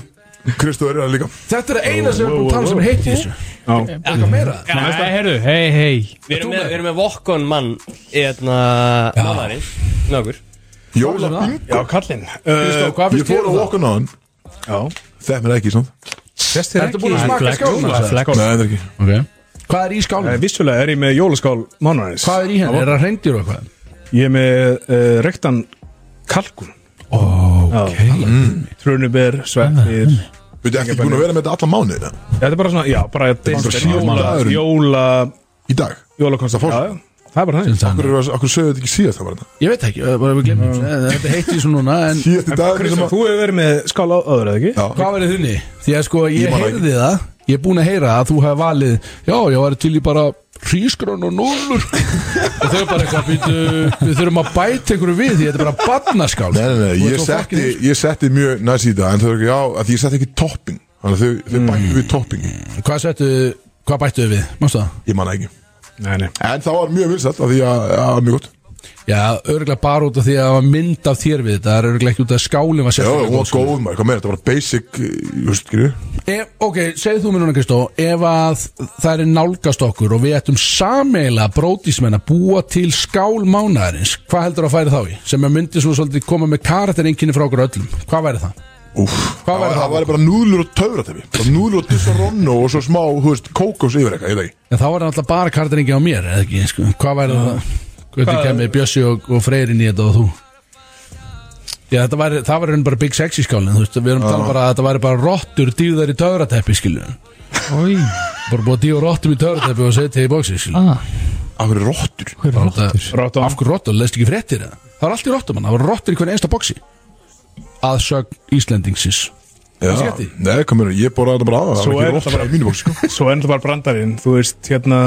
Speaker 2: Kristó er hann líka
Speaker 3: Þetta er að eina sem er búin að tala um sem er heitt í þessu
Speaker 5: Já.
Speaker 3: Eitthvað meira?
Speaker 6: Nei, herru, hei, hei
Speaker 4: Við erum með, við erum með vokkon mann hérna, Eðna, málarinn Nókur
Speaker 2: Jóla Bing
Speaker 5: Já, kallinn
Speaker 3: Kristó,
Speaker 5: Eh,
Speaker 3: um hvað
Speaker 2: Ég fór
Speaker 3: finnst þér
Speaker 2: að
Speaker 3: um það?
Speaker 2: walk on on
Speaker 5: Já
Speaker 2: Þeim er ekki, samt
Speaker 5: Sest þér
Speaker 3: Ertu búin að
Speaker 6: Nei,
Speaker 3: smaka
Speaker 6: flex,
Speaker 3: skálina?
Speaker 6: flex,
Speaker 3: sagði?
Speaker 6: flex.
Speaker 2: Nei, það er ekki
Speaker 3: Ok Hvað er í
Speaker 5: Eh,
Speaker 3: skálinu?
Speaker 5: Vissulega er ég með jólaskál mánarins
Speaker 3: Hvað er í henni? Er það reyndir og eitthvað?
Speaker 5: Ég er með uh, rektan kalkun Ok Trunubir, Mm. sveppir
Speaker 2: Við erum ekki búin að vera með þetta alla mánuðina
Speaker 5: Þetta er bara svona, já, bara
Speaker 2: bara
Speaker 5: deilt-
Speaker 2: síðan
Speaker 5: jóla,
Speaker 2: maðurinn.
Speaker 5: jóla
Speaker 2: Í dag
Speaker 5: Jólakonsta
Speaker 2: Það fór-
Speaker 5: já, já. Það er bara þannig
Speaker 2: Akkur, akkur sögðu þetta ekki síðast það var þetta
Speaker 3: Ég veit ekki, eh, bara við glemum þessu. Eh, Þetta er heitt í þessu núna en
Speaker 2: Síðast í dag
Speaker 5: Kristó, þú hefur verið með skál á öðru, eða ekki?
Speaker 2: Já,
Speaker 3: Hvað verður þinni? Því að sko
Speaker 2: Ég
Speaker 3: ég
Speaker 2: man það
Speaker 3: heyrði það Ég er búin að heyra að þú hef valið Já, ég var til í bara hrísgrón og núlur Og þau bara eitthvað "Bíddu, Við þurfum að bæta einhverju við Því þetta er bara barnaskál
Speaker 2: Nei, nei, nei,
Speaker 3: Þú
Speaker 2: ég
Speaker 3: ert svo
Speaker 2: setti,
Speaker 3: fucking-
Speaker 2: ég setti mjög næs í það En þau eru ekki, já, að því ég setti ekki topping Þannig að þau, þau
Speaker 3: Mm.
Speaker 2: bættu við topping
Speaker 3: Hvað settu, hvað bættu við? Mástu það?
Speaker 2: Ég manna ekki
Speaker 5: Nei, nei
Speaker 2: En það var mjög vilsett, af því að, að mjög gott
Speaker 3: Já, örgulega bara út af því að það var mynd af þér við þetta Það er örgulega ekki út af að skálin var
Speaker 2: Já,
Speaker 3: sérstaklega
Speaker 2: hún var
Speaker 3: sko.
Speaker 2: góð maður, hvað meira, þetta var basic eh, Þú veist, skilju
Speaker 3: Ef, Eh, ok, segðu þú mér núna Kristó Ef að það er nálgast okkur og við ættum sameila brótismenn að búa til skál mánaðarins Hvað heldur að færi þá í? Sem að myndi svo svolítið koma með karakterinkinni frá okkur öllum Hvað væri það?
Speaker 2: Úf,
Speaker 3: Hvað væri það?
Speaker 2: það var bara núðlur og töfratefi Bara núðlur og dissaronno og svo smá, þú veist, kókos yfir eitthvað, ég veit ekki.
Speaker 3: En þá var það alltaf bara karakteringi á mér, eða ekki? Sko. Hvað væri það? Hvernig
Speaker 5: Hvað-
Speaker 3: kemur Bjössi og, og Freyrin í þetta og þú? Já, þetta væri, það var raun bara Big Sexy skálinn, þú veist, við erum að tala bara að þetta væri bara rottur dýðar í töfrateppi, skiljum.
Speaker 6: Ói,
Speaker 3: Bara búið að dýða rottum í töfrateppi og setja í bóksi, skiljum.
Speaker 6: ah,
Speaker 2: Af hverju rottur?
Speaker 6: hver er rottur?
Speaker 5: Rottan.
Speaker 3: Af hverju rottur, leist ekki fréttir eða? Það var allt í rottum, það var rottur í hvern einsta bóksi. Aðsögn Íslendingsins.
Speaker 2: Já,
Speaker 3: skemmti?
Speaker 2: nei, hvað meira, ég bóra þetta bara aða Það
Speaker 5: Svo
Speaker 2: var
Speaker 5: er
Speaker 2: ekki
Speaker 5: þetta
Speaker 2: rottur
Speaker 5: bara-
Speaker 2: í mínu bóks, sko
Speaker 5: Svo er náttúrulega bara brandarinn Þú veist, hérna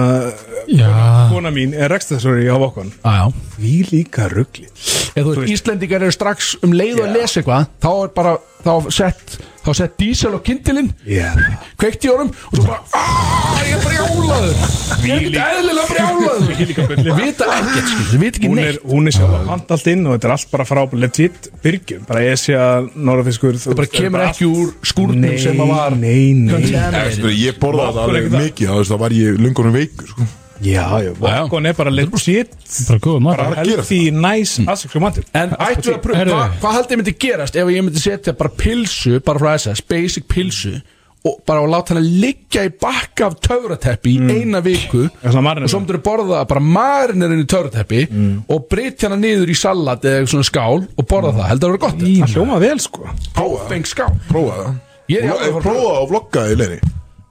Speaker 6: Já,
Speaker 5: Kona mín er rekstessori á Vokon
Speaker 3: Ah, já.
Speaker 5: Því líka ruggli
Speaker 3: Eða þú veist, Íslendingar eru strax um leið og
Speaker 5: Já.
Speaker 3: lesa eitthvað, þá er bara, þá sett, þá sett dísel og kindilinn
Speaker 5: Já
Speaker 3: kveikt í honum og svo bara "Ah, ég er brjálaður ég er ekkert eðlilega brjálaður þau vita ekkert, sko, þau vita ekki
Speaker 5: Hún er,
Speaker 3: neitt
Speaker 5: hún er sjálf að panta allt inn og þetta er allt bara frá legit byrgjum, bara esja, norðfiskur
Speaker 3: það bara kemur ekki úr skúrnum
Speaker 5: Nei,
Speaker 3: sem að var
Speaker 5: nei, nei
Speaker 3: contaminated.
Speaker 2: Ég borða þetta alveg mikið, það, það var ég lungunum veikur sko.
Speaker 5: Já, já, Vokon er bara legit
Speaker 6: bara góð maður
Speaker 5: bara
Speaker 2: að gera
Speaker 5: healthy, nice, aðsöksum matur
Speaker 3: en ættu að pröfa,
Speaker 6: Herðu.
Speaker 3: hva, hvað haldið myndi gerast ef ég myndi setja bara pilsu, bara frá SS basic pilsu og bara að láta hana liggja í bakka af töfrateppi
Speaker 6: Mm.
Speaker 3: í eina viku
Speaker 5: er svona marinera.
Speaker 3: og svo myndir borða bara marinirinn í töfrateppi
Speaker 6: Mm.
Speaker 3: og breytja hana niður í salat eða eitthvað svona skál og borða það, heldur það að vera gott
Speaker 5: Það hljóma vel sko
Speaker 3: áfeng skál
Speaker 2: Prófa það
Speaker 3: Ég er í alveg að fara að
Speaker 2: Prófa og vlogga í leini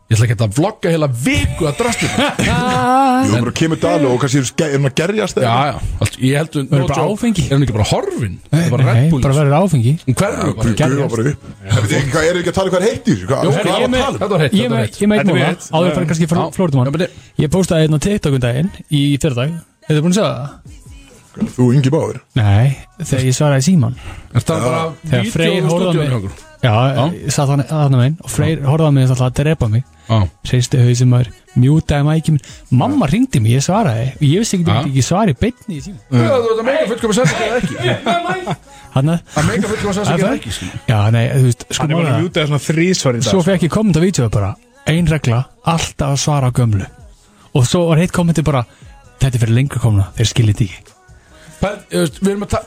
Speaker 3: Ég ætla ekki að vlogga heila viku að drastu
Speaker 2: Jú, bara kemur dali og kannski er hún- er hún að gerjast eða?
Speaker 3: Já, já, allt, ég heldur
Speaker 6: Verður bara áfengi?
Speaker 3: Er hún ekki bara sko? horfin?
Speaker 6: Nei, nei, bara verður áfengi
Speaker 3: Hún hverfur
Speaker 2: Guð,
Speaker 3: bara
Speaker 2: guð var bara upp Herri, þið- Hvað erum við ekki að tala um hvað er heitt í þessu? Hvað
Speaker 3: Jú,
Speaker 2: hvað var
Speaker 3: herri, ég
Speaker 2: að
Speaker 3: með-
Speaker 2: tala um?
Speaker 3: Þetta var heitt,
Speaker 6: Ég
Speaker 3: þetta var
Speaker 6: meit,
Speaker 3: heitt
Speaker 6: ég meit
Speaker 5: Þetta er
Speaker 6: móla,
Speaker 5: rétt.
Speaker 6: áður fyrir kannski
Speaker 3: Já. Já,
Speaker 6: flóritum
Speaker 3: meni-
Speaker 6: Ég postaði einn á TikTok um daginn í fyrrdag Hefur þið búin að segja það?
Speaker 2: Þú yngi báður
Speaker 6: Nei, þegar ég svaraði síman
Speaker 3: Er það bara
Speaker 6: Þegar Freyr horfði á mig
Speaker 3: okkur
Speaker 6: Já, ég satt hann aðna meginn og Freyr horfði á mig og ætlaði að drepa mig
Speaker 3: Já,
Speaker 6: Seisti hausinn maður, mjútaði mækjum Mamma ringdi mig, ég svaraði og ég vissi ekki
Speaker 3: Já.
Speaker 6: að ekki svari beinni í síman
Speaker 3: þú veist að meika fullkomis að segja ekki
Speaker 6: Hanna,
Speaker 3: Að meika fullkomis að
Speaker 6: Það
Speaker 3: segja
Speaker 6: er-
Speaker 3: ekki skilur.
Speaker 6: já, nei, þú veist, sko
Speaker 5: Hann er bara sko.
Speaker 6: mála
Speaker 5: að mjúta svona þrísvar í dag
Speaker 6: Svo fekk ég komment á vítjóðu bara Ein regla, alltaf að svara á gömlu Og svo var heitt kommenti bara Þetta er fyrir lengra komna, þeir skiljið þetta ekki
Speaker 3: Pæl- þú veist, Við erum að tala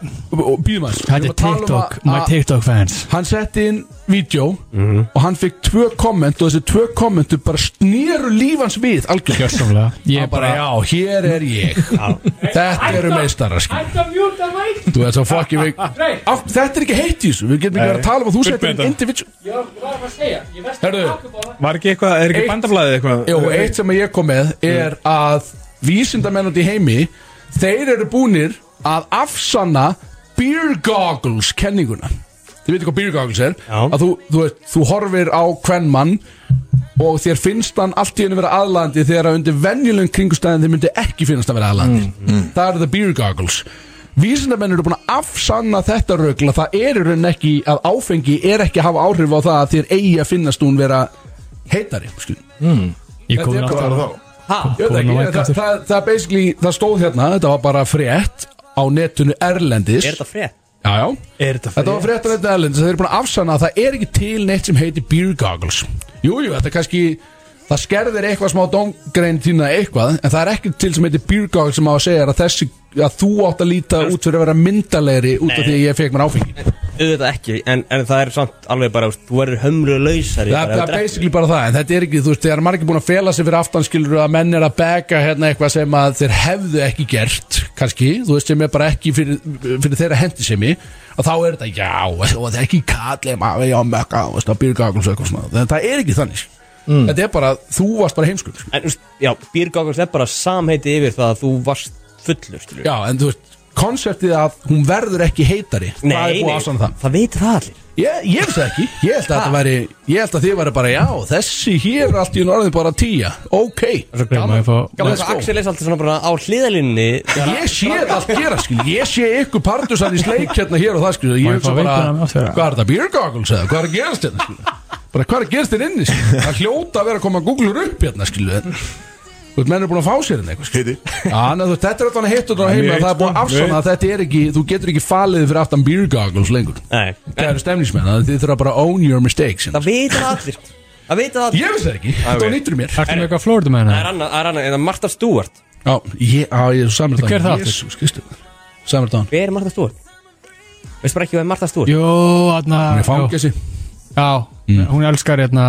Speaker 3: Býðum aðeins Við
Speaker 6: Þetta
Speaker 3: erum
Speaker 6: er
Speaker 3: að tala um
Speaker 6: TikTok,
Speaker 3: að-
Speaker 6: my
Speaker 3: að-
Speaker 6: TikTok fans
Speaker 3: Hann setti inn vídeo
Speaker 6: Mhm.
Speaker 3: og hann fekk tvö komment og þessi tvö kommentu bara snýru lífans við algjörn
Speaker 6: Gjörsamlega Ég
Speaker 3: Ég bara,
Speaker 6: bara,
Speaker 3: já, hér er ég Þetta eru meistara Þetta mjúta mæk Þú veit svo fokki við Af- Þetta er ekki heitt í þessu Við getum ekki verið að tala um að þú settir
Speaker 5: Fullbenda.
Speaker 3: inn individual Herðu,
Speaker 5: Var ekki eitthvað, er ekki
Speaker 3: Eitt-
Speaker 5: bandaflæðið eitthvað?
Speaker 3: jú, eitt sem ég kom með er að vísindamenn út í heimi þeir eru búnir að afsanna beer goggles kenninguna Þið veitir hvað beer goggles er
Speaker 4: Já.
Speaker 3: að þú, þú, veist, þú horfir á hvern mann og þér finnst hann allt í henni vera aðlandi þegar að undir venjulegum kringustæðin þið myndi ekki finnast að vera aðlandi það eru the beer goggles vísindamenn eru búin að afsanna þetta rögla það er í raunin ekki að áfengi er ekki að hafa áhrif á það að þér eigi að finnast hún vera heitari skilur.
Speaker 6: ég kom
Speaker 3: Þetta er
Speaker 6: aftur
Speaker 3: bara
Speaker 6: á-
Speaker 2: Þá
Speaker 3: Ég veit
Speaker 6: Komin á
Speaker 3: ekki,
Speaker 6: vænk
Speaker 3: það,
Speaker 6: aftur.
Speaker 3: það, það, basically, það stóð hérna, þetta var bara frétt á netinu Erlendis
Speaker 4: Er þetta frétt?
Speaker 3: Já, já
Speaker 5: Er þetta
Speaker 3: Þetta var frétt á netinu Erlendis, þeir eru búin að afsanna að það er ekki til neitt sem heitir beer goggles Jújú, jú, þetta er kannski, það skerðir eitthvað smá dóngrein þína eitthvað En það er ekki til sem heitir beer goggles sem á að segja þér að þessi að þú átt að líta út fyrir að vera myndalegri út af því að ég fekk mér áfengi
Speaker 4: Auðvitað ekki, en, en það er samt alveg bara, veist, þú verður hömru
Speaker 3: Það það
Speaker 4: lausari
Speaker 3: er
Speaker 4: bara að drekka.
Speaker 3: basically bara það, en þetta er ekki, þú veist, þegar margir búin að fela sig fyrir aftan skilur að menn er að bega hérna eitthvað sem að þeir hefðu ekki gert, kannski, þú veist, sem er bara ekki fyrir, fyrir þeirra hendisemi og þá er þetta, já, og það er ekki kallið maður, já, mekka, þú veist, að byrja og eitthvað svona, þannig að það er ekki þannig sko.
Speaker 4: Mm.
Speaker 3: Þetta er bara, þú varst bara heimskur sko.
Speaker 4: En, þú veist, já, bírgákast er bara samheiti yfir það að þú varst fullur, skilur
Speaker 3: Já, en þú veist, konseptið að hún verður ekki heitari það er
Speaker 4: Nei,
Speaker 3: búið að
Speaker 4: nei,
Speaker 3: ásanna það
Speaker 4: um það veitur það allir
Speaker 3: Ég, ég veist það ekki, ég held að þetta væri Ég held að þið væri bara, já, þessi hér er allt í norðin bara tíja, ok
Speaker 4: Það er svo
Speaker 6: Má
Speaker 4: gaman
Speaker 6: ég fá-
Speaker 4: Gaman
Speaker 3: Let's go.
Speaker 4: þess að Axel hérna. er alltaf svona bara á hliðalinni
Speaker 3: Ég sé þetta allt gera, skil Ég sé ykkur partusan í sleik hérna hér og það, skil
Speaker 6: Má ég
Speaker 3: Ég hugsa
Speaker 6: fá
Speaker 3: bara,
Speaker 6: veipuna með þér?
Speaker 3: hvað er þetta, beer goggles eða, hvað er að gerast hérna, skil Bara hvað er að gerast hérna inni, skil Það hljóta að vera að koma að googla upp hérna, skil en- Þú veit, menn er búin að fá sér hérna eitthvað, skil
Speaker 2: Heiti
Speaker 3: Já, neð, þú veist, þetta er alltaf hitt og það heima
Speaker 5: Mjög
Speaker 3: Það er búin að
Speaker 5: sko,
Speaker 3: afsanna
Speaker 5: mjög.
Speaker 3: að þetta er ekki Þú getur ekki falið fyrir aftan beer goggles lengur
Speaker 4: Nei,
Speaker 3: Það eru stemningsmenn, að þið þurfa bara að own your mistakes hérna.
Speaker 4: það veitur það allir Það veitur það allir
Speaker 3: Ég veist það ekki, þetta var nýttur mér
Speaker 6: Ertu með eitthvað Florida með
Speaker 4: Það er
Speaker 6: hana?
Speaker 4: annað, það er annað, en það er Marta Stewart
Speaker 3: Já, ég, á, ég er samrætt
Speaker 6: Hver er það aftur?
Speaker 3: Jésus, kristu Samrætt á hann
Speaker 4: Hver er Marta Stewart? Veistu bara ekki hvað er Marta Stewart?
Speaker 6: Jó, þarna
Speaker 3: Hún er
Speaker 6: já.
Speaker 3: fangesi
Speaker 6: Já, hún elskar hérna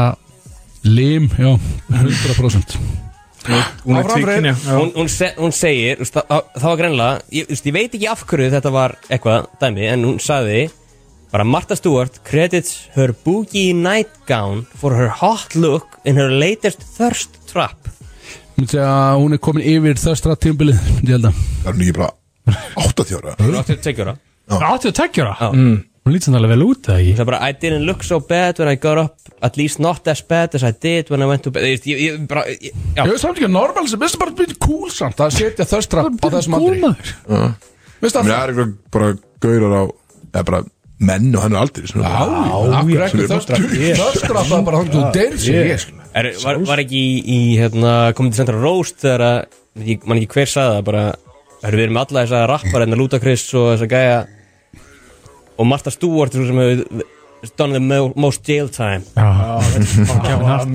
Speaker 3: Lim, já, 100%
Speaker 5: Hún er
Speaker 3: Áfram, Freyr.
Speaker 5: tvíkinja já.
Speaker 4: Hún, hún, se, hún segir, þú veist, það það- það var greinlega ég, þú veist, ég veit ekki af hverju þetta var eitthvað dæmi En hún sagði bara Marta Stewart credits her boogie nightgown for her hot look in her latest thirst trap
Speaker 3: Mér segja að hún er komin yfir þöstra tímbilið Ég held að
Speaker 2: Það er hún ekki bara 80 ára
Speaker 4: Hún átti að tekja það
Speaker 6: 82 ára
Speaker 4: Já.
Speaker 6: Hún lítið svona alveg vel út, eða
Speaker 4: Það er bara I didn't look so bad when I got up At least not as bad as I did when I went to bed Þú veist, Ég, ég, bara, ég, já,
Speaker 3: Ég veist samt ekki að normal sem Mér finnst það bara býtt cool samt að setja þöstra á
Speaker 6: ekki?
Speaker 3: þessum aldri Mér
Speaker 6: maður
Speaker 3: finnst
Speaker 2: Mér
Speaker 3: það
Speaker 2: er eitthvað bara gaurar á eða bara menn og hann er aldrei sem er bara- sem
Speaker 3: Akkur ekki
Speaker 2: er bara-
Speaker 3: þöstra Þöstra það er bara hann þú deyrir sig ég skil.
Speaker 4: er, var, var ekki í, í hérna, komið til Central Roast Þegar að, ég man ekki hver sagði það bara Það eru verið með alla þessa rappar En Ludacris og þessa gæja Og Martha Stewart Svo sem hefur done the mo- most jail time
Speaker 3: Það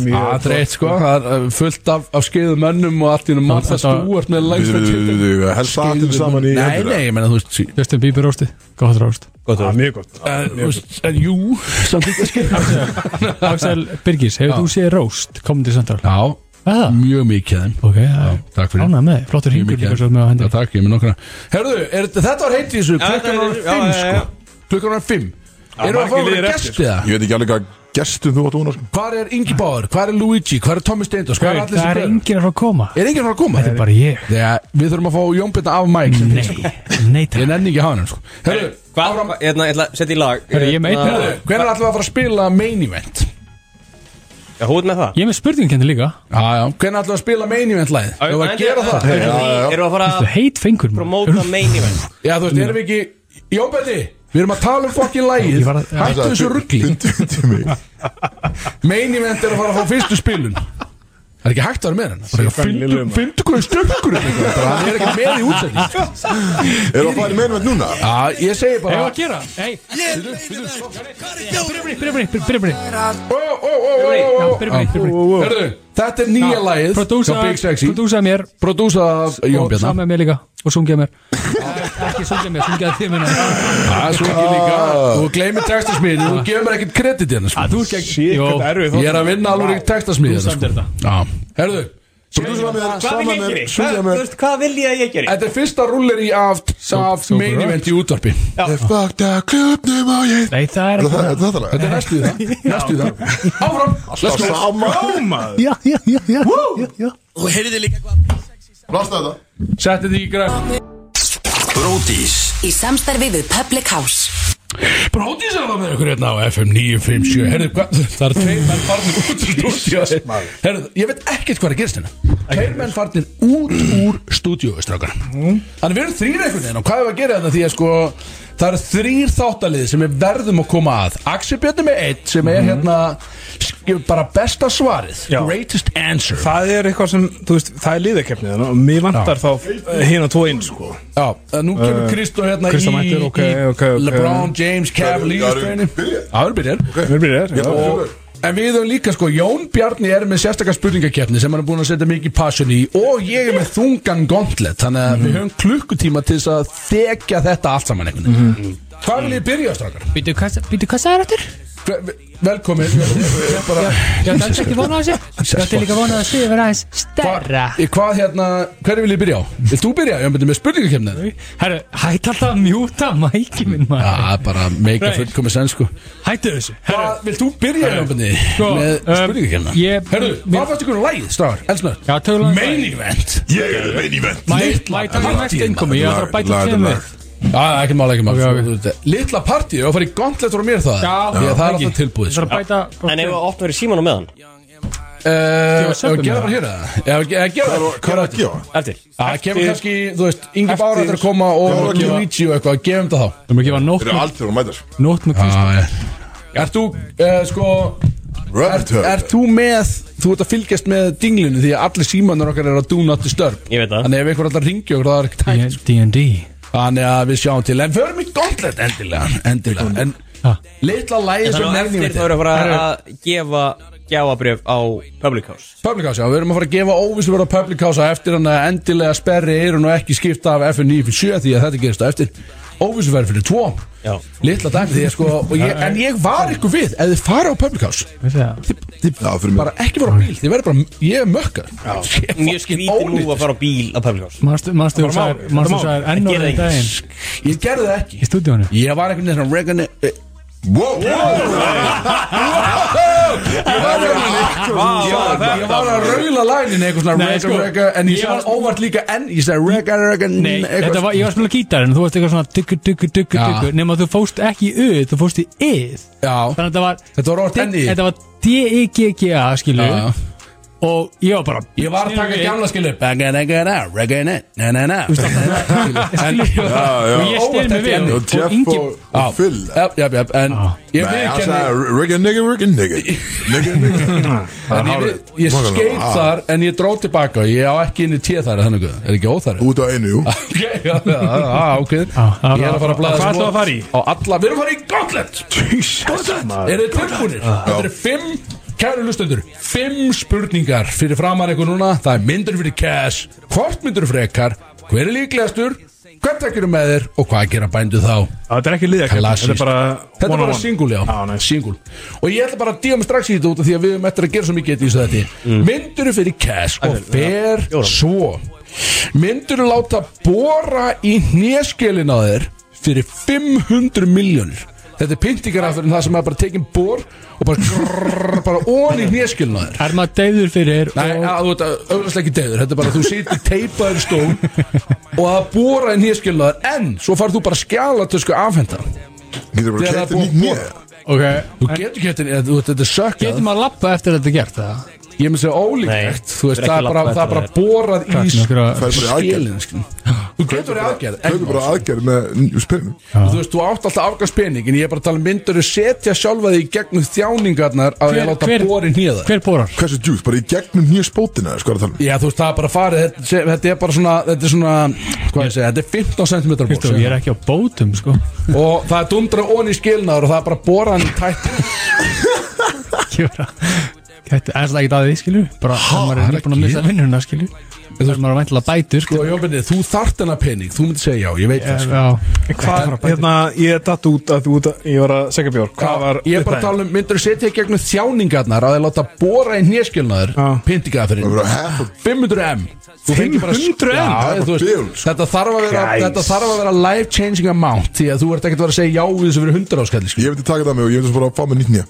Speaker 3: er eitt sko Það er uh, fullt af, af skeiðu mönnum Og allt í hennu mann það
Speaker 6: þetta-
Speaker 3: stúart með
Speaker 2: Við-
Speaker 3: lengsta
Speaker 2: við- við- við-
Speaker 3: titil.
Speaker 2: við- við- Helst satin saman í
Speaker 3: Nei,
Speaker 2: hendur,
Speaker 3: nei,
Speaker 2: eða?
Speaker 3: ég menna þú veist sí-
Speaker 6: Justin Bieber rósti, gott róst
Speaker 4: Gott
Speaker 5: Já,
Speaker 4: og
Speaker 5: Ah, Mjög gott
Speaker 3: Eh, þú veist, En jú, samt ekki að skilja
Speaker 6: Axel Birgis, hefur þú séð róst komin til Central?
Speaker 3: Já,
Speaker 6: Já,
Speaker 3: mjög mikið af þeim.
Speaker 6: ok, já.
Speaker 3: Takk fyrir
Speaker 6: ánægð með, þig. flottur
Speaker 3: Mjög
Speaker 6: hingur
Speaker 3: mikið
Speaker 6: líka
Speaker 3: af
Speaker 6: svo með á
Speaker 3: þeim. Já,
Speaker 6: hendi
Speaker 3: takk, ég með nokkra Herðu, er, þetta var heitið þessu
Speaker 4: þetta
Speaker 3: Klukkan
Speaker 4: er-
Speaker 3: var
Speaker 4: já,
Speaker 3: fimm
Speaker 4: já, já.
Speaker 3: sko Klukkan var fimm Erum við að fá
Speaker 5: margir
Speaker 3: okkur
Speaker 5: liðir
Speaker 3: gestið það?
Speaker 4: sko.
Speaker 2: Ég veit ekki alveg hvað gestum þú átt óna
Speaker 3: Hvar er Ingi Báður? Hvar er Luigi? Hvar er Tommy Steindos? Hvar er allir
Speaker 6: Það
Speaker 3: sem
Speaker 6: er
Speaker 3: bæður?
Speaker 6: enginn að fara að koma
Speaker 3: Er enginn að fara að koma?
Speaker 6: Þetta er bara ég
Speaker 3: Þegar við þurfum að fá Jónbjörn af Mike sem fyrst, sko.
Speaker 6: Nei,
Speaker 3: Ég
Speaker 6: takk
Speaker 3: nenni ekki að hafa hann sko Herðu,
Speaker 4: Hvað, hérna, ég ætla að setja í lag
Speaker 6: Herru, ég er með einn
Speaker 4: Hérna,
Speaker 6: hérna.
Speaker 3: hvernig ætlum við að fara að spila main event?
Speaker 4: Já, hún er með það
Speaker 6: Ég er með spurningkendi líka
Speaker 3: Já, já, hvernig ætlum við að spila main event lagið? Erum við að gera það?
Speaker 4: Erum við- erum við að fara
Speaker 6: Þú
Speaker 4: að
Speaker 6: heit fengur maður.
Speaker 4: promóta main event
Speaker 3: Já, þú veist, erum við ekki Jónbjörni, við erum að tala um fokkin lagið
Speaker 6: Ég var að-
Speaker 3: Hættu þessu ruggli Main event er að fara að fá fyrstu spilun Það er ekki hægt að vera með hann Það er ekki
Speaker 5: Sjöfæn
Speaker 3: að
Speaker 5: Lillu
Speaker 3: finna- finna hverju stökkur Það er ekki með í útsending
Speaker 2: Erum að fara í meinvænt núna?
Speaker 3: Já, ég segi bara
Speaker 6: Eigum við að gera? Nei Byrja, byrja, byrja, byrja, byrja
Speaker 3: Ó, ó, ó, ó, ó, ó.
Speaker 6: Byrja, byrja, byrja, byrja
Speaker 3: Herðu, Þetta er nýja lagið
Speaker 6: Prodúsa,
Speaker 3: hjá Big Sexy
Speaker 6: prodúsa mér
Speaker 3: Prodúsa af Jón
Speaker 6: Og
Speaker 3: Bjarnar
Speaker 6: samið mér líka Og sungja mér Ekki sungja mér, sungja þið mér
Speaker 3: Það er Ah, svo ekki líka Þú gleymir textasmiðinu, þú gefur mér ekkert kredit hérna sko.
Speaker 6: Ah. Þú er gegn
Speaker 5: Shit,
Speaker 6: Jó,
Speaker 5: hvað erfið
Speaker 3: Ég er að vinna alveg í textasmiðinu
Speaker 6: Þú samdir þetta.
Speaker 3: Herðu,
Speaker 2: Prodúsera með-
Speaker 4: Hvað vil
Speaker 2: saman
Speaker 4: ég
Speaker 2: með-
Speaker 4: gera?
Speaker 2: Sjúga
Speaker 4: Hvað-
Speaker 2: með-
Speaker 4: Þú veist, hvað vil ég að ég gera?
Speaker 3: þetta er fyrsta rulleri af, af
Speaker 6: so
Speaker 3: main
Speaker 6: correct.
Speaker 3: event í útvarpi
Speaker 2: Ég fucked a klubnum á ég
Speaker 6: Nei, það er
Speaker 2: Er
Speaker 6: ekki
Speaker 2: það er þetta lag?
Speaker 3: Þetta er næstu í það Næstu í það Áfram Let's
Speaker 2: Það
Speaker 3: go
Speaker 2: sama
Speaker 6: Já, já, já, já, já, já
Speaker 2: Blasta þetta
Speaker 3: Setti því í græn
Speaker 9: Bródís
Speaker 7: Í samstarfi við Public House
Speaker 3: Bróðis er það með ykkur hérna á FM 957 Herðu, hvað- það er tveir menn farnir út úr stúdíu Herðu, ég veit ekkert hvað er að gerast hérna Tveir menn farnir út úr stúdíu strákar
Speaker 5: Mhm.
Speaker 3: Þannig við erum þrýr einhvern veginn og hvað er að gera þetta því að sko Það eru þrýr þáttalið sem við verðum að koma að Axel Björnum er eitt sem er hérna sk- bara besta svarið
Speaker 5: Mhm. Já.
Speaker 3: Greatest answer
Speaker 5: Það er eitthvað sem, þú veist, það er liðakefnið og mér vantar þá hérna tvo inn, sko
Speaker 3: Já, að nú kemur Kristó hérna
Speaker 5: Eh, Kristó
Speaker 3: í,
Speaker 5: mættir, ok,
Speaker 3: í
Speaker 5: ok, ok.
Speaker 3: LeBron James Cavaliers
Speaker 2: Það eru-
Speaker 3: treyni.
Speaker 2: byrja.
Speaker 3: Já, það eru byrjar
Speaker 5: Mér byrjar þér, já.
Speaker 2: Og-
Speaker 3: En við höfum líka sko, Jón Bjarni er með sérstakar spurningakefni sem hann er búin að setja mikið passion í og ég er með þungan gondlet þannig að við höfum klukkutíma til þess
Speaker 6: Mhm.
Speaker 3: að þekja þetta allt saman einhvern veginn Hvað vil ég byrja, strákar?
Speaker 6: Býtu, hvað sagði þetta?
Speaker 3: Ve- Velkomin Ég er bara-
Speaker 6: Ég ætti alls ekki vonað þessu Ég ætti líka vonað þessu að vera aðeins stærra
Speaker 3: Hva- Hvað hérna, hverju vil ég byrja á? Vilt þú byrja? Ég myndi með spurningakemnið
Speaker 6: Herru, hætti alltaf að mjúta mæki minn maður
Speaker 3: Já, bara meika
Speaker 6: Nei.
Speaker 3: fullkomis enn sko
Speaker 6: Hættu þessu Herru,
Speaker 3: Hvað, vilt þú byrja í jöfnbunni?
Speaker 6: sko,
Speaker 3: Með
Speaker 6: um,
Speaker 3: spurningakemna
Speaker 6: ég-
Speaker 3: Herru,
Speaker 6: mér-
Speaker 3: hvað fannst ykkur um lægið, stráðar? Elsnöð
Speaker 6: já, tölulega
Speaker 3: Main event
Speaker 2: Ég er main event
Speaker 6: Mæ- Mæta
Speaker 3: Party,
Speaker 6: mér næst
Speaker 3: maður.
Speaker 6: innkomi Ég ætla að bæta
Speaker 2: Lag-
Speaker 6: þeim
Speaker 2: lag-
Speaker 6: við
Speaker 3: Já, ekki mál, ekki mál
Speaker 6: Ok, ok.
Speaker 3: Þú veit, Litla partí, ég var að fara í gauntlet frá mér það
Speaker 6: Já,
Speaker 3: Því að það er
Speaker 6: ekki.
Speaker 3: alltaf tilbúið sko.
Speaker 6: Ég ætla að bæta
Speaker 4: En ef við opnum verið síman á meðan
Speaker 3: Ég
Speaker 6: var
Speaker 3: var
Speaker 6: söpum
Speaker 3: söpum
Speaker 6: með
Speaker 3: Ég var hér að eh, það
Speaker 2: Hvað er að gefa?
Speaker 4: Eftir
Speaker 3: Það kemur kannski, þú veist, Ingi Bára þetta er að koma og
Speaker 2: Já, gefa-
Speaker 3: Luigi og eitthvað, gefum það þá
Speaker 6: Þú maður gefa nótt
Speaker 2: Þeir eru allt þegar hún mætar
Speaker 6: Nótt með Kristján
Speaker 3: Já, já Ert þú, uh, sko,
Speaker 2: Robert
Speaker 3: ert
Speaker 2: Hurt
Speaker 3: er þú með, þú ert að fylgjast með dinglinu því að allir símanar okkar eru að do not disturb
Speaker 4: Ég veit það.
Speaker 3: Þannig ef einhver allar ringi okkur, það er ekkert hægt
Speaker 6: D&D
Speaker 3: Þannig að við sjáum til, en förum í gauntlet endilega, endilega En
Speaker 6: Ha.
Speaker 3: litla lægið sem
Speaker 4: Þannig að
Speaker 3: nefnir
Speaker 4: eftir þá erum við bara að gefa gjáabrif á Public House
Speaker 3: Public House, já, við erum að fara að gefa óvissu verið á Public House á eftir hann að endilega sperri eru nú ekki skipta af FN9 fyrir 7 því að þetta gerist á eftir óvissu verið fyrir 2
Speaker 4: Já.
Speaker 3: litla dæmi því að sko og ég, en ég var ykkur við, ef þið fara á Public House
Speaker 6: Veistu það?
Speaker 3: þið, þið
Speaker 2: Já, fyrir mig.
Speaker 3: bara ekki fara á bíl, þið verður bara ég er mökkar
Speaker 4: Mjög skrítið nú að fara á bíl á Public House
Speaker 6: Manstu manstu þú sagðir Manstu þú sagðir enn
Speaker 4: Það
Speaker 6: og
Speaker 4: gerði
Speaker 6: enn daginn
Speaker 3: ég gerði það ekki
Speaker 6: Í stúdíónu
Speaker 3: ég var einhvern veginn svona Reagan eh,
Speaker 2: Wow
Speaker 3: ég var ég var að raula lænin eitthvað svona
Speaker 6: Nei,
Speaker 3: Reagan
Speaker 6: sko,
Speaker 3: Reagan en ég
Speaker 6: ég
Speaker 3: sagði
Speaker 6: var-
Speaker 3: óvart líka en ég sagði Reagan Reagan
Speaker 6: Nei,
Speaker 3: eitthvað.
Speaker 6: þetta var, ég var að spila gítar en þú varst eitthvað svona duggu, duggu, duggu,
Speaker 3: Já.
Speaker 6: duggu nema að þú fóst ekki í öð, þú fóst í yð
Speaker 3: já
Speaker 6: þannig að þetta var
Speaker 3: Þetta var orðið enni.
Speaker 6: Þetta var D-I-G-G-A skilu
Speaker 3: Já, já.
Speaker 6: og ég var bara
Speaker 3: Ég var að taka
Speaker 6: Sneri við.
Speaker 3: gamla skilu Banganagana, regana, na na na
Speaker 6: En-
Speaker 2: já.
Speaker 6: og ég
Speaker 3: Óvart
Speaker 6: styrði
Speaker 3: ekki
Speaker 6: mig
Speaker 3: enni.
Speaker 6: við
Speaker 2: Og
Speaker 6: og- og
Speaker 2: Jeff
Speaker 6: Ingi
Speaker 2: og- og Phil
Speaker 3: Já, já, já, en
Speaker 6: Ah.
Speaker 3: ég
Speaker 2: Nei, hann
Speaker 3: viðkenni
Speaker 2: sagði Rigga nigga, rigga nigga Nigga nigga
Speaker 3: En ég, við- ég skeit þar en ég dró tilbaka og ég á ekki inn í tíð þar þannig að er ekki óþar
Speaker 2: Út á einu, jú
Speaker 3: ok
Speaker 6: já,
Speaker 3: ég er að fara að blaða
Speaker 5: Ah, Hvað
Speaker 3: þessu
Speaker 5: ætlum við að fara í?
Speaker 3: á alla við erum að fara í gauntlet gauntlet er þið tilbúinir þetta eru fimm kæru hlustundur fimm spurningar fyrir framar eitthvað núna það er myndur fyrir cash hvort myndur frekar hver er líklegastur hvað tekir með þér og hvað gera bændu þá
Speaker 5: Þetta er ekki liðja
Speaker 3: Klassískt.
Speaker 5: Þetta er bara
Speaker 3: Þetta er
Speaker 5: one on
Speaker 3: bara
Speaker 5: one.
Speaker 3: singul, já,
Speaker 5: Já, nei.
Speaker 3: singul Og ég ætla bara að díða mig strax í þetta út af Því að við erum eftir að gera svo mikið í þessu þetta mm. Mynduru fyrir cash og fer svo Mynduru láta bóra í hnéskelin á þér Fyrir 500 miljónir Þetta er pyntingarafurinn það sem er bara tekin bór Og bara, grrrr, bara ón í hnéskelin á þér
Speaker 6: er maður deyður fyrir
Speaker 3: Nei,
Speaker 6: og
Speaker 3: að, þú veit að auðvitað ekki deyður Þetta er bara að þú situr teipaður í stól Og að bóra í hnéskelnaður En svo farð þú bara skjálatösku afhenda
Speaker 2: Getur bara
Speaker 3: Þegar það er
Speaker 2: kæft
Speaker 3: búið
Speaker 2: nýtt
Speaker 3: að
Speaker 2: nýja
Speaker 3: bora.
Speaker 6: ok
Speaker 3: Þú getur ekki þetta, þú veist, þetta er sökkað
Speaker 6: getur maður að lappa eftir þetta gert það
Speaker 3: Ég myndi segja ólíklegt
Speaker 4: Nei,
Speaker 3: Þú veist, það
Speaker 4: þetta er
Speaker 3: er
Speaker 4: ekki
Speaker 3: bara,
Speaker 4: langt
Speaker 3: það er bara borað í
Speaker 6: Nokkur að-
Speaker 2: Fær bara í aðgerð.
Speaker 3: skilin skilin. Þú getur verið aðgerð en-
Speaker 2: Tökum bara aðgerð með spyrinu
Speaker 3: Þú veist, þú átt alltaf afgast pening En ég er bara að tala um myndur setja sjálfa þig í gegnum þjáningarnar Að ég
Speaker 6: Hver-
Speaker 3: láta
Speaker 6: hver-
Speaker 3: borið nýða
Speaker 6: hver borar
Speaker 2: Hversu djús, bara í gegnum nýja spótina Sko er að tala um
Speaker 3: Já, þú veist, það er bara farið Þetta, se- þetta er bara svona, þetta er svona Hvað ég segja, þetta er 15 cm bór
Speaker 6: Kristof, ég er ekki á bótum sko
Speaker 3: Og það er dundra onni í skilnaður Og það er bara boraðan í tætt
Speaker 6: Ég var að- Gæti aðeins það ekki að því skilju bara þegar maður er nýbúin að missa vinnuna skilju það er maður væntilega bætur
Speaker 3: Þú,
Speaker 6: sko
Speaker 3: þú þart hennar pening, þú myndi segja já, ég veit það sko.
Speaker 6: Já,
Speaker 5: Hvað, hérna, ég datt út að þú út að Ég var að segja bjór Hvað var
Speaker 3: Ég er bara að tala um, myndur setja í gegnum þjáningarnar að þeir láta bóra í hneskilnaður
Speaker 5: Já.
Speaker 2: Það er
Speaker 3: pyntingaðferðin
Speaker 2: bara half a
Speaker 3: 500M Þú fengir bara-
Speaker 5: 500M?
Speaker 3: Já,
Speaker 2: Það er
Speaker 3: þú
Speaker 2: bara
Speaker 3: veist,
Speaker 2: bills.
Speaker 3: Þetta þarf að vera
Speaker 5: Guys.
Speaker 3: Þetta þarf að vera life changing amount Því að þú ert ekkert að vera að segja já við þessu fyrir 100 áskall sko.
Speaker 2: Ég myndi taka það með og ég myndi svo bara að fá með nýtt nýja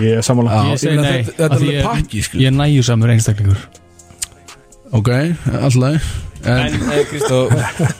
Speaker 5: Ég er sammála
Speaker 3: Já.
Speaker 6: Ég segi
Speaker 3: ég meina,
Speaker 6: nei
Speaker 3: þetta- þetta er
Speaker 6: af því
Speaker 3: alveg
Speaker 6: ég-
Speaker 3: pakki, sko.
Speaker 6: Ég er nægjusamur einstaklingur
Speaker 3: Ok, alltaf En
Speaker 4: En eh, Kristó,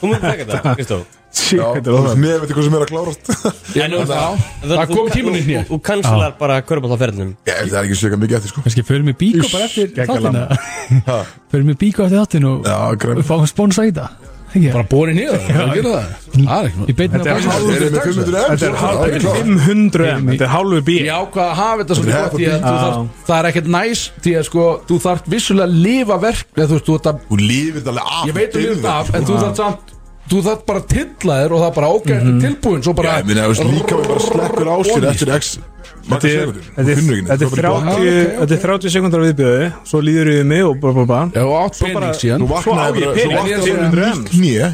Speaker 4: þú múið taka þetta Kristó
Speaker 5: Shit,
Speaker 2: Já,
Speaker 5: þetta
Speaker 2: þú
Speaker 5: er
Speaker 2: veist,
Speaker 5: það
Speaker 2: nefn veit hvað sem er að klárast
Speaker 4: En
Speaker 3: Já.
Speaker 4: þú- þú-
Speaker 3: Það
Speaker 4: þú-
Speaker 3: kom tíminn í
Speaker 4: þú-
Speaker 3: hné.
Speaker 4: Þú kansilar bara körbáttaferðinum
Speaker 2: Ég held það er ekki svika mikið eftir, sko
Speaker 6: Kannski förum við bíkó bara eftir
Speaker 5: geggjala.
Speaker 6: þáttina Förum við bíkó eftir þáttin og
Speaker 2: Já, græn.
Speaker 6: og fáum spónsa í það Ekki?
Speaker 3: bara bóri nýður Það gerir það Það er ekki
Speaker 6: Í beinni á
Speaker 5: Þetta er
Speaker 6: bónsa
Speaker 5: hálf-
Speaker 2: Þeir eru með 500 M
Speaker 5: Þetta er
Speaker 2: sko, það
Speaker 5: hálf-
Speaker 2: klárt.
Speaker 5: 500 M, þetta er hálfu bí
Speaker 3: Ég ákvað að hafa þetta svolítið
Speaker 2: Þetta er
Speaker 3: gott því
Speaker 2: happy.
Speaker 3: að þú
Speaker 5: Já.
Speaker 3: þarft- Það er ekkert næs Því að sko Þú þarft vissulega að lifa verk eða Þú veist, þú ert að
Speaker 2: Þú lifir þetta alveg af
Speaker 3: Ég veit um
Speaker 2: deyrð
Speaker 3: þetta af
Speaker 2: ekki,
Speaker 3: En
Speaker 2: sko.
Speaker 3: þú þarft samt Þú þarft bara að tilla þér Og það er bara ok
Speaker 5: Mhm.
Speaker 3: mm Tilbúin Svo bara
Speaker 2: Já, ég meina, þú veist, líka við bara slekkur á sér eftir x margar sekundur.
Speaker 5: Þetta er- þetta
Speaker 2: Þú finnur
Speaker 5: er-
Speaker 2: ekki
Speaker 5: þetta
Speaker 2: neitt. Þú
Speaker 5: er
Speaker 2: er bara-
Speaker 5: 30 þetta er 30 sekundar viðbjöði Svo líður yfir mig og bara bara bara
Speaker 3: Já, og átt
Speaker 5: bara-
Speaker 3: pening síðan
Speaker 2: Nú
Speaker 5: Svo á
Speaker 2: vaknaði
Speaker 5: ég
Speaker 2: bara-
Speaker 5: pening.
Speaker 2: svo vaknaði
Speaker 5: Ég er
Speaker 2: bara nýtt nýja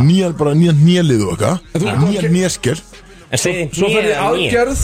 Speaker 2: Nýjan bara nýjan nýjalið og eitthvað
Speaker 3: þú-
Speaker 2: Nýjan nýjaskell
Speaker 4: En segði
Speaker 3: Svo fer þið aðgerð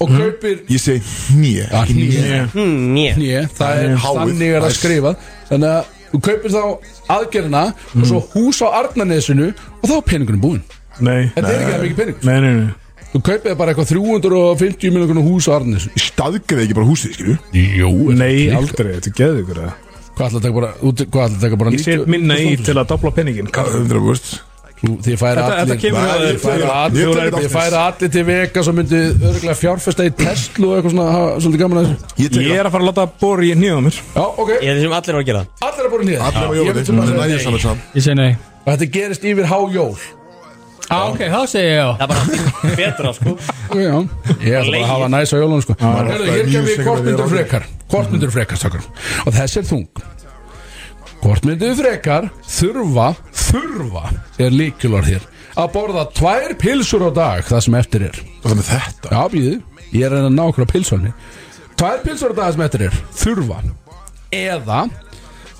Speaker 3: og
Speaker 5: Mhm.
Speaker 3: kaupir
Speaker 2: Ég segi nýja,
Speaker 3: Já,
Speaker 2: ekki nýja
Speaker 3: hné.
Speaker 4: Njé
Speaker 3: Hné, það er
Speaker 2: Háið.
Speaker 3: þannig er að
Speaker 2: Æs.
Speaker 3: skrifa Þannig að þú kaupir þá aðgerðina og
Speaker 5: Mhm.
Speaker 3: svo hús á Arnarnesinu og þá er peningunum búinn
Speaker 5: Nei,
Speaker 3: Þetta er ekki það mikið pening
Speaker 5: nei, nei, nei.
Speaker 3: Þú kaupir bara eitthvað 350 miljonar hús á Arnarnesinu
Speaker 2: Staðgreði ekki bara húsið, skilju
Speaker 3: Jó,
Speaker 5: Nei, aldrei, þetta er geðugur það
Speaker 3: Hvað ætla að taka bara, út, hvað ætla að taka bara
Speaker 5: Ég sé
Speaker 3: 90
Speaker 5: minna í til að dobla penningin
Speaker 2: Hvað er hundra búst?
Speaker 3: Þú- Þið færi
Speaker 5: Þetta-
Speaker 3: allir
Speaker 5: þetta kemur
Speaker 3: Nei,
Speaker 5: að-
Speaker 3: þið færi
Speaker 5: Ég-
Speaker 3: allir-
Speaker 2: ég tek þetta
Speaker 3: Þið færi allir til veka sem myndi örgulega fjárfesta í Tesla og eitthvað svona, hafa svolítið gaman að þessu
Speaker 2: Ég
Speaker 5: Ég
Speaker 2: tek
Speaker 5: er að fara að láta bóri í nýðum mér
Speaker 3: Já, ok,
Speaker 4: Ég er þessum allir á að gera
Speaker 3: allir er bara nýða
Speaker 2: það Allir á jóli, það er næja saman saman
Speaker 6: Ég segi nei
Speaker 3: Og þetta gerist yfir hájól
Speaker 6: Á, ok, þá segi ég já
Speaker 4: Það er bara allt betra sko
Speaker 3: Já, ég ætla bara að hafa næs á jólunum sko
Speaker 2: það er
Speaker 3: Herðu, Hér kemur
Speaker 2: mjög
Speaker 3: ég kvortmyndur
Speaker 2: sikkert að vera
Speaker 3: frekar Kvortmyndur frekar, stakkar Og þessi er þung Kvortmyndur frekar þurfa Þurfa er líkilor hér Að borða tvær pilsur á dag Það sem eftir er
Speaker 2: Og þannig þetta
Speaker 3: Já, býðu, ég er að reyna að ná okkur á pilsunni Tvær pilsur á dag sem eftir er Þurfa Eða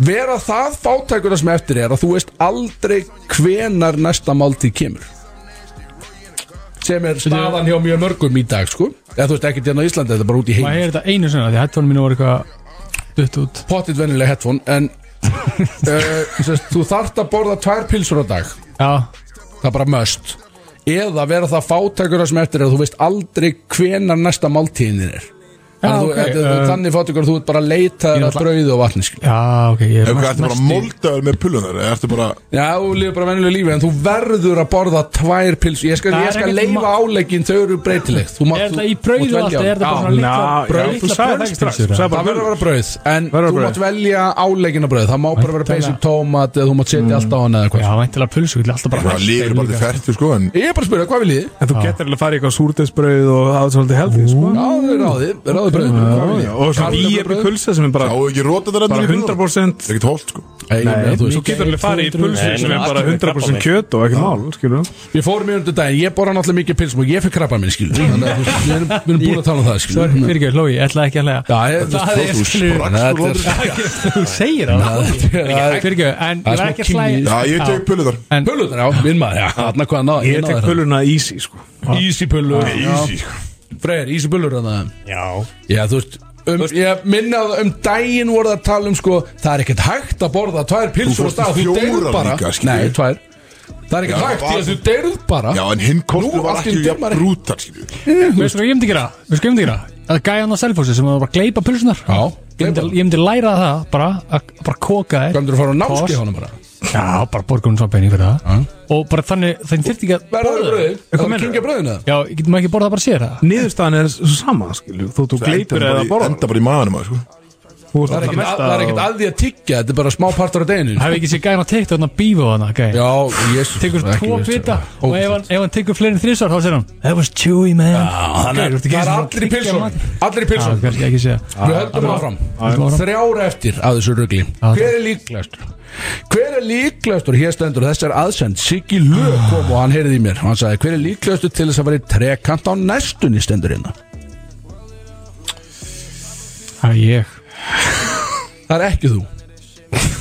Speaker 3: vera það fátækur það sem eftir er að þú veist aldrei hvenar næsta máltíð kemur sem er staðan hjá mjög mörgum í dag sko eða þú veist ekki hérna á Íslandi þetta er bara út í
Speaker 6: Maður
Speaker 3: heim
Speaker 6: heyrir þetta einu svona Því hættónum mínu voru eitthvað Dutt út
Speaker 3: pottit venileg headphone en uh, sest, þú þarft að borða tvær pilsur á dag
Speaker 6: Já
Speaker 3: það er bara möst eða vera það fátækur það sem eftir er að þú veist aldrei hvenar næsta máltíðin er
Speaker 6: Já,
Speaker 3: Þannig að þú-
Speaker 6: ok
Speaker 3: þetta-
Speaker 6: eh,
Speaker 3: þannig fátækur að þú ert bara að leita þér að
Speaker 6: náttúrulega-
Speaker 3: brauði og vatni skilur.
Speaker 6: Já, ok Ég
Speaker 2: Ef
Speaker 6: er
Speaker 2: hvað ertu bara
Speaker 6: mest í-
Speaker 2: moldaður með pullunar Eða ertu bara
Speaker 3: Já, þú lifir bara venjulega lífi en þú verður að borða tvær pils Ég skal,
Speaker 6: Það
Speaker 3: ég
Speaker 6: er
Speaker 3: skal
Speaker 6: ekkert
Speaker 3: leifa
Speaker 6: ma-
Speaker 3: áleggin, þau eru breytilegt Þú mátt-
Speaker 6: Er þetta
Speaker 3: þú-
Speaker 6: í brauð
Speaker 3: mátt
Speaker 6: og
Speaker 3: velja
Speaker 6: allt eða
Speaker 3: á-
Speaker 6: Er þetta
Speaker 3: Já,
Speaker 5: Já, já,
Speaker 6: bara svona litla-
Speaker 5: þú sagði það ekki strax Þú sagði
Speaker 6: litla
Speaker 3: Það
Speaker 5: bara
Speaker 3: verður að vera
Speaker 5: brauð.
Speaker 3: brauð En
Speaker 5: Verður að
Speaker 3: þú
Speaker 5: brauð.
Speaker 3: mátt velja áleggin á brauð Það má bara vera
Speaker 6: Væntanlega.
Speaker 3: basic tómat eða þú mátt setja allt á hann eða
Speaker 6: Já,
Speaker 3: eitthvað
Speaker 6: væntilega pulsu Þetta er alltaf bara
Speaker 2: Bara lifir bara til fertu, sko En
Speaker 3: Ég er bara að spyrja, hvað vil ég?
Speaker 5: En þú getur alveg að fara í eitthvað súrdeinsbrauð og hafa þetta svolítið healthy sko.
Speaker 3: Já, ráði, ráði brauð Hvað vil ég?
Speaker 5: Já, Og svona
Speaker 3: Kartöflubrauð?
Speaker 5: víjabri pulsa sem er bara
Speaker 2: þá er ekki róta þetta endur
Speaker 5: bara
Speaker 2: í pullunar
Speaker 5: 100%
Speaker 2: Það er ekki tólt, sko
Speaker 3: Nei, ég meina, þú
Speaker 5: Þú
Speaker 3: veist,
Speaker 5: getur alveg að fara í pulsu sem
Speaker 4: Nei,
Speaker 5: er
Speaker 4: nei,
Speaker 5: bara
Speaker 4: allir
Speaker 5: 100%
Speaker 4: með krabbamein.
Speaker 5: kjöt og ekki mál skilur við.
Speaker 3: Við fórum í undir daginn, ég borða náttúrulega mikið pils og ég fyrir krabba minn, skilur Þannig að þú veist, við erum við erum búin að tala um það, skilur
Speaker 6: Sorry, fyrir ekki, hlói, ég ætlaði ekki að hlæja
Speaker 3: Já, ég-
Speaker 6: Það er
Speaker 2: Þú
Speaker 6: skilur
Speaker 2: sprakst úr
Speaker 3: Þetta er-
Speaker 2: hlátri.
Speaker 6: Þú segir það Fyrir ekki, en
Speaker 3: Það er
Speaker 6: ég
Speaker 3: smá
Speaker 6: var ekki að hlæja
Speaker 3: kynlíf.
Speaker 2: Já, ég tek pullunar
Speaker 3: Pullunar, já, minn maður, já, hann að hvað náða
Speaker 5: Ég tek pulluna easy sko.
Speaker 3: Easy pullur
Speaker 2: Easy, sko
Speaker 3: Freyr, easy pullur hann
Speaker 4: Já
Speaker 3: Já, þú veist Um, ég minna að um daginn voru það að tala um sko, það er ekkert hægt að borða tvær
Speaker 2: Þú
Speaker 3: pilsur á stað,
Speaker 2: fórst í
Speaker 3: þú deyrir
Speaker 2: fjórar
Speaker 3: bara
Speaker 2: líka, skilur
Speaker 3: Nei,
Speaker 2: við.
Speaker 3: tvær Það er ekkert
Speaker 2: Já,
Speaker 3: hægt í
Speaker 2: bara-
Speaker 3: að þú deyrir bara
Speaker 2: Já, en hinn
Speaker 3: Nú,
Speaker 2: kostur var
Speaker 3: allt í
Speaker 2: ekki
Speaker 3: einu dömari.
Speaker 2: brútal, skilju
Speaker 6: Veistu hvað ég myndi gera? Veistu hvað ég myndi gera? Að gæja hann á selfósi sem var bara að gleipa pulsunar
Speaker 3: Já,
Speaker 6: Ég myndi,
Speaker 3: gleypa.
Speaker 6: ég myndi læra það bara að bara koka þér
Speaker 3: Gömdur að fara á náski
Speaker 6: Pause.
Speaker 3: honum bara
Speaker 6: Já, bara borgunum svo penning fyrir það Og bara þannig, þannig þyrfti ekki að
Speaker 3: Verður
Speaker 6: borða
Speaker 3: bröði,
Speaker 6: það.
Speaker 3: það
Speaker 6: Hvað
Speaker 3: er
Speaker 6: meinarðu?
Speaker 3: kynkja bröðina
Speaker 6: Já, getur maður ekki borða það bara sér það?
Speaker 5: Niðurstaðan er svo sama skilur. við. Þó þú
Speaker 2: Enda
Speaker 5: gleipir
Speaker 2: bara
Speaker 5: eða
Speaker 2: í-
Speaker 5: borðar.
Speaker 2: Enda bara í maðanum, sko
Speaker 5: Þú ert
Speaker 3: Það er
Speaker 5: alltaf
Speaker 3: ekkert
Speaker 5: mest
Speaker 3: að- það er ekkert
Speaker 5: að
Speaker 3: að því að tyggja, þetta er bara smá partur á deginu
Speaker 6: Hef ekki séð gæðan að teikta þarna bífa þarna gæja
Speaker 3: Já, jésus
Speaker 6: Tekur tvo bita og ef hann, ef hann tekur fleiri en þrísvar þá segir hann That was chewy man
Speaker 3: Það
Speaker 6: Gæja,
Speaker 3: er
Speaker 6: þú ert ekki einu sinni búin að
Speaker 3: allir í
Speaker 6: tyggja
Speaker 3: pilsum
Speaker 6: mat.
Speaker 3: Allir í
Speaker 6: Já,
Speaker 3: pilsum
Speaker 6: kannski ekki Ah, séð
Speaker 3: Við höldum áfram Þrjár eftir af þessu rugli
Speaker 6: Ah,
Speaker 3: Hver er líklegastur? Hver er líklegastur? Hér stendur þessar aðsend Siggi Lög kom og hann heyrði í mér Hann sagði hver er líklegastur til þess að vera í trekant á næstunni stendur hérna
Speaker 6: Það er ég
Speaker 3: Það er ekki þú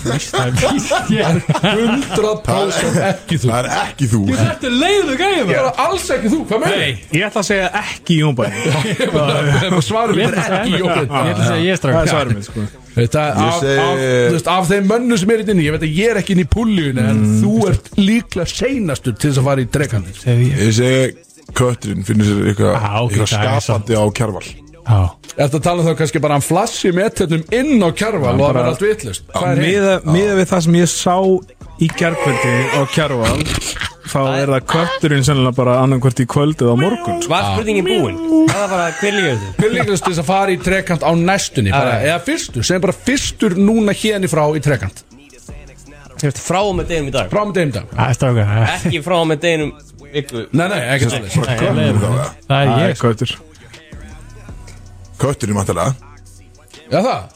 Speaker 6: Það er víst ég
Speaker 3: 100% ekki þú
Speaker 2: Það er ekki þú
Speaker 6: Þetta er leiðu gæja
Speaker 3: Það er alls ekki þú, hvað með
Speaker 6: Nei,
Speaker 5: Ég ætla að segja ekki jónbæði
Speaker 3: þig? Svarum
Speaker 6: ég
Speaker 3: er
Speaker 6: ætla að
Speaker 3: ekki
Speaker 6: segja-
Speaker 3: Jókveit
Speaker 6: ég ætla að segja ég
Speaker 5: Það er
Speaker 6: strax
Speaker 5: svarum minn sko.
Speaker 3: Þetta, af,
Speaker 2: segi-
Speaker 3: af, þú veist, af þeim mönnu sem er í dinni Ég veit að ég er ekki inn í púljun En þú ert líklega seinastur til þess að fara í drekanir
Speaker 6: Segðu ég
Speaker 2: Ég segi Kötturinn finnir sér eitthvað
Speaker 6: Já, ok,
Speaker 2: eitthvað
Speaker 6: það er
Speaker 2: skapandi á kjarval
Speaker 6: Já
Speaker 3: Ertu að tala þá kannski bara um flassi með tennum inn á kjarval og það verður allt vitlust
Speaker 5: Miða miða við það sem ég sá í gerkvöldi á Kjarval þá er það kötturinn sennilega bara annarkvört í kvöld eða á morgun sko.
Speaker 4: Var spurningin búin? Það var bara hver líka þessu
Speaker 3: Hver líklegast til þess að fara í trekant á næstunni bara, eða fyrstu, sem bara fyrstur núna hérni frá í trekant
Speaker 4: Þú veist frá og með deginum í dag
Speaker 3: frá með deimda
Speaker 6: Það er strax
Speaker 4: Ekki frá og með deginum viku
Speaker 3: Nei, nei, ekki svolítið
Speaker 2: Bara kötturinn þá eða?
Speaker 6: Það
Speaker 5: Það
Speaker 6: er ég
Speaker 5: er köttur
Speaker 2: Kötturinn mættalega
Speaker 3: Já það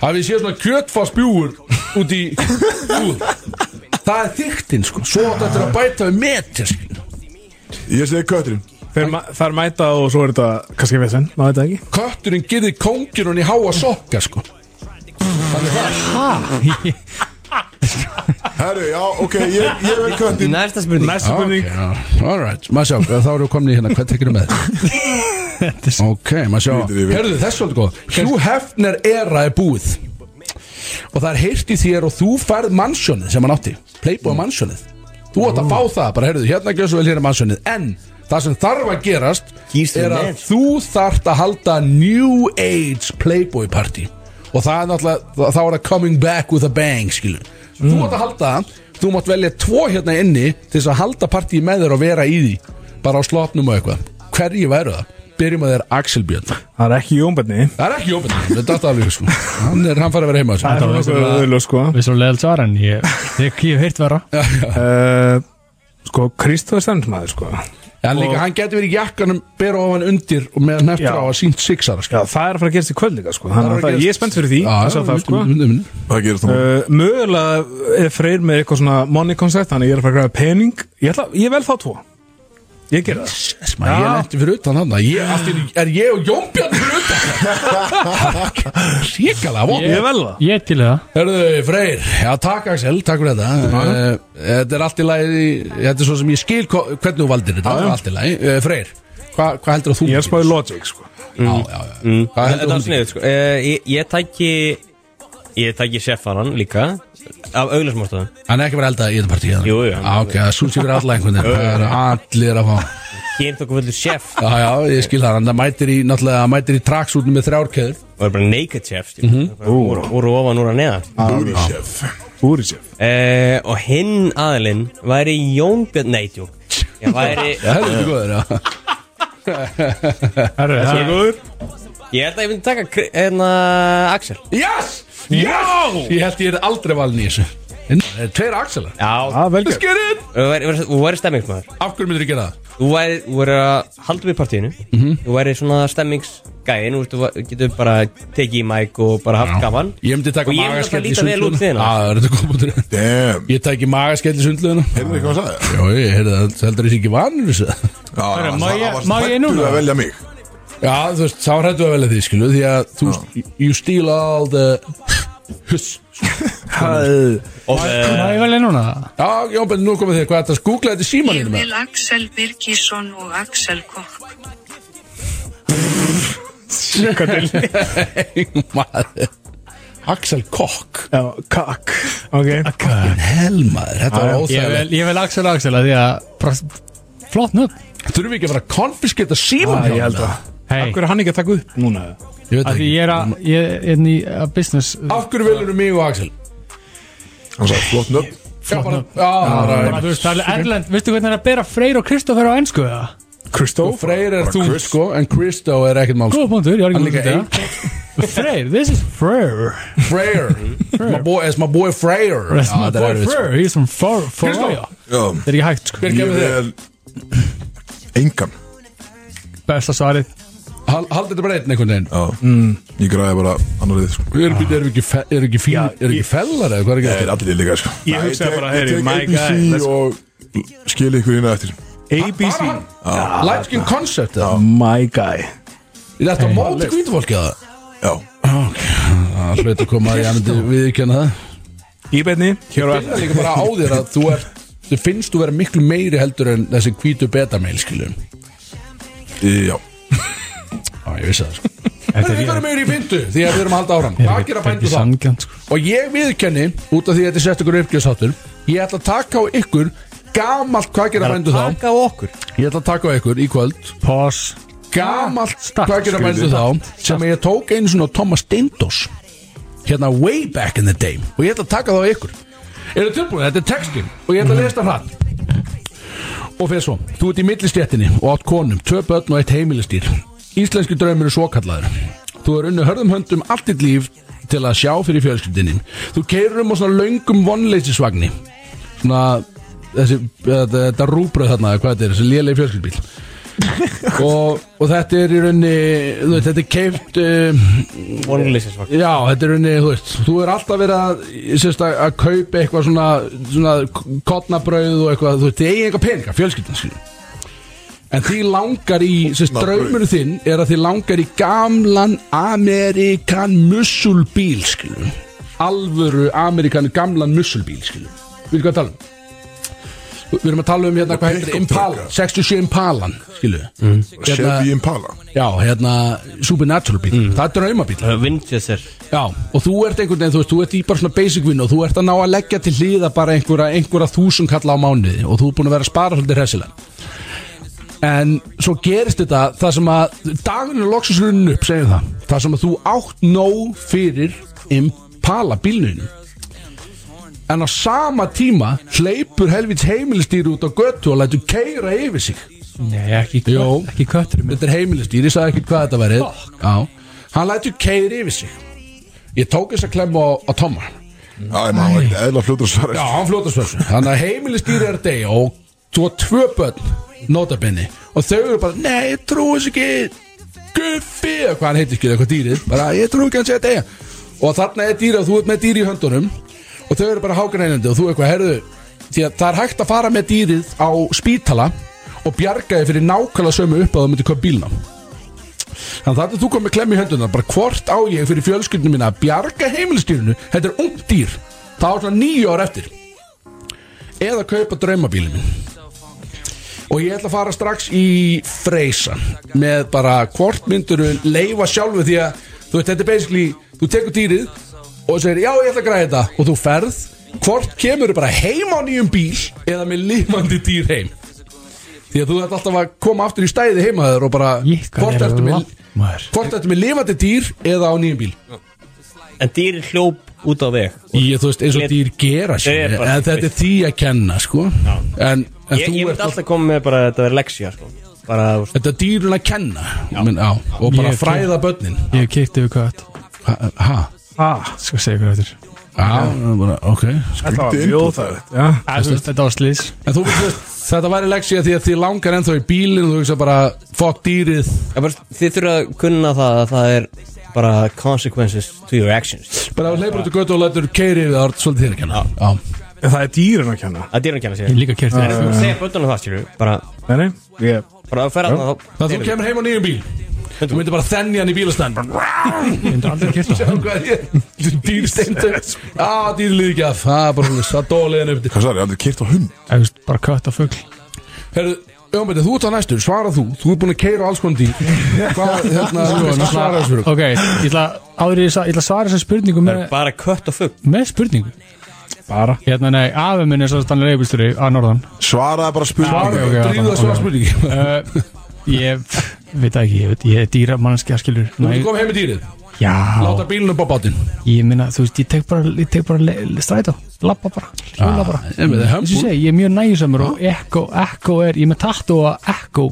Speaker 3: Hafið séð svona kjötfarsbjúur út í búð Það er þyktinn sko Svo átt þetta er að bæta við metir sko. skilur.
Speaker 2: Ég segi kötturinn
Speaker 5: Þeir ma- þær mæta og svo er þetta kannski við senn, maður veit það ekki
Speaker 3: Kötturinn gerði kóngirun í háa sokka sko
Speaker 2: Herðu, Herru, já, ok, ég, ég vel kvöndi
Speaker 4: Næsta spurning
Speaker 5: Næsta spurning
Speaker 3: Alright, maður sjá, þá erum við komin í hérna Hvað tekir með? ok, maður sjá
Speaker 2: Lítið yfir.
Speaker 3: Herðu, þess er svolítið góð Hugh Hefner era er búið Og það er heyrt í þér og þú færð mansjónið sem hann átti Playboy mansjónið Þú átt að fá það, bara heyrðu, hérna gjör svo vel hérna mansjónið En það sem þarf að gerast
Speaker 4: Kýstu
Speaker 3: Er að
Speaker 4: með.
Speaker 3: þú þarft að halda New Age Playboy party Og það er náttúrulega, þá- þá er það coming back with a bang, skilur Þú átt að halda það, þú mátt velja tvo hérna inni Til þess að halda party með þér og vera í því Bara á slotnum og eitthvað Hverju væru það? Byrjum að þér Axel Björn
Speaker 5: Það er ekki jónbarni
Speaker 3: Það er ekki opið, þetta er alveg sko Hann er, hann farið að vera heima
Speaker 5: Það
Speaker 3: þessu
Speaker 5: er nokkuð auðvitað sko
Speaker 6: Við erum leiðilt svara en ég, ég, ég hef heyrt vera
Speaker 5: Eh, Sko, Kristóð Stendmaður sko
Speaker 3: En líka, hann getur verið í jakkanum Bera ofan undir og með
Speaker 5: Já.
Speaker 3: neftur á að sínt sixara sko
Speaker 5: Já, það er að fara að gerast í kvöld líka sko
Speaker 3: Það er
Speaker 5: Þannig
Speaker 3: að
Speaker 5: að það-
Speaker 3: gerast-
Speaker 5: ég er spennt fyrir því að sjá það sko
Speaker 2: Það gerist það
Speaker 5: Uh, mögulega er Freyr með eitthvað svona money concept, þannig ég er að fara að græða pening ég, ætla, ég vel þá tvo ég ger það
Speaker 3: Þess maður, ég
Speaker 5: Já.
Speaker 3: lendi fyrir utan hann ég, allt í einu- Er ég og Jónbjörn fyrir utan Ríkala vond
Speaker 5: ég vel það
Speaker 6: Ég er til í það
Speaker 3: Hörðu, Freyr, já takk Axel, takk fyrir þetta Eh, Þetta er allt í lagi Þetta er svo sem ég skil hva- hvernig þú valdir þetta Það er allt í lagi, Eh, Freyr Hvað hva heldur þú
Speaker 5: ég er spáðið logic sko
Speaker 3: Já, já, já Hvað
Speaker 4: Þetta
Speaker 3: heldur
Speaker 4: var
Speaker 3: þú
Speaker 4: sniðið sko Eh, Ég, ég tæki Ég tæki chefanan líka Af auglismástöðum
Speaker 3: Hann er ekki verið eldað í þetta partí hérna?
Speaker 4: Jú, jú.
Speaker 3: Á, ok, það er súsi fyrir alla einhvern veginn Það eru allir að fá
Speaker 4: Hér tóku fullur chef
Speaker 3: Já, já, ég skil það Hann mætir í, náttúrulega, hann mætir í traksútinu með þrjárkeður
Speaker 4: Og er bara naked chef skilur.
Speaker 3: Mhm.
Speaker 4: Bara Úr úr ofan, úr að neðan
Speaker 3: Ah.
Speaker 2: Booty chef
Speaker 5: úr í sér
Speaker 4: Eh, Og hinn aðilinn Væri Jón Björn Nei, tjú Ég væri
Speaker 3: Já, það er þetta góður, já
Speaker 6: Herru, það
Speaker 4: Ég held að ég myndi taka Kri- hérna, Axel
Speaker 3: Yes! Yes! Ég held ég er aldrei valin í þessu En það eru Tveir axelar
Speaker 4: Já
Speaker 5: að vel
Speaker 3: Let's
Speaker 5: gert
Speaker 3: get it!
Speaker 4: Þú væri- Þú væri stemmingsmaður
Speaker 3: Af hverju myndir ég gera það?
Speaker 4: Þú væri, þú væri að halda upp í partíinu Þú væri svona stemmingsgæin Þú veist, þú va- getur bara tekið í mæk og bara haft gaman
Speaker 3: Ég myndi taka
Speaker 4: Og ég myndi
Speaker 3: magaskell í
Speaker 4: alltaf
Speaker 3: Ah,
Speaker 4: líta vel út
Speaker 3: sundlöðuna Já, það er þetta góð bútur
Speaker 4: við hérna.
Speaker 2: Damn
Speaker 3: Ég tæki magaskell í sundlöðuna
Speaker 2: Heyrðu ekki hvað hann sagði?
Speaker 3: Já, ég heyrði það, heldur þessi ekki vanur þessu
Speaker 2: Já, já,
Speaker 6: má
Speaker 2: það
Speaker 6: ég-
Speaker 2: var
Speaker 6: má ég
Speaker 2: hræddur
Speaker 6: núna?
Speaker 2: að velja mig
Speaker 3: Já, þú veist, þá hrættu að velja því, skilu Því að þú, you steal all the Huss
Speaker 4: Og eh,
Speaker 6: er vel núna
Speaker 3: Já, Jón Benni, nú komið þér, hvað er þetta? Googla þetta í símaninu með
Speaker 10: Axel Birgisson og Axel Kokk.
Speaker 3: Maður. Axel Kokk
Speaker 5: já, kakk ok
Speaker 3: Helmaður, þetta var
Speaker 6: Ég vil,
Speaker 3: óþægilegt
Speaker 6: ég vil Axel Axel að því að bara, Flott nöfn
Speaker 3: Þurfum við ekki að fara að konfiskita síman
Speaker 5: Já, ég held
Speaker 3: að
Speaker 6: Hei,
Speaker 5: hver er hann ekki að taka upp núna
Speaker 3: Ég veit
Speaker 6: að því
Speaker 3: ekki
Speaker 6: ég er að Ég er enn í að business
Speaker 3: Af hverju viljum við mig og Axel?
Speaker 2: Hann sagði flott nöfn
Speaker 3: Já, bara, já,
Speaker 6: Bara,
Speaker 3: bara
Speaker 6: þú veist, það er Erlend, veistu hvernig það er að bera Freyr og Kristoffer á ennsku eða?
Speaker 5: Kristó
Speaker 3: Freyr er
Speaker 2: bara
Speaker 3: þú,
Speaker 2: Chris.
Speaker 3: sko, en Kristó er ekkert mál sko.
Speaker 6: Góða punktur, ég er
Speaker 3: Hann
Speaker 6: ekki
Speaker 3: líka
Speaker 6: búin til það Freyr, this is Freyr
Speaker 3: Freyr My boy, it's my boy Freyr
Speaker 6: That's
Speaker 3: Já,
Speaker 6: my
Speaker 3: þetta er
Speaker 6: boy
Speaker 3: erfitt, sko. Um.
Speaker 6: Freyr, he's from Far- Faroe
Speaker 2: Já,
Speaker 6: Það er ekki hægt sko
Speaker 3: Hver
Speaker 2: ég
Speaker 3: kemur þér?
Speaker 2: vel Engan
Speaker 6: Besta svarið
Speaker 3: Hal- Haldið þetta bara einn einhvern veginn
Speaker 2: Já, ég græði bara annar lið sko.
Speaker 3: Erum við ekki, fe- erum ekki, fín, erum ekki fellar eða hvað er
Speaker 2: Það
Speaker 3: ekki
Speaker 2: er allir lið líka sko.
Speaker 5: Eh, Ég hugsaði bara, heyri,
Speaker 2: Ég
Speaker 5: my
Speaker 2: tek
Speaker 5: guy, let's
Speaker 2: ABC og skil ykkur inn að eftir
Speaker 5: ABC
Speaker 3: Light skin concept eða?
Speaker 5: my guy
Speaker 3: Er þetta á móti hvítu fólki eða?
Speaker 2: Já,
Speaker 3: Það hlut að koma að ég myndi viðkjanna það
Speaker 5: í beinni hér á
Speaker 3: Það er líka bara á þér að þú er Þú finnst þú vera miklu meiri heldur en þessi hvítu betameil skiljum
Speaker 2: í- já
Speaker 3: Já, ég vissi það sko Það er líka meiri í bindu því að við erum að halda áram Hvað gera bændu þá?
Speaker 6: sangjant sko
Speaker 3: Og ég viðkenni út af því að þetta er sett ykkur uppgjöðsáttur Ég ætla að taka á ykkur gamalt hvað gera bændu þá
Speaker 4: taka á okkur
Speaker 3: Ég ætla að taka á ykkur í kvöld
Speaker 6: Pause
Speaker 3: Gamalt
Speaker 6: Start,
Speaker 3: hvað gera bændu þá sem ég tók einu svona Thomas Dindos Hérna way back in the day Og ég ætla að taka þá á ykkur Eru tilbúin? Þetta er textin og ég ætla að lesa það hratt Og fyrir svo, þú ert í millistjættinni og átt konum, tvö börn og eitt heimilistýr. Íslenski draumur er svo kallaður. Þú er unni hörðum höndum allt þitt líf til að sjá fyrir fjölskyldinni. Þú keirir um á svona löngum vonleysisvagni. Svona, þessi, þetta, þetta rúbröð þarna, eða hvað þetta er, þessi lélegi fjölskyldbíl. og, og þetta er í raunni, þú veist, þetta er keift... Uh,
Speaker 4: Vonleysisvagn
Speaker 3: Já, þetta er unni, þú veist, þú er alltaf verið að, sérst, að, að kaupa eitthvað svona, svona kotnabrauð og eitthvað, þú veist, þið eigin eitthvað peninga, fjölskyldan, skiljum. En því langar í, sérst,
Speaker 2: Kornabrauð.
Speaker 3: draumur þinn er að því langar í gamlan Amerikan mussulbíl, skiljum. Alvöru Amerikan gamlan mussulbíl, skiljum. við erum að tala um við erum að tala um hérna, hvað heitir þetta? Impala 67 Impalan, skilu mm.
Speaker 2: Chevy Impala
Speaker 3: já, hérna, Supernatural bíl það er draumabíl
Speaker 4: Winchester
Speaker 3: já, og þú ert einhvern veginn, þú veist, þú ert í bara svona basic vinn og þú ert að ná að leggja til hliða bara einhverja, einhverja þúsund kalla á mánuði og þú ert búin að vera að spara svolítið hressilega en svo gerist þetta það sem að dagurinn er loksins runnin upp, segjum það það sem að þú átt nóg fyrir Impala bílninu en á sama tíma hleypur helvits heimilistýri út á göttu og lætur keira yfir sig
Speaker 6: Nei, ekki,
Speaker 3: Jó.
Speaker 6: kött- ekki kötturinn minn
Speaker 3: þetta er heimilistýri, ég sagði ekkert hvað þetta verið Já, hann lætur keira yfir sig ég tók þess að klemma á, á Tomma
Speaker 2: Æ, maður var ekkert eðla fljótur að svara
Speaker 3: Já, hann flóta svörsu Þannig að heimilistýri er deg og þú var tvö börn notabinni og þau eru bara, nei, ég trúi þess ekki Guffi, eða hvað hann heitir skilja, eitthvað dýrið bara, ég trúi ekki að hann segja degja og þarna er dýrið og þú ert með dýri í höndunum og þau eru bara hákaneinandi og þú eitthvað, herðu því að það er hægt að fara með dýrið á spítala og bjarga þið fyrir nákvæmlega sömu upp að það myndi hvað bílnám Þannig að þú kom með klemm í hönduna bara hvort á ég fyrir fjölskyldinu mína að bjarga heimilstýrinu, þetta er ungt dýr það var svona nýju ár eftir eða kaupa draumabílinu mín og ég ætla að fara strax í freysa með bara hvort mynduru leifa sjálfu því að þú veit þetta er basically, þú tekur dýrið og segir já ég ætla að græða þetta og þú ferð, hvort kemur bara heim á nýjum bíl eða með lifandi dýr heim því að þú ætla alltaf að koma aftur í stæði heima þér og bara
Speaker 6: Ég, hvað
Speaker 3: hvort
Speaker 6: er
Speaker 3: ertu með
Speaker 6: langt, maður?
Speaker 3: Hvort þetta með lifandi dýr eða á nýjum bíl
Speaker 4: En dýri hljóp út á veg
Speaker 3: Ég, þú veist, eins og
Speaker 4: Ég-
Speaker 3: dýr gera
Speaker 4: Ég
Speaker 3: sér
Speaker 4: er bara-
Speaker 3: En þetta er því að kenna, sko En, en þú
Speaker 4: Ég, ég myndi
Speaker 3: ert alltaf
Speaker 4: alltaf koma með bara að þetta verið leksja sko. Bara þú veist,
Speaker 3: Þetta er dýrun að kenna Men, á, Og bara
Speaker 6: Ég er
Speaker 3: fræða börnin
Speaker 6: Ég keipti við kött
Speaker 3: Ha- Ha?
Speaker 5: Ah,
Speaker 6: Skal segja ykkur eftir
Speaker 3: Já, bara, ok
Speaker 5: þetta var
Speaker 2: Skrítið
Speaker 5: mjög þægilegt, já.
Speaker 6: Þetta var slís
Speaker 3: En þú veist, þetta væri leksja því að því langar ennþá í bílinn og Þú veist bara, fuck dýrið
Speaker 4: ég bara, Þið þurfa að kunna það að það er bara consequences to your actions
Speaker 3: Bara að hleypur út í götu og lætur keiri við Það er svolítið þér að kenna Já,
Speaker 5: En Það er dýrin að kenna
Speaker 4: Að dýran kemur
Speaker 6: Ég
Speaker 4: sér
Speaker 6: hef líka keipti
Speaker 4: En
Speaker 3: Ah.
Speaker 4: þú segir bötunum það skilur Bara,
Speaker 5: Nei, nei, ég
Speaker 4: bara að ferða það
Speaker 3: Það þú kemur heim á nýjum bíl Þú myndir bara þennja hann í bílastæðan Bara
Speaker 6: Ég myndi aldrei keipta
Speaker 3: Sjáum hvað er ég Dýrsteindu Á, dýrlið ekki af Það er bara hún Það dólið henni upp til
Speaker 2: Hvað sagði, aldrei kert á hund
Speaker 6: það Bara kött og fugl
Speaker 3: Herru, Jónbæti, þú ert á næstur Svara þú Þú ert búin að keira alls konar dýr Hvað, hérna, þú veist, svara þessu fyrir
Speaker 6: Ok, ég ætla áður í þess að ég ætla að svara þessar spurningu
Speaker 4: Það
Speaker 6: með,
Speaker 4: er bara kött og fugg
Speaker 6: með spurningu
Speaker 5: bara
Speaker 6: Hérna, nei, afi minn er svo stannlega leifbústurri að norðan
Speaker 2: Svaraði bara
Speaker 6: ok,
Speaker 2: spurningu
Speaker 6: ok.
Speaker 3: Dríðu það svara
Speaker 6: ok.
Speaker 3: spurningi Þú
Speaker 6: uh, Ég pff, veit það ekki, ég, veit, ég er dýra mannskja skilur
Speaker 3: ert komið heim í dýrið
Speaker 6: Já,
Speaker 3: Láta bílunum bá bátinn
Speaker 6: ég minna, þú veist, ég tek bara, ég tek bara le- le- strætó, lappa bara,
Speaker 3: Ah,
Speaker 6: hjóla bara
Speaker 3: en með þeir hömbúr.
Speaker 6: Þess að segja, ég er mjög nægisamur
Speaker 3: Ah.
Speaker 6: og Echo, Echo er, ég er með tattu og Echo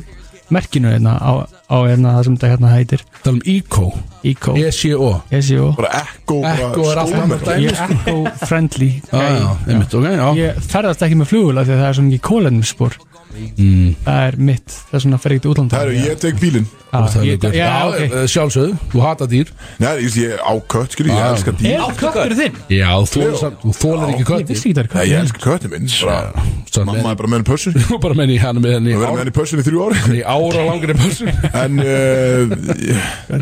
Speaker 6: merkinu hérna á, á hérna það sem þetta hérna heitir
Speaker 3: Tala um Eco E
Speaker 6: Eco,
Speaker 3: E-C-O
Speaker 6: SEO
Speaker 2: Bara ekko
Speaker 3: Echo er allt annar
Speaker 6: Ég
Speaker 3: dæmi Ah,
Speaker 6: er Echo friendly
Speaker 3: Já,
Speaker 6: gæi.
Speaker 3: já, einmitt, ok, já
Speaker 6: ég ferðast ekki með flugula því að það er svona ekki kólendinsspor mm. það er mitt, það er svona fer ekkert útlanda
Speaker 2: Það eru, ég tek bílinn
Speaker 6: ah,
Speaker 3: Það er
Speaker 6: ég,
Speaker 3: líka-
Speaker 6: já,
Speaker 3: Já,
Speaker 6: ok
Speaker 3: eh, sjálfsögðu, þú hata dýr
Speaker 2: Nei, ég ég á kött, skilur, ég
Speaker 3: Já.
Speaker 2: elska dýr
Speaker 6: er köttur þinn?
Speaker 3: Já, þú þólar ekki
Speaker 6: ég vissi
Speaker 3: köttir
Speaker 6: ekki
Speaker 2: Nei,
Speaker 6: það er
Speaker 2: ég
Speaker 6: köttur
Speaker 2: elska köttin minn bara-
Speaker 3: Svo
Speaker 2: Mamma
Speaker 3: með-
Speaker 2: er bara með henni pössu
Speaker 3: Þú bara menn í hann með henni
Speaker 2: Við verðum með henni pössun í þrjú ári
Speaker 3: í ára langri pössun
Speaker 2: En,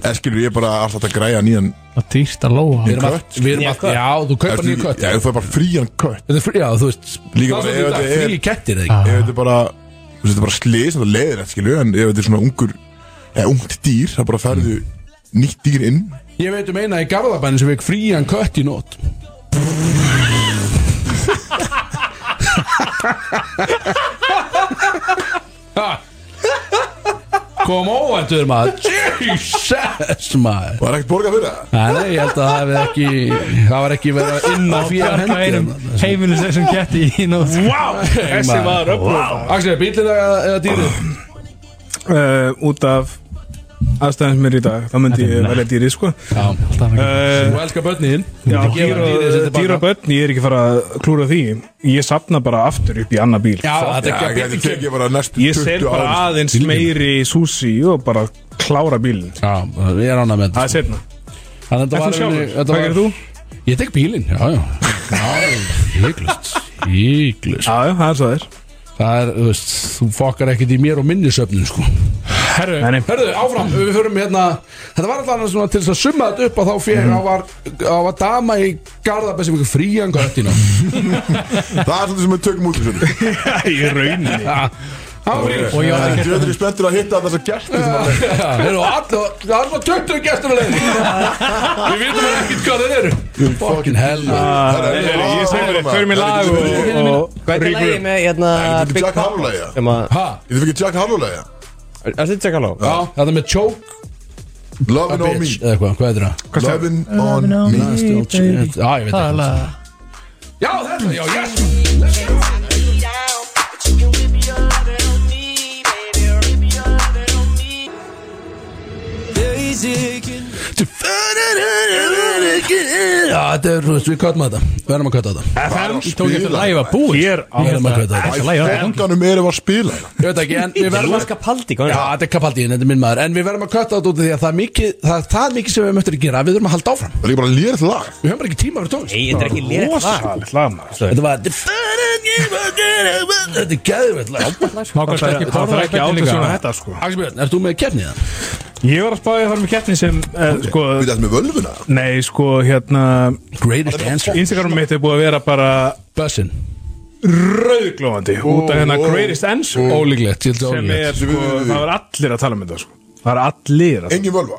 Speaker 2: uh, skilur, ég er bara alltaf að græja nýjan
Speaker 6: það er dýrt að lóa
Speaker 3: Við erum að,
Speaker 2: Kött?
Speaker 3: við erum
Speaker 4: Nýja
Speaker 3: að,
Speaker 4: kött?
Speaker 3: já, þú kaupar nýja kött
Speaker 2: Já, þú fær bara frían kött
Speaker 3: Þetta er frí, já, þú veist
Speaker 2: Líka bara ef
Speaker 3: þetta
Speaker 2: þetta
Speaker 3: er
Speaker 2: er-
Speaker 3: Frí kettir,
Speaker 6: Ah.
Speaker 3: eða ekki?
Speaker 2: Ef þetta er bara, þú veist, þetta er bara slið sem það leiðir eftir, skilur En ef þetta er svona ungur, eða ungt dýr Það bara færðu nýtt dýr inn
Speaker 3: Ég veit um eina í Garðabænum sem veik frían kött í nótt Ha. Kom óvæntur maður Jesus
Speaker 2: Og
Speaker 3: maður
Speaker 2: það er ekkert borgað fyrir það
Speaker 3: Nei, ég held að það hefði ekki Það var ekki verið að inna fyrir hendi
Speaker 6: heimilu hérna sem ketti í nótt
Speaker 3: Þessi maður öfnum Axel, bílir eða eða dýrið?
Speaker 5: uh, Út af aðstæðan sem er í dag þá myndi ég velja dýrið, sko
Speaker 3: Já,
Speaker 5: uh,
Speaker 3: þú elskar börnin
Speaker 5: Já,
Speaker 3: Þú gefur
Speaker 5: dýra,
Speaker 3: dýrið þessi tilbaka.
Speaker 5: dýra börn, ég er ekki fara að klúra því Ég sapna bara aftur upp í annar bíl
Speaker 3: Já, þetta
Speaker 2: Já,
Speaker 3: er
Speaker 2: ég
Speaker 3: ekki að
Speaker 2: gæti
Speaker 3: bílir
Speaker 2: tekið bara næstu
Speaker 5: Ég sel
Speaker 2: 20
Speaker 5: bara
Speaker 2: ára
Speaker 5: aðeins meiri súsi og bara klára bílinn
Speaker 3: Já, við erum ánað með þetta
Speaker 5: Það er setna
Speaker 3: Þannig
Speaker 5: En
Speaker 3: að
Speaker 5: þú
Speaker 3: þetta var
Speaker 5: sjálfur,
Speaker 3: henni- þetta
Speaker 5: hvað
Speaker 3: var-
Speaker 5: gerir þú?
Speaker 3: Ég tek bílinn, já, já Já, híklust Híklust
Speaker 5: Já, já, það er svo þér
Speaker 3: Það er, þú veist, þú fokkar ekkert í mér og minni söfnun, sko Herru, herru, áfram, við förum hérna Þetta var alltaf svona til þess að summa þetta upp að þá fyrir mm. á, var, á að dama í Garðabæð sem ykkur frían göttina
Speaker 2: Það er svolítið sem við tökum út úr þessu
Speaker 5: Í rauninni
Speaker 3: Og ég átti að gera-
Speaker 2: Djöður er spenntur að hitta þessa gæsti sem að
Speaker 3: Það eru allir, allir 20 gestur að leiðin Við vitum ekkert hvað þeir eru Fucking Ah. hell, man
Speaker 2: Ah, um.
Speaker 5: Ég segir þér, förum í lag og- og
Speaker 4: Hvað er
Speaker 5: rýkur
Speaker 4: lagið með hérna
Speaker 2: Þetta
Speaker 4: Big
Speaker 2: er Jack
Speaker 4: Pop?
Speaker 2: Harlow lægja
Speaker 4: Sem að
Speaker 3: Ha,
Speaker 2: Þetta er ekki Jack Harlow lægja
Speaker 4: Er þetta Jack Harlow?
Speaker 3: já, þetta með choke
Speaker 2: Lovin' on me
Speaker 3: bitch Eða eitthvað, hvað heitir það?
Speaker 2: Lovin' on me
Speaker 3: Já, ég veit
Speaker 6: Það er
Speaker 3: ekki
Speaker 6: alveg
Speaker 3: Já, þetta, já, yes Já, þetta er, þú veist, við köttum þetta Verðum að kötta þetta
Speaker 2: Það er að
Speaker 6: Tók ég eftir að
Speaker 2: spila
Speaker 6: lægi var búið
Speaker 5: Ég er
Speaker 3: Við verðum að kötta
Speaker 2: Æ,
Speaker 3: þetta
Speaker 2: Fenganum erum að spila
Speaker 3: Ég veit ekki, en við verðum að
Speaker 4: Lúka Paldi,
Speaker 3: Já,
Speaker 4: góðan
Speaker 3: þetta er kapaldíðin, þetta er minn maður En við verðum að kötta þetta út af því að það er mikið Það er það mikið sem við möttum að gera, við verðum að halda áfram
Speaker 2: Það er líka bara lérið lag
Speaker 3: Við höfum bara ekki tíma fyrir tónlist
Speaker 4: Nei, þetta er ekki lérið lag
Speaker 5: rosalit lag maður.
Speaker 3: Þetta var Þetta er geðvöld
Speaker 6: Mákvæmst
Speaker 5: Það
Speaker 6: ekki
Speaker 5: það þarf ekki
Speaker 6: párhækja
Speaker 5: átjóðsjóna þetta sko
Speaker 3: Axbjörn, ert þú með kefnið það?
Speaker 5: Ég var að spáði að fara með keppni sem eh, sko,
Speaker 2: Við þetta með völvuna
Speaker 5: Nei sko hérna
Speaker 3: Greatest answer
Speaker 5: Instagram mitt er búið að vera bara
Speaker 3: Bussin
Speaker 5: rauðglóðandi út af hérna
Speaker 2: ó.
Speaker 5: greatest answer
Speaker 3: Ólíklegt, ég held að
Speaker 5: sem er
Speaker 3: ólíklegt
Speaker 5: sko, það var allir að tala um þetta sko. það var allir að
Speaker 2: Engin völva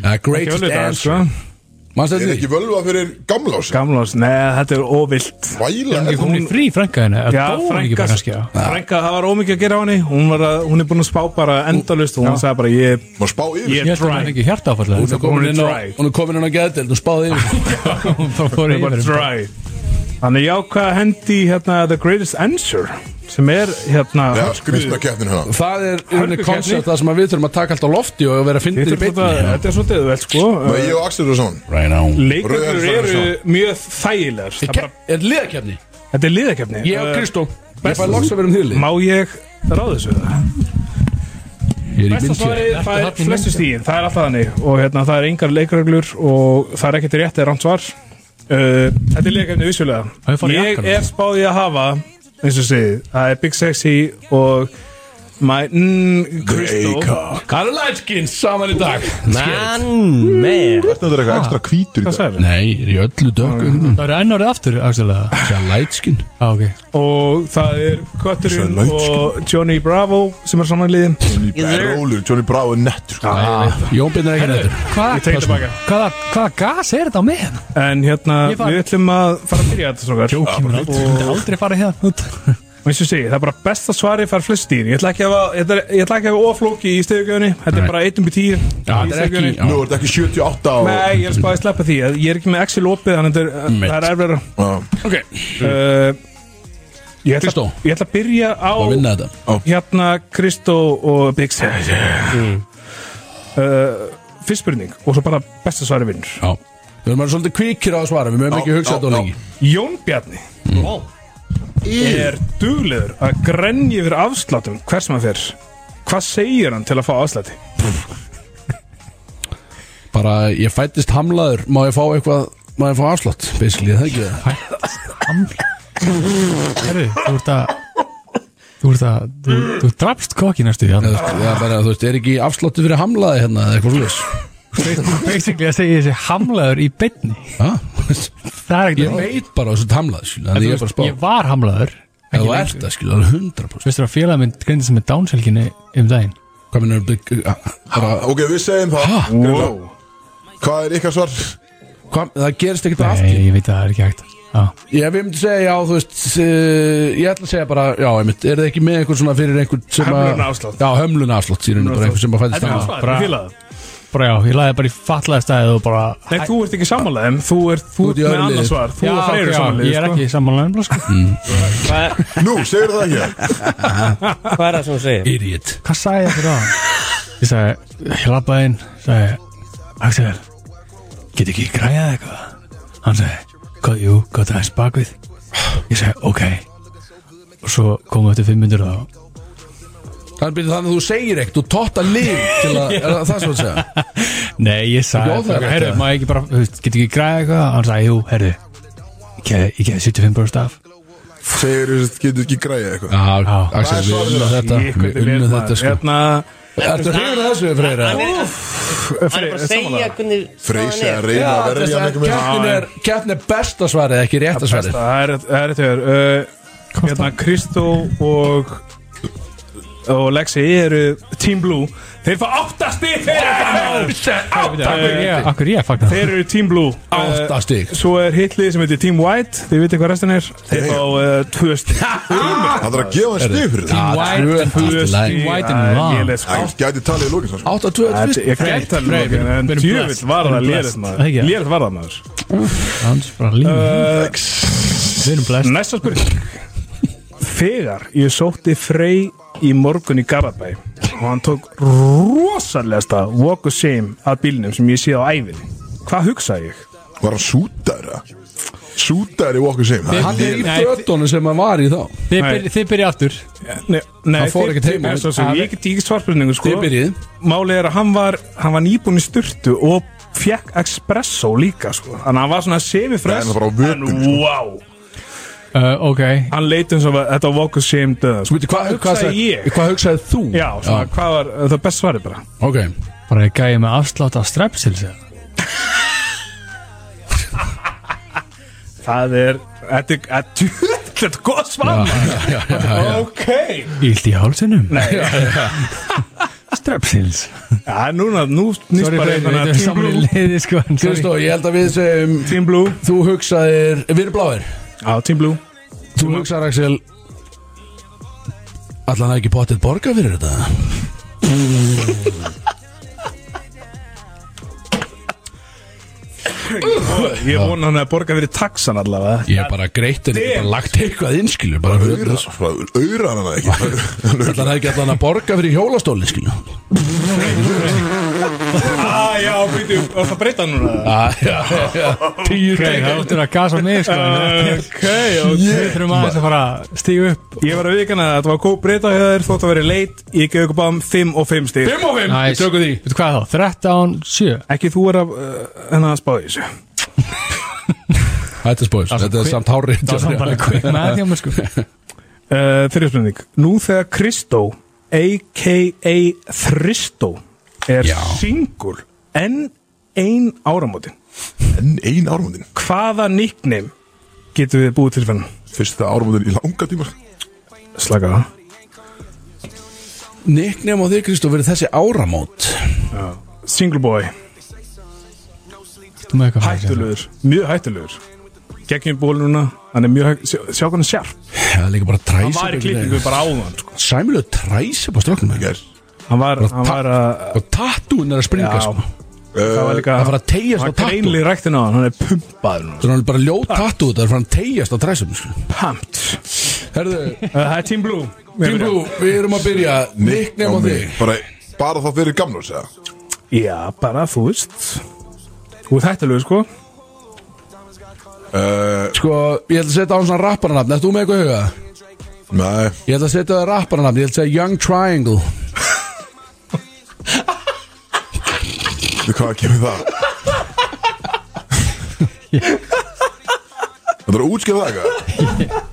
Speaker 3: Ja, Uh,
Speaker 5: Ekki sko.
Speaker 3: Greatest
Speaker 5: alveg þetta,
Speaker 3: answer Manstu
Speaker 2: Er
Speaker 3: þetta því?
Speaker 2: ekki völva fyrir gamla ás
Speaker 5: Gamla ás, neða þetta er óvilt
Speaker 2: Væla
Speaker 6: Ég kom í frí frænka henni
Speaker 5: Já,
Speaker 6: Það dói ekki
Speaker 5: frænka,
Speaker 6: bara kannski já.
Speaker 5: frænka, það var ómikið að gera á henni hún, var að, hún er búin að spá bara endalust og hún sagði bara ég er-
Speaker 2: Má spá
Speaker 5: Ég
Speaker 2: yfir
Speaker 6: Ég held að hann
Speaker 5: dry.
Speaker 6: ekki hjarta
Speaker 5: Hún er
Speaker 6: áfallega
Speaker 5: komin
Speaker 3: Hún
Speaker 5: inn
Speaker 3: er
Speaker 5: dry.
Speaker 3: nú- Hún er komin hún á geðdelt og spáði yfir
Speaker 6: Þá fór
Speaker 5: Hún er bara
Speaker 6: ég
Speaker 5: dry Þannig ég ákvað að hendi hérna The Greatest Answer sem er hérna
Speaker 2: Já,
Speaker 5: hörku-
Speaker 2: skrýtna keppnin hérna
Speaker 3: Það er unni
Speaker 5: Hörgu
Speaker 3: koncept
Speaker 5: keppni.
Speaker 3: það sem að við þurfum að taka allt á lofti og vera að fyndið
Speaker 5: Þetta
Speaker 3: í
Speaker 5: er bara-
Speaker 3: beinni
Speaker 5: þetta er svo döðveld sko
Speaker 2: Nei, Ég og Axel eru saman
Speaker 3: Right now
Speaker 5: Leikarnir
Speaker 2: Rauðar
Speaker 5: eru
Speaker 2: Þorleifsson.
Speaker 5: mjög þægilegar Það
Speaker 3: Ke-
Speaker 5: bara-
Speaker 3: Er liðakefni?
Speaker 5: Þetta er liðakefni
Speaker 3: Ég og
Speaker 5: Eh,
Speaker 3: Kristó Ég fæ loks að vera um þýrli
Speaker 5: Má ég ráða þessu það?
Speaker 3: Ég er í
Speaker 5: Besta
Speaker 3: myndkjöf
Speaker 5: svarið fær flestu stíðin, það er alltaf þannig og hérna, það er engar leikreglur og það er ekkert rétt eða rangt svar uh, Þetta er liðakefni
Speaker 6: Það er
Speaker 5: vissulega
Speaker 6: farið í
Speaker 5: Ég
Speaker 6: jakkanum.
Speaker 5: er spáðið að hafa eins og segið, það er Big Sexy og My mm, Kristó
Speaker 3: Karl Lætskins saman í dag
Speaker 4: Mann, með
Speaker 2: Þetta er eitthvað ekstra hvítur í
Speaker 5: Hvað
Speaker 2: dag
Speaker 5: sagðirðu?
Speaker 3: Nei, ég er í öllu dökum
Speaker 6: Það er enn árið aftur Axelega
Speaker 3: Karl Lætskin
Speaker 6: Já ok
Speaker 5: og það er Kötturinn
Speaker 2: Svo langt,
Speaker 5: og Johnny Bravo sem er samanliðin
Speaker 2: Johnny Brólur, Johnny Brá er nettur sko.
Speaker 3: Ah, Jón Bindar ekki nættur
Speaker 5: Ég tek
Speaker 6: Hvað
Speaker 5: tilbaka.
Speaker 6: Hvaða hvaða gas er þetta á með hann?
Speaker 5: en hérna
Speaker 6: Ég fara.
Speaker 5: við ætlum að fara að byrja þetta strókar
Speaker 6: Jókim er aldrei- myndi aldrei fara hérna út
Speaker 5: og eins og segi, það er bara besta svarið fær flest stíðin ég ætla ekki að hafa- þetta er- ég ætla ekki að hafa oflóki í stegugjöfni þetta er bara um 1x10
Speaker 3: Já, þetta er ekki já.
Speaker 2: Nú er þetta ekki 78 á
Speaker 5: Nei, ég er spáðið að sleppa því ég er ekki með Excel opið þannig að þetta
Speaker 3: Mitt.
Speaker 5: er- það er erfður
Speaker 2: Já.
Speaker 3: Ok,
Speaker 5: uh, ég, ætla-
Speaker 3: Kristó.
Speaker 5: ég ætla að byrja á
Speaker 3: og vinna þetta
Speaker 5: hérna Kristó og Big Sexy uh, fyrst spurning og svo bara besta svarið vinnur
Speaker 3: Já Við erum að vera svolítið kvíkir á að svara Við mögum
Speaker 2: Já,
Speaker 3: ekki hugsa
Speaker 2: já,
Speaker 3: þetta of
Speaker 2: já.
Speaker 3: lengi
Speaker 5: Jón Bjarni
Speaker 3: Mm.
Speaker 5: er duglegur að grenja yfir afslátum hvers maður fer hvað segir hann til að fá afsláti?
Speaker 3: Bara ég fættist hamlaður Má ég fá eitthvað Má ég fá afslott Basically, það er ekki það
Speaker 6: Herru, þú ert að Þú ert að Þú, þú drafst kokki næstu því
Speaker 3: Eða, þú
Speaker 6: hann.
Speaker 3: veist, Það er bara, þú veist, er ekki afslottu fyrir hamlaði hérna Eða eitthvað slúðis
Speaker 6: Basically að segja þessi hamlaður í beinni
Speaker 3: Já,
Speaker 6: Það
Speaker 3: ég
Speaker 6: er ekkert
Speaker 3: veit bara þessu hamlaði skil Þannig ég er bara að spá
Speaker 6: Ég var hamlaður
Speaker 3: Ef þú ert það skil, alveg 100%
Speaker 6: Veistur að félag minn grindist með dánshelginni um daginn
Speaker 3: Hvað minnur bara,
Speaker 2: Ok, við segjum það Wow. Hvað er ykkar svar?
Speaker 3: hvað, Það gerist ekkert aftur
Speaker 6: Nei, ég veit að það er ekki hægt Já,
Speaker 3: Ég hef myndi segja, já, þú veist uh, Ég ætla að segja bara, já, einmitt Er þið ekki með einhvern svona fyrir einhvern sem að
Speaker 5: Hömlunarafslátt.
Speaker 3: Já, hömlun afslátt, síðan bara einhvern sem að fættist
Speaker 5: Þetta er
Speaker 3: hamlaði
Speaker 5: svarið,
Speaker 6: bara-
Speaker 5: ég fíla það.
Speaker 6: bara já, ég lagði bara í fatlaði stæði og bara
Speaker 5: Nei, þú ert ekki sammálaðið, en þú ert, þú
Speaker 3: Þú ert
Speaker 5: ert
Speaker 3: í
Speaker 5: með
Speaker 3: öðru
Speaker 5: annað
Speaker 3: liði.
Speaker 5: svar Þú
Speaker 6: já,
Speaker 5: og þeir
Speaker 6: ok,
Speaker 5: eru sko.
Speaker 6: já, ég er
Speaker 5: sammálaðið,
Speaker 6: ekki sammálaðin sko.
Speaker 4: Hvað
Speaker 2: Nú, segir það ekki
Speaker 4: hvað er það sem þú segir?
Speaker 3: Idiot
Speaker 6: Hvað sagði ég fyrir á? Ég sagði, ég labbaði inn sagði, Axel get ekki græjað eitthvað Hann sagði, hvað, jú, hvað það er spakvið Ég sagði, ok og svo komum við eftir fimm myndur þá
Speaker 3: Það er byrjuð þannig að þú segir ekkert, þú tótt að lið til að, er það það sem þú segja?
Speaker 6: Nei, ég sagði,
Speaker 3: Ekki óþægilegt,
Speaker 6: herru,
Speaker 3: eða?
Speaker 6: maður ekki bara þú veist, get ekki græjað eitthvað, hann sagði, jú, herru ég geði 75 brúst af
Speaker 2: segir þú veist, getur ekki græja eitthvað
Speaker 3: Já,
Speaker 2: Það
Speaker 3: Axel,
Speaker 2: er
Speaker 3: við
Speaker 2: svarið
Speaker 3: unnum
Speaker 2: þeirra.
Speaker 3: þetta
Speaker 5: Ég, hvernig
Speaker 3: Við unnum
Speaker 5: vel
Speaker 3: þetta
Speaker 5: maður.
Speaker 3: sko
Speaker 5: Hérna,
Speaker 3: Ertu hrifin að þessu, Freyra?
Speaker 4: Hann er hann er bara að segja hvernig
Speaker 2: Freyr
Speaker 4: staðan
Speaker 2: sé
Speaker 4: er.
Speaker 2: að reyna að verja hann eitthvað með
Speaker 3: Kjartin er, kjartin er besta svarið, ekki rétta
Speaker 5: Besta,
Speaker 3: svarið
Speaker 5: það er- það er þetta er uh, hérna Kristó og og Lexi eru Team Blue þeir fá áttasti fyrir þetta
Speaker 6: Átta
Speaker 5: áttasti
Speaker 6: Akkur ég fagnar
Speaker 5: þeir eru Team Blue
Speaker 3: Átta stík
Speaker 5: svo er hitlið sem heitir Team White þið veitir hvað restin er þeir fá uh, tvö stík
Speaker 2: Það þarf að gefa hann stig fyrir það
Speaker 6: White and Long.
Speaker 2: Hann gæti talið í lókin sko.
Speaker 3: Átta, tvö,
Speaker 5: Þetta-
Speaker 3: fyrst
Speaker 5: ég kann ekki tala um
Speaker 6: Freyr,
Speaker 5: okkur, en
Speaker 6: við erum
Speaker 5: djöfull
Speaker 6: blessed.
Speaker 5: var
Speaker 6: Við
Speaker 5: það
Speaker 6: erum
Speaker 5: lélegt
Speaker 6: blessed.
Speaker 5: maður
Speaker 6: Ekki?
Speaker 5: lélegt var það maður
Speaker 6: Hans bara lína Við erum blest
Speaker 5: Næsta spurning Þegar ég sótti Frey í morgun í Garabæ og hann tók rosalegasta walk of shame að bílnum sem ég séð á æfinni Hvað hugsaði ég?
Speaker 2: Var hann sútæra? Sútæri í okkur sem
Speaker 3: Hann er í
Speaker 6: Nei,
Speaker 3: fötunum sem hann var í þá
Speaker 6: Þið
Speaker 5: Nei.
Speaker 6: byrja- þið byrja aftur
Speaker 5: Nei, nei
Speaker 3: Hann fór
Speaker 5: þeir-
Speaker 3: ekkert heim
Speaker 5: þeir-
Speaker 3: á
Speaker 5: Nei, svo
Speaker 3: þetta.
Speaker 5: sem, Ég get ekki svarspurningu sko
Speaker 3: Þið byrjið
Speaker 5: Málið er að hann var, hann var nýbúin í styrtu og fekk espresso líka sko Þannig að hann var svona
Speaker 2: Nei, hann
Speaker 5: semifress
Speaker 2: var bara á vökum,
Speaker 5: En
Speaker 2: sko.
Speaker 5: wow,
Speaker 6: Uh, Ok
Speaker 5: hann leit eins og að þetta walk of shame döða sko.
Speaker 3: Veitu, hvað
Speaker 5: hugsaði
Speaker 3: hugsaði
Speaker 5: ég?
Speaker 3: Hvað hugsaði þú?
Speaker 5: Já, svona, hvað var, það er best svarið bara
Speaker 3: Ok
Speaker 6: Bara ég gæði með afslátt af strepsils eða?
Speaker 5: Það er, þetta er, þetta er- þetta er gott svar maður. Ok
Speaker 6: Ílt í hálsinum
Speaker 5: Nei,
Speaker 6: Strepsils
Speaker 5: já, núna, nú nýst
Speaker 6: Sorry
Speaker 5: bara
Speaker 6: fyrir
Speaker 5: einhverja
Speaker 6: þetta er
Speaker 5: Team
Speaker 6: saman í
Speaker 5: Blue
Speaker 6: liði sko en sorry.
Speaker 3: Kristó, ég held að við sem
Speaker 5: Team Blue
Speaker 3: Þú hugsaðir Við erum bláir
Speaker 5: Já, Team Blue
Speaker 3: Þú hugsaðir, Axel Allan að ekki potið borga fyrir þetta
Speaker 5: Ég vona hann að borga fyrir taxan allavega
Speaker 3: Ég er bara greitt en ekki bara lagt eitthvað innskilu Bara fyrir þessu
Speaker 2: Auðra hann það ekki
Speaker 3: Allan að ekki allan að borga fyrir hjólastóli skilu
Speaker 5: ah, Já, býtu, og það breyta hann núna
Speaker 3: Ah, Tíu
Speaker 6: Ok, það áttur að gasa mig sko en-
Speaker 5: Ok, ok
Speaker 6: Við þurfum aðeins að fara að stíga upp
Speaker 5: Ég var að vikana að þetta var góð breyta hjá þér þótt að vera leit Ég gef ykkur báðum 5 og 5 stíl
Speaker 3: Fimm og fimm
Speaker 6: Næs.
Speaker 3: Tökum því
Speaker 6: Veitu hvað þá? 13, 7
Speaker 5: Ekki þú er að, uh, hennar að spáði þessu
Speaker 3: Þetta er spóis Þetta er samt hárið
Speaker 6: Það var samt bara quick math hjá mér sko
Speaker 5: Uh, Þeirri spurning Nú þegar Kristó a.k.a. Þristó er
Speaker 3: Já.
Speaker 5: singul en ein áramótin
Speaker 2: En ein ármundin
Speaker 5: hvaða nickname getum við búið til fyrir hann?
Speaker 2: Fyrsta ármundin í langa tíma
Speaker 5: Slaka það
Speaker 3: Nickname á þig Kristó verið þessi áramót
Speaker 5: Single boy,
Speaker 6: Þú með eitthvað
Speaker 5: hættulegur, mjög hættulegur Gekkin ból núna, hann er mjög hægt Sjá, sjá hvernig sjálf,
Speaker 3: Það er líka bara træs
Speaker 5: hann var í klippingu bara áðan sko.
Speaker 3: Sæmilu træs upp á stróknum
Speaker 2: Gær.
Speaker 5: Hann var, hann var að
Speaker 3: Og tattúin er að springa
Speaker 5: Já,
Speaker 3: sko.
Speaker 5: það var líka
Speaker 3: Það fara að teyjast á
Speaker 5: Hann
Speaker 3: tattú
Speaker 5: greinlega ræktin á hann, hann er pumpaður núna
Speaker 3: Þannig að bara ljót tattú Það er fara að teyjast á træsum sko.
Speaker 5: Pumped
Speaker 3: Herðu
Speaker 5: Uh, Það er Team Blue
Speaker 3: Team Blue, við erum að byrja Nickname á
Speaker 2: mig.
Speaker 3: þig
Speaker 2: Bara, bara það fyrir gamla segja.
Speaker 5: Já, bara þú veist Þú er hættulegur sko
Speaker 2: Uh,
Speaker 3: Sko, ég ætla að setja á hann svona rapparanafn Ertu með eitthvað í huga?
Speaker 2: Nei,
Speaker 3: Ég ætla að setja á það rapparanafn Ég ætla að segja Young Triangle
Speaker 2: við hvað kemur það Það er að útskjöf það eitthvað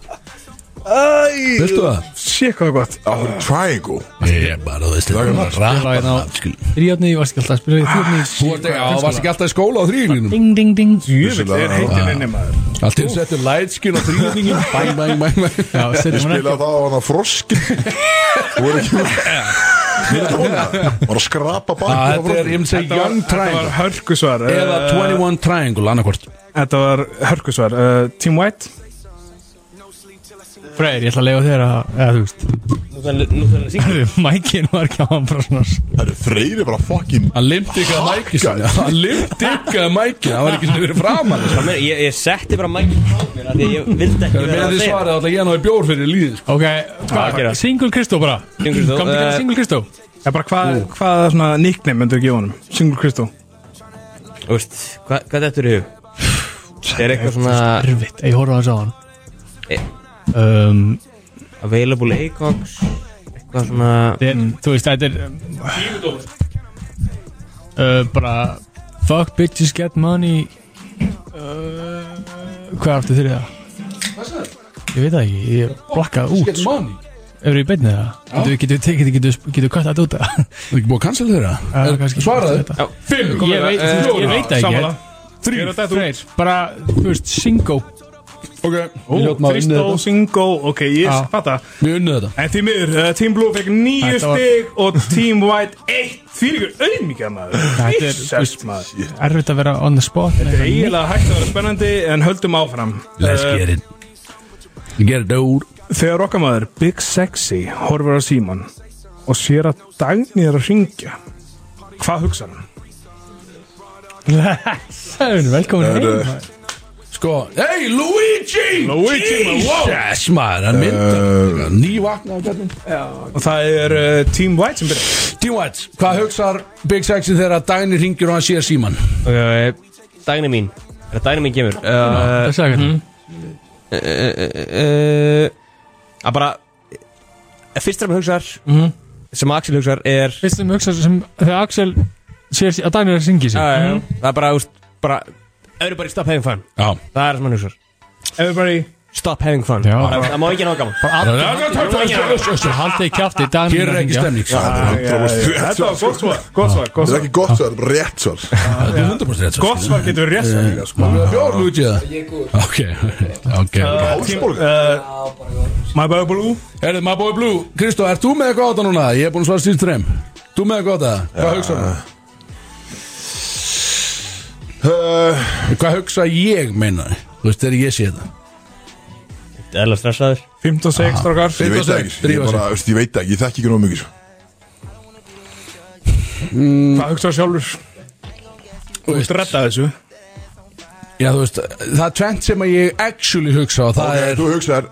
Speaker 3: Veistu það?
Speaker 5: Sér hvað er gott
Speaker 2: Það er triangle
Speaker 3: Ég er bara, þú veist, þetta er bara rapparanafn sko.
Speaker 6: Ríðarni, ég varst ekki alltaf að spila í þjóðni
Speaker 3: Þú ert ekki- á, varst ekki alltaf í skóla á þrýlínum
Speaker 6: Ding, ding, ding
Speaker 5: Jöfnvill er heitin inni maður
Speaker 3: Allt í settu Ah. lightskin á þrýlínum Bæm, bæm, bæm, bæm
Speaker 6: Já, setjum hann
Speaker 2: Spila það á hann að froski Þú er ekki Mér er hún Var að skrapa
Speaker 3: Ah,
Speaker 2: bakið á
Speaker 3: Þetta er, ég myndi segja, Young
Speaker 5: Þetta var
Speaker 3: Triangle
Speaker 5: hörkusvar uh,
Speaker 3: Eða 21 Triangle, annarkvort
Speaker 5: Þetta var hörkusvar uh, Team White
Speaker 6: Freyr, ég ætla að lega þér að Eða þú veist
Speaker 4: Nú þarf hann- nú þarf hann að syngja.
Speaker 6: Hörðu, mækin var ekki á hann bara svona
Speaker 2: Það er freyri bara fucking
Speaker 3: Hann limti ykkur að mæki sinni Hann limti ykkur að mæki Hann var ekki sem verið framan sko.
Speaker 4: Hvað meina, Ég ég setti bara mækinn frá mér af Því að ég vildi ekki
Speaker 3: Með því
Speaker 4: segja
Speaker 3: svarið alltaf ég náði bjór fyrir líðin sko.
Speaker 6: Ok,
Speaker 4: að gera?
Speaker 6: hvað? Single Kristó bara
Speaker 4: Single Kristó,
Speaker 6: Kom ekki að
Speaker 4: eh,
Speaker 6: Single Kristó
Speaker 5: Já, bara hvað, hvaða svona nickname myndur gefa honum? Single Kristó
Speaker 4: Þú veist, hvað hvað þetta er í hug? Það er eitthvað svona
Speaker 6: Erfitt, ég horfði aðeins á hann
Speaker 4: Eh.
Speaker 6: um,
Speaker 4: Available Acox Eitthvað svona
Speaker 6: þeir,
Speaker 4: Mm.
Speaker 6: Þú veist, þetta er uh, Bara Fuck bitches Eh, get money uh, Hvað áttu þeir það? Ég veit það ekki, ég blakkaði út
Speaker 3: Get money
Speaker 6: Eru við beinnið það? Getum við getum við tekið, getum við getum við kvætt þetta út
Speaker 3: Það er ekki búið að cancel þeirra Er- Svaraðu
Speaker 6: Svaraðu
Speaker 3: Fimm
Speaker 6: Ég veit ég veit það ekki
Speaker 5: Sammála. Ég er að detta út.
Speaker 6: Freyr, bara, þú veist, Singo
Speaker 3: Ok
Speaker 5: Ó,
Speaker 3: Við hljótum að unnið
Speaker 5: Kristó,
Speaker 3: þetta Ah.
Speaker 5: Singo, ok, ég
Speaker 6: Já.
Speaker 5: fatta
Speaker 3: Við unnið þetta
Speaker 5: En því miður, uh, Team Blue fekk nýju
Speaker 6: Þetta var-
Speaker 5: stig og Team White eitt Því ykkur auðmikið maður
Speaker 6: Þetta er, þú
Speaker 5: Jesus
Speaker 6: veist,
Speaker 5: maður
Speaker 6: erfitt að vera on the spot
Speaker 5: Þetta er eiginlega hægt að vera spennandi en höldum áfram
Speaker 3: Let's
Speaker 5: Eh,
Speaker 3: get it Get it out
Speaker 5: Þegar okkamaður Big Sexy horfur á síman og sér að Dagný er að ringja Hvað hugsa hann?
Speaker 6: Sæðun, velkomin heim
Speaker 2: uh,
Speaker 6: maður.
Speaker 3: Sko Hey Luigi
Speaker 5: Luigi, maður, wow.
Speaker 3: Jesus maður Hann myndar Nývakna
Speaker 5: Og það er uh, Team White sem byrjar
Speaker 3: Tíwatch Hvað hugsar Big Sexy þegar Dagni ringir og hann sér síman
Speaker 4: Ok, Dagni mín Er það dagni mín kemur uh,
Speaker 6: Það sagði hann
Speaker 4: uh, uh, uh, Að bara Fyrst sem hugsar Sem Axel hugsar er
Speaker 6: Fyrst sem hugsa sem þegar Axel sér að Daniel er að syngja sig
Speaker 4: Já, já, já. Það er bara, þú veist, bara Mhm. Everybody stop having fun
Speaker 3: Já
Speaker 4: Það er það sem hann hugsar
Speaker 5: Everybody
Speaker 4: Stop having fun
Speaker 6: Já.
Speaker 4: Það það má ekki ná gaman
Speaker 6: Haldið í kjátti, Daniel
Speaker 3: Hér er ekki
Speaker 6: hringja.
Speaker 3: stemning
Speaker 2: Það er 100% rétt
Speaker 5: Eh, Þetta var
Speaker 2: svar
Speaker 5: gott svar Gott svar, gott
Speaker 2: Það er
Speaker 5: svar
Speaker 2: ekki gott svar, þetta er bara rétt svar
Speaker 3: Það er 100% rétt sko.
Speaker 5: Gott svar getur við rétt svar líka, sko.
Speaker 3: Bjór Luigi það Ok Ok
Speaker 5: uh, My Boy Blue
Speaker 3: Herðu, maður bóði blú Kristó, ert þú með eitthvað á þetta núna? Ég er búin að svara síðust þreim Þú með eitthvað á þetta? Hvað hugsar þú?
Speaker 2: Uh,
Speaker 3: Hvað hugsa ég, meina ég? Þú veist, þegar ég sé þetta
Speaker 4: Eðla stressaður
Speaker 5: 56 strókar
Speaker 2: Ah, Ég veit það ekki, ég,
Speaker 3: Drífa sig.
Speaker 2: bara, veist, ég veit það ekki, ég þekki ekki nóg mikið sko. svo.
Speaker 5: Hvað hugsa sjálfur?
Speaker 3: Þú veist,
Speaker 5: Dretta þessu
Speaker 3: Já, þú veist, það er tvent sem að ég actually hugsa og það
Speaker 2: Ok,
Speaker 3: er
Speaker 2: Þú hugsaðar,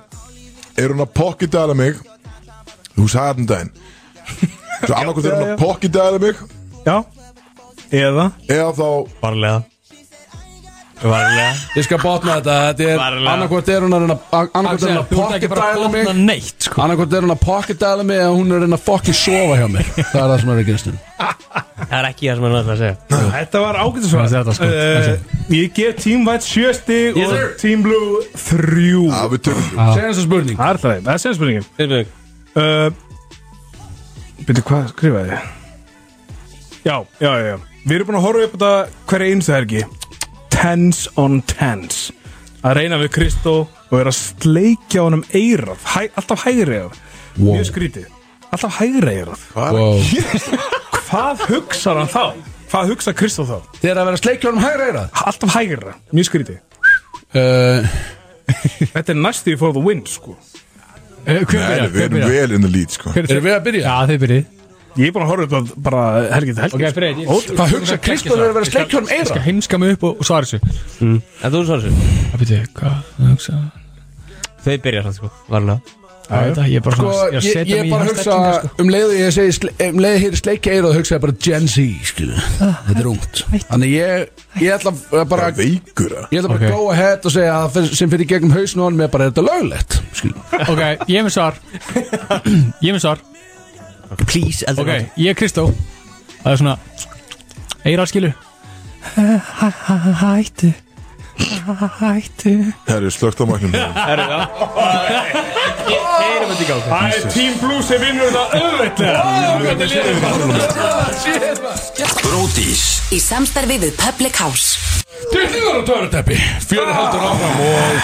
Speaker 2: er hún að pocketæla mig Þú sagði hann daginn Svo annarkvæmt er hún að pocketæla mig
Speaker 5: Já Eða
Speaker 2: Eða þá
Speaker 4: Varlega Varlega
Speaker 3: Ég skal botna þetta, þetta er
Speaker 4: Varlega.
Speaker 3: annarkvort er hún að reyna annarkvort er hún
Speaker 6: Axel,
Speaker 3: að
Speaker 6: þú ert ekki bara að
Speaker 3: pocketæla mig
Speaker 6: botna neitt sko.
Speaker 3: annarkvort er hún að pocketæla mig eða hún er að reyna að fucking sofa hjá mér Það er það sem er að gerast nú
Speaker 4: Það er ekki það sem hann ætlaði að segja
Speaker 5: Þetta var ágættu svar
Speaker 6: Þetta var skot,
Speaker 5: Eh, Ég gef Team White 7 stig og Team Blue 3
Speaker 2: að Ah, við tökum
Speaker 3: Segjum þessu spurning
Speaker 5: Það er það, það er sem spurningin
Speaker 4: Fyrirbygg
Speaker 5: uh, Byrju, hvað skrifaði ég? Já, já, já, já Við erum búin að horfa upp á þetta hverja einstu helgi Tens on tens Að reyna við Kristó og vera að sleikja honum eirað hæ, Alltaf hægri eirað
Speaker 3: Wow.
Speaker 5: Mjög skrítið Alltaf hægri eirað
Speaker 3: Wow.
Speaker 5: Hvað hugsar hann þá? Hvað hugsa Kristó þá?
Speaker 3: Þegar að vera sleikjónum hægra eira
Speaker 5: Alltaf hægra, mjög skrítið
Speaker 3: uh,
Speaker 5: Þetta er næstu for the win, sko
Speaker 6: Eh, Hver
Speaker 2: Nei, við
Speaker 6: byrjar? Hver
Speaker 2: erum
Speaker 6: byrjar?
Speaker 2: vel in the lead sko.
Speaker 3: Erum við að byrja?
Speaker 6: Já, þið byrjið
Speaker 5: Ég er búin að horfa upp á þetta bara helgi til helgi sko.
Speaker 6: Ok, Freyr, ég-
Speaker 5: Ótrúlegt.
Speaker 3: Hvað hugsa Kristó þegar að vera sleikjónum
Speaker 6: Ég skal
Speaker 3: eira?
Speaker 6: heimska mig upp og, og svara þessu
Speaker 4: En þú svarar þessu
Speaker 6: Það byrja, hvað hugsa
Speaker 4: Þau byrja sann sko Varlega
Speaker 6: Það veit það, ég er bara
Speaker 3: Sko,
Speaker 6: svona Ég er að
Speaker 3: ég,
Speaker 6: setja
Speaker 3: ég
Speaker 6: mig í
Speaker 3: bara
Speaker 6: hans
Speaker 3: hugsa
Speaker 6: stellingar, sko.
Speaker 3: um leiðu ég segi sle- um leiðu hér sleikja eira þá hugsa ég bara Gen Z, skilu
Speaker 6: Ah,
Speaker 3: Þetta er ungt Þannig ég, ég ætla að bara
Speaker 2: Bara veikur að
Speaker 3: Ég ætla bara
Speaker 6: Ok.
Speaker 3: að go ahead og segja að fyr- sem fyrir gegnum hausn og hann með bara er þetta löglegt skil.
Speaker 6: Ok, ég er með svar Ég er með svar
Speaker 4: Please eldur
Speaker 6: Ok, ég er Kristó Það er svona Eirar skilur Hættu Hættu
Speaker 2: Það eru slögt á mæknum
Speaker 4: Heyrum þetta í gang
Speaker 5: Það er Team Blue sem vinnur þetta auðveitlega
Speaker 9: Bródís
Speaker 7: Í samstarfi við Public House
Speaker 3: Dyrningar og töruteppi Fjöri haldur áfram og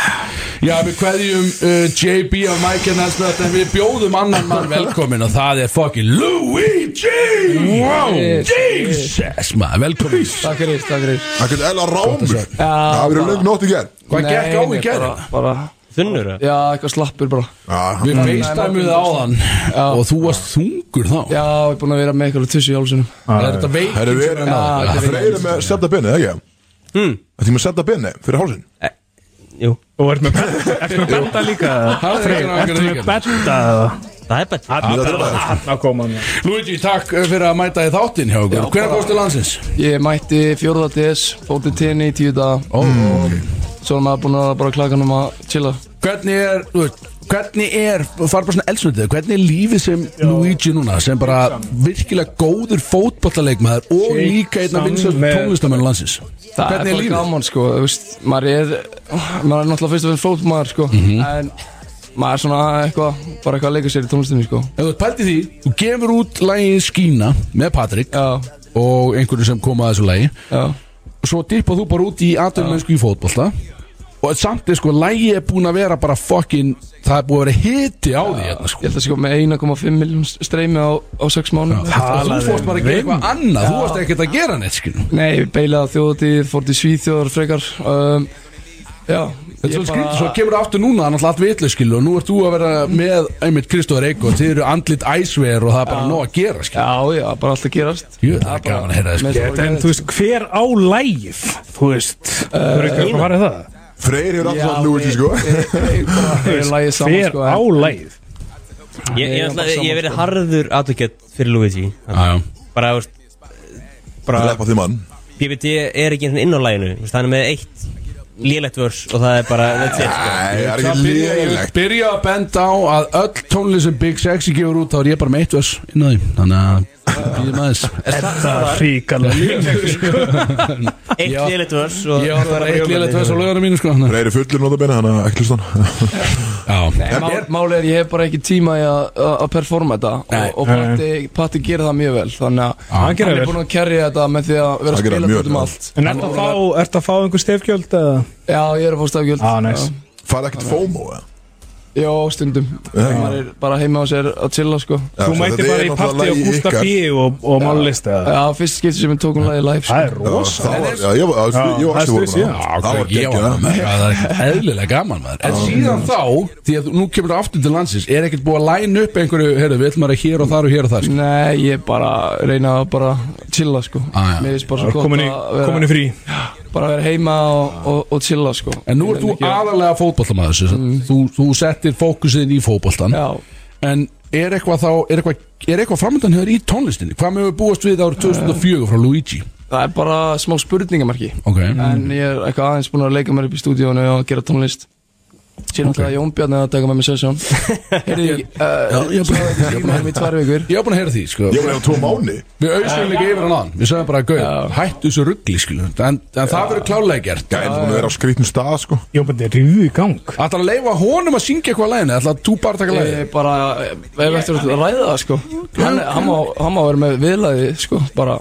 Speaker 3: Já, við kveðjum uh, JB af Mike en Elsbeth en við bjóðum annan mann velkomin og það er fucking Luigi Wow Jesus, maður, velkomin
Speaker 11: Takk fyrir, takk fyrir
Speaker 2: Það getur eða rámur Það verður löng nótt í gerð
Speaker 3: Hvað gekk á í gerð?
Speaker 11: Bara,
Speaker 4: Þunnur það
Speaker 11: já, eitthvað slappur bara
Speaker 2: Já,
Speaker 3: Við feistæmið áðan og þú varst þungur þá
Speaker 11: Já, ég er búin að vera með eitthvað tussu jólusunum
Speaker 3: Það er þetta veikin
Speaker 2: Það eru
Speaker 3: sem er Hmm.
Speaker 2: verið Freyr er með að setja benni, ekki? Það er með að
Speaker 3: maður.
Speaker 11: Já,
Speaker 2: setja benni fyrir hálsinn
Speaker 4: Jú
Speaker 5: Og ert með betta líka
Speaker 3: Það er ekki
Speaker 5: Ert
Speaker 3: nákvæmlega
Speaker 5: með
Speaker 3: veikin.
Speaker 5: betta
Speaker 4: Það er bett
Speaker 2: um
Speaker 5: Þarna kom hann
Speaker 3: Luigi, takk uh, fyrir að mæta í þáttinn hjá okkur Hvernig fórstu landsins?
Speaker 11: Ég mætti fjórða DS, fótið tenni í tíu daga Mm.
Speaker 3: Ó, ok
Speaker 11: Svo er maður búin að bara klaka hann um að chilla
Speaker 3: hvernig er þú veist, hvernig er, fara bara svona eldsnöndið hvernig er lífið sem Luigi núna sem bara virkilega góður fótballaleikmaður og
Speaker 5: Shake
Speaker 3: líka einna
Speaker 5: some
Speaker 3: vinsast
Speaker 5: man.
Speaker 3: tónlistamenn landsins
Speaker 11: Það
Speaker 3: hvernig
Speaker 11: er
Speaker 3: er
Speaker 11: bara
Speaker 3: lífið?
Speaker 11: gaman, sko, þú veist Maður er, maður er náttúrulega fyrst og fyrir fótmaður, sko En maður svona eitthvað bara eitthvað að leika sér í tónlistinni sko
Speaker 3: Ef þú pælti því, þú gefur út lægið Skína með Patrik Já. og einhverju sem kom að þessu lægi Já. svo dippað þú bara út í aðdöfumensku í fótbolta og samt er sko lægið er búin að vera bara fucking það er búin að vera hiti á því hérna sko
Speaker 11: ég held að sko með 1,5 miljón streymi á, á 6 mánu
Speaker 3: og þú fórst bara að gera eitthvað annað þú varst ekkert að gera neitt skil
Speaker 11: Nei, ég beilaði á þjóðatíð, fór til Svíþjóðar frekar um, Já
Speaker 3: Þetta er svolítið skrítið, svo kemur aftur núna þannig að allt vitlega skil og nú ert þú að vera með einmitt Kristóður Eiko, þið eru andlit æsver og það er bara nóg að gera skil
Speaker 11: Já, já, bara allt að gerast
Speaker 3: Jú, það er gaman að heyra það skil
Speaker 5: En Eh, þú veist, hver á lægið? Þú veist, þú eru ekki að fara í það
Speaker 2: Freyr hefur
Speaker 11: Já,
Speaker 2: alltaf lúið sko
Speaker 11: Hver lægið saman
Speaker 5: Hver
Speaker 11: sko
Speaker 5: á
Speaker 11: en-
Speaker 5: lægið?
Speaker 4: Ég, ég,
Speaker 11: Eigum
Speaker 4: ætla,
Speaker 11: bara saman,
Speaker 4: ég verið
Speaker 11: sko.
Speaker 4: harður aðtökjett fyrir Luigi
Speaker 3: Já, já.
Speaker 4: Bara, þú veist bara,
Speaker 2: Lepa því mann
Speaker 4: PPT er ekki einu inn á læginu þú veist, Hann er með eitt lélegt vörs og það er bara, that's it sko.
Speaker 2: Nei, það er
Speaker 3: Það
Speaker 2: ekki
Speaker 3: byrja, ég vil
Speaker 2: liðilegt
Speaker 3: byrja að benda á að öll tónlið sem Big Sexy gefur út þá er ég bara með eitt vers inn á því þannig að býðum aðeins
Speaker 5: Þetta er ríkalega
Speaker 4: Eitt
Speaker 3: Já.
Speaker 4: lélegt vörs og
Speaker 3: ég var bara eitt liðlega tvers á lögana mínu sko
Speaker 2: Freyr er fullur nótabenni, þannig að ekki hlusta hann
Speaker 3: já,
Speaker 11: Mál, mál er ég hef bara ekki tíma í að- að að performa þetta
Speaker 3: Nei.
Speaker 11: og, og Patti, Patti gerir það mjög vel þannig að
Speaker 5: Ah. Hann gerir
Speaker 11: er
Speaker 5: vel.
Speaker 11: búin að kerja þetta með því að vera
Speaker 2: Hann
Speaker 11: að
Speaker 2: gerir
Speaker 11: spila
Speaker 2: mjög
Speaker 11: þetta um
Speaker 2: vel.
Speaker 11: allt
Speaker 5: En ertu að Ah, fá, ertu að fá einhver stefgjöld eða?
Speaker 11: Já, ég er að fá stafgjöld
Speaker 5: Á, nice.
Speaker 2: Farði ekkert FOMO eða?
Speaker 11: Já, stundum
Speaker 2: Já.
Speaker 11: maður er bara heima á sér að chilla sko
Speaker 2: Já,
Speaker 5: Þú
Speaker 2: svo
Speaker 5: mætti
Speaker 2: þetta er
Speaker 5: bara í
Speaker 2: náttúrulega
Speaker 5: partí og
Speaker 2: lagið
Speaker 5: Gustaf
Speaker 2: ykkar.
Speaker 5: B og, og mállist eða?
Speaker 11: Já, fyrst skipti sem við tókum lagið live sko.
Speaker 5: Það er
Speaker 2: Já,
Speaker 5: rosa
Speaker 2: það var- já, Ég var-
Speaker 5: Já,
Speaker 2: ég var
Speaker 5: það er
Speaker 2: ekki
Speaker 5: stuð
Speaker 2: voru
Speaker 5: síðan.
Speaker 2: Það var
Speaker 3: ég
Speaker 2: geggjað
Speaker 3: var með það er ekkert eðlilega gaman maður en síðan þá, því að þú- nú kemur það aftur til landsins er ekkert búið að læna upp einhverju heyrðu, við ætlum að vera hér og þar og hér og þar
Speaker 11: Nei, ég bara reyna að bara chilla sko
Speaker 3: Á, já.
Speaker 11: Mér finnst bara svo gott
Speaker 5: Komin í,
Speaker 11: að vera,
Speaker 5: komin í frí
Speaker 11: bara vera heima og, og, og chilla sko
Speaker 3: en nú ert þú aðalega fótballtamaður mm. þú, þú settir fókusinn í fótballtan
Speaker 11: Já,
Speaker 3: en er eitthvað þá er eitthvað, er eitthvað framöndan hefur í tónlistinni hvað mögum við búast við
Speaker 11: Eh.
Speaker 3: árið 2004 frá Luigi
Speaker 11: það er bara smá spurningamarki
Speaker 3: ok, Mm.
Speaker 11: en ég er eitthvað aðeins búin að leika mér upp í stúdíónu og gera tónlist síðan okay. alltaf Jón Bjarni að taka með mér sessjón heyrði ég uh,
Speaker 3: ég er búin
Speaker 11: ég er með í tvær vikur
Speaker 3: ég er búin að heyra því sko.
Speaker 2: Ég var eða tvo mánu
Speaker 3: við auðvitaðum líka yfir hann án við sagðum bara gauð, hættu þessu ruggli sko. en, en það verður klálega gert
Speaker 2: Gæði búin að vera á skrýtnum stað sko
Speaker 5: Jó, bara þetta er ríðu í gang
Speaker 3: ætlar að leifa honum að syngja eitthvað læginu ætlar að þú bara taka
Speaker 11: ég
Speaker 3: læginu
Speaker 11: er bara ef eftir að ræða það sko hann, hann, má, hann má vera með viðlaði sko bara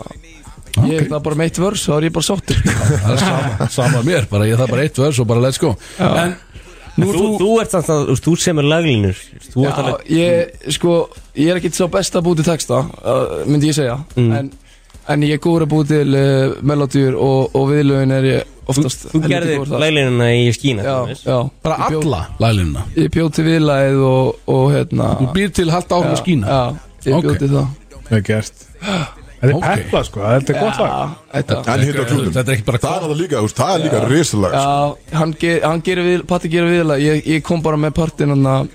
Speaker 11: ég er það bara meitt vörs þá er ég bara sáttur
Speaker 3: það er sama, sama mér, bara, ég það er bara eitt vers og bara let's go en
Speaker 4: Þú, þú, þú ert samt að, þú veist, þú sem er laglinur Þú ert
Speaker 11: Já,
Speaker 4: alveg
Speaker 11: ég, sko, ég er ekki sá best að búti texta, uh, myndi ég segja
Speaker 4: Mm.
Speaker 11: en, en ég er góður að búi til uh, melodýr og, og viðlögin er ég oftast
Speaker 4: Þú
Speaker 11: helviti góður
Speaker 4: gerðir
Speaker 11: þar.
Speaker 4: laglinuna í skína
Speaker 11: Já,
Speaker 4: til dæmis.
Speaker 11: já
Speaker 3: bara
Speaker 11: Ég bjó-
Speaker 3: alla læginuna
Speaker 11: Ég bjóð til viðlæð og, og hérna
Speaker 3: þú býr til að halda áhrif að skína
Speaker 11: Já, ég bjóð
Speaker 3: Ok.
Speaker 11: til það
Speaker 5: Það er gert Þetta er
Speaker 3: Ok.
Speaker 5: pepla sko, þetta er gott lag
Speaker 11: Já, þetta
Speaker 2: En hittu á klútum
Speaker 3: þetta er ekki bara
Speaker 2: Það er það líka, þú veist, það er líka risalag sko.
Speaker 11: Já, hann, ger, hann gerir við, Patti gerir viðlæð ég, ég kom bara með partin hann að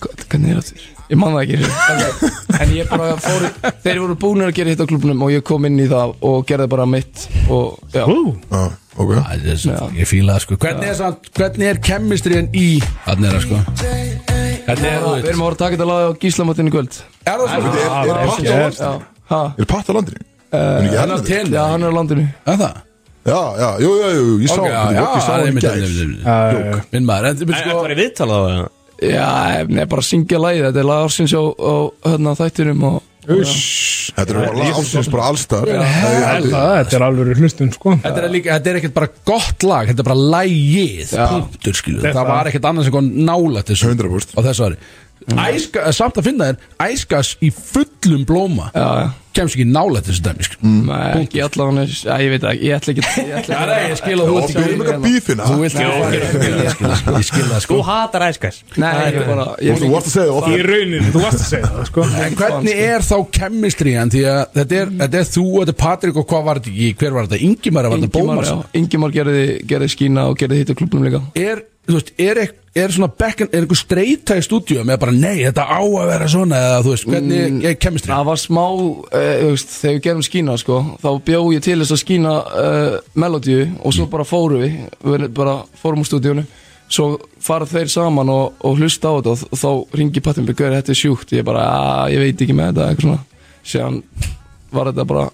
Speaker 11: Hvað- Hvernig er þetta? Ég man það ekki en, en ég bara fór í- Þeir voru búinir að gera hitt á klubnum og ég kom inn í það og gerði bara mitt og já,
Speaker 5: Ú,
Speaker 2: Já, ok
Speaker 3: Æ, þetta er svo- ég fíla það sko hvernig er, samt- hvernig er kemistriðin í hann er það sko Hvernig er, þú
Speaker 11: við
Speaker 3: veit-
Speaker 11: erum að voru að taka þetta lag á gíslamotinu í kvöld
Speaker 3: er það svo
Speaker 2: Er, er patt á landinu? Er patt
Speaker 11: Já, ha,
Speaker 2: á landinu? Er ekki
Speaker 3: hann á
Speaker 2: erlendur?
Speaker 3: tenni
Speaker 11: já, hann er á landinu
Speaker 3: Er það?
Speaker 2: Já, já, jú, jú, jú, ég sá
Speaker 3: Ok, já,
Speaker 2: hann
Speaker 3: já,
Speaker 2: Ég sá
Speaker 3: það er
Speaker 2: hann í
Speaker 3: mitt
Speaker 2: gæð
Speaker 5: Eh,
Speaker 3: Jók Minn maður, en þú
Speaker 4: En
Speaker 3: veist
Speaker 4: Það
Speaker 3: sko
Speaker 4: var í viðtala á það
Speaker 11: Já, nefnir bara að syngja lagið, þetta er lag ársins á, á hérna, þættinum og
Speaker 2: Þetta er bara ásins bara allstar
Speaker 5: það- þetta er alveg hlustun sko
Speaker 3: Þetta er, líka, þetta er ekkert bara gott lag, þetta er bara lægið, punktur skilu
Speaker 5: Þetta-
Speaker 3: Það var ekkert annars eitthvað nálægt þessu
Speaker 2: 100%
Speaker 3: á þessu ári Æska, eh, Samt að finna þér, æskas í fullum blóma
Speaker 11: já. Mm.
Speaker 3: Kemst ekki nálægt þessu dæmi skilu
Speaker 11: Nei, ekki allavega, já, ég veit það ekki, ég ætla ekki ég ætla
Speaker 3: Já,
Speaker 11: ekki-
Speaker 3: Mm.
Speaker 11: hérna.
Speaker 3: nei, ég skil að þú
Speaker 2: Og
Speaker 3: ert
Speaker 2: byrjum
Speaker 3: ekki-
Speaker 2: ekki að bífina
Speaker 3: Þú vilt ekki fara í þetta, skilur, sko. Ég skil það
Speaker 4: Þú
Speaker 3: sko
Speaker 4: hatar æskas
Speaker 11: Nei, ég bara, ég
Speaker 2: Þú varst að segja það
Speaker 5: Í
Speaker 2: ofta
Speaker 5: rauninni, þú varst að segja það sko
Speaker 3: En hvernig er þá kemistriðan Því að þetta er, þetta er þú og þetta er Patrik og hvað var þetta ekki, hver var þetta, Ingimar var þetta
Speaker 11: Ingimar,
Speaker 3: Bómars
Speaker 11: já, Ingimar gerði, gerði skína og gerði hitt á klubnum líka
Speaker 3: er, þú veist, er, ekk- er svona bekkan, er einhver streyta í stúdíu með bara nei, þetta á að vera svona eða þú veist, hvernig mm, er kemistri
Speaker 11: Það var smá, eh, þú veist, þegar við gerum skína sko, þá bjó ég til þess að skína uh, melodíu og svo bara fórum við við bara fórum úr stúdíónu svo fara þeir saman og, og hlusta á þetta og þ- þá ringi Pattin Björgur þetta er sjúkt, ég bara, að ég veit ekki með þetta eitthvað svona, síðan var þetta bara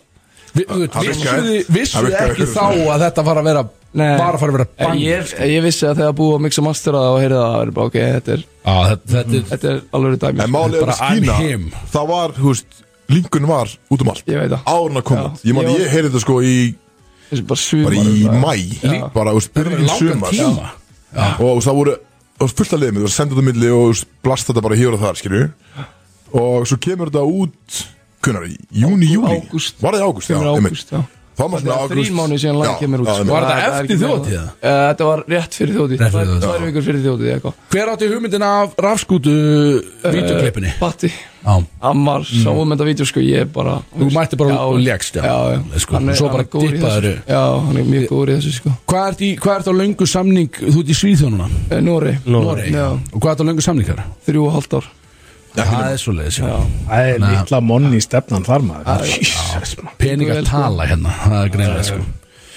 Speaker 3: Vi, þú veist,
Speaker 2: Það
Speaker 3: vissu
Speaker 2: virkaði.
Speaker 3: þið, vissu
Speaker 2: Það
Speaker 3: þið
Speaker 2: virkaði
Speaker 3: ekki
Speaker 2: fyrir
Speaker 3: þá
Speaker 2: svona.
Speaker 3: að þetta var að vera Var að fara að vera bang
Speaker 11: ég, ég vissi að þegar búið að mixa mastera og heyrði það að vera bara ok, þetta er
Speaker 3: Já,
Speaker 2: Mm.
Speaker 3: þetta er
Speaker 11: Þetta er alveg dæmi sko."
Speaker 2: En málið er að skýna Það var, þú veist, linkun var út um allt
Speaker 11: Ég veit það
Speaker 2: Árna kom út Ég man,
Speaker 11: Ég var-
Speaker 2: ég heyrði þetta sko í
Speaker 11: Bara, sumar,
Speaker 2: bara í mæ
Speaker 11: Já.
Speaker 2: Bara, þú veist, byrjun
Speaker 3: langan
Speaker 2: sumar
Speaker 3: tíma.
Speaker 2: Og þú veist, það voru Það var fullt að leiðmið, það var sendað á milli og þú veist, blast þetta bara hér og þar, skilju Og svo kemur þetta út Kunnar, í júni, júli
Speaker 11: Ágúst.
Speaker 2: Var það í ágúst, já,
Speaker 11: Kemur
Speaker 2: einmitt.
Speaker 11: ágúst, já.
Speaker 2: Það var
Speaker 11: Það
Speaker 2: svona
Speaker 11: er
Speaker 2: ágúst
Speaker 11: þrír mánuði síðan lagið
Speaker 2: Já,
Speaker 11: kemur út
Speaker 2: já, einmitt.
Speaker 11: sko.
Speaker 3: Var þetta
Speaker 11: Það er
Speaker 3: eftir
Speaker 11: ekki meira.
Speaker 3: þjóðhátíð, eða?
Speaker 11: Eh, Þetta var rétt fyrir þjóðtíð
Speaker 3: Rétt fyrir þjóðhátíð.
Speaker 11: Tvær vikur fyrir þjóðtíð eitthvað
Speaker 3: Hver átti hugmyndina af rafskútu
Speaker 2: Eh.
Speaker 3: Vídeoklippinni
Speaker 11: Patti
Speaker 3: Já
Speaker 11: Ammar sáum þetta vídeo sko Ég bara
Speaker 3: Mm. Þú mætti bara
Speaker 11: Já,
Speaker 3: og legst
Speaker 11: Já, já
Speaker 3: Sko,
Speaker 11: Hann er-
Speaker 3: Svo
Speaker 11: hann
Speaker 3: bara
Speaker 11: er góður í
Speaker 3: dippaður
Speaker 11: þessu. Já, hann er mjög góður í þessu sko
Speaker 3: Hvað ert í, hvað ert á löngu samning Þú ert í Svíþjónuna
Speaker 11: Eh, Nóri
Speaker 4: Noreg.
Speaker 11: Já.
Speaker 3: Og hvað ert á löngu samningar
Speaker 11: Þrjú og hálft ár
Speaker 3: Það er svo leiðis
Speaker 5: Það er litla monni stefnan þar maður
Speaker 3: Peningar tala hérna Það er greinlega sko
Speaker 11: Það er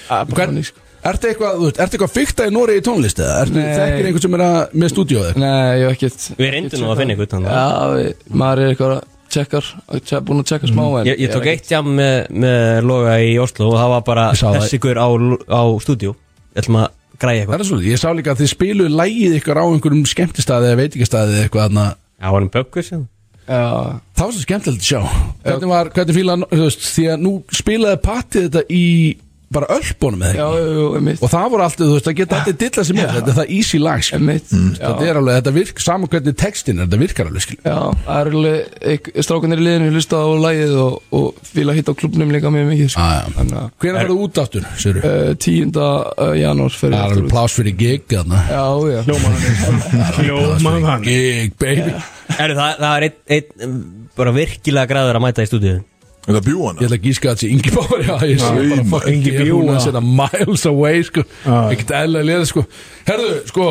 Speaker 11: bara
Speaker 3: Hvern-
Speaker 11: þannig, sko.
Speaker 3: Ertu eitthvað, þú veist, ertu eitthvað fykta í Nóri í tónlist eða? Ertu
Speaker 11: Nei.
Speaker 3: þekkir einhvern sem er að, með stúdíó eða?
Speaker 11: Nei, ég hef ekkert
Speaker 4: Við reyndum nú að finna einhvern þannig.
Speaker 11: Já, við- maður er eitthvað að Tjekkar Búin að tjekka smá
Speaker 3: Mm,
Speaker 11: en
Speaker 4: Ég, ég tók
Speaker 11: er
Speaker 4: eitt jam með, með Loga í Oslo og það var bara
Speaker 3: Ég sá það.
Speaker 4: þessi hver á, á stúdíu Ég ætlum að græja
Speaker 3: Það
Speaker 4: eitthvað
Speaker 3: er svo, ég sá líka að þið spiluðu lægið ykkar á einhverjum skemmtistaði eða veitingastaði eða eitthvað þarna
Speaker 4: Það var hann böggur sem
Speaker 11: Já,
Speaker 3: Það var svo skemmtilegt að sjá Hvernig var, hvernig fílaði, þú veist, því að nú spilaði Patti þetta í bara ölpunum eða
Speaker 11: já,
Speaker 3: ekki
Speaker 11: jú, jú, einmitt
Speaker 3: Og það voru alltaf, þú veist, það geta alltaf dilla sér með Þetta er það easy lag, skil
Speaker 11: Einmitt já.
Speaker 3: Þetta er alveg, þetta virk, saman hvernig textin er, þetta virkar alveg, skil
Speaker 11: Já, það er alveg strákanir í liðinu hlusta á lagið og, og fíla hitt á klubnum líka mjög mikið sko.
Speaker 3: Ah, já.
Speaker 11: Þannig að
Speaker 3: Hvernig farið út aftur, sér Það
Speaker 11: uh, 10. Uh, janúar fyrir
Speaker 3: er
Speaker 11: aftur
Speaker 3: alveg
Speaker 11: út.
Speaker 3: plás fyrir gig, þarna
Speaker 11: Já, já
Speaker 5: Hljóman hann
Speaker 3: Gig, baby
Speaker 4: Eru það, það er einn ein, bara virkilega græður að mæta í stúdíu
Speaker 2: En það bjú
Speaker 3: Ég
Speaker 2: hana
Speaker 3: ætla að gíska að þetta sé Ingi Báður Já, ég sé
Speaker 2: Nei,
Speaker 3: bara fucking
Speaker 5: Ingi
Speaker 3: Ingi
Speaker 5: Bjú,
Speaker 3: Bjóna
Speaker 5: já.
Speaker 3: Þetta miles away, sko
Speaker 5: já.
Speaker 3: Ekkert eðlilega liða, sko Herðu, sko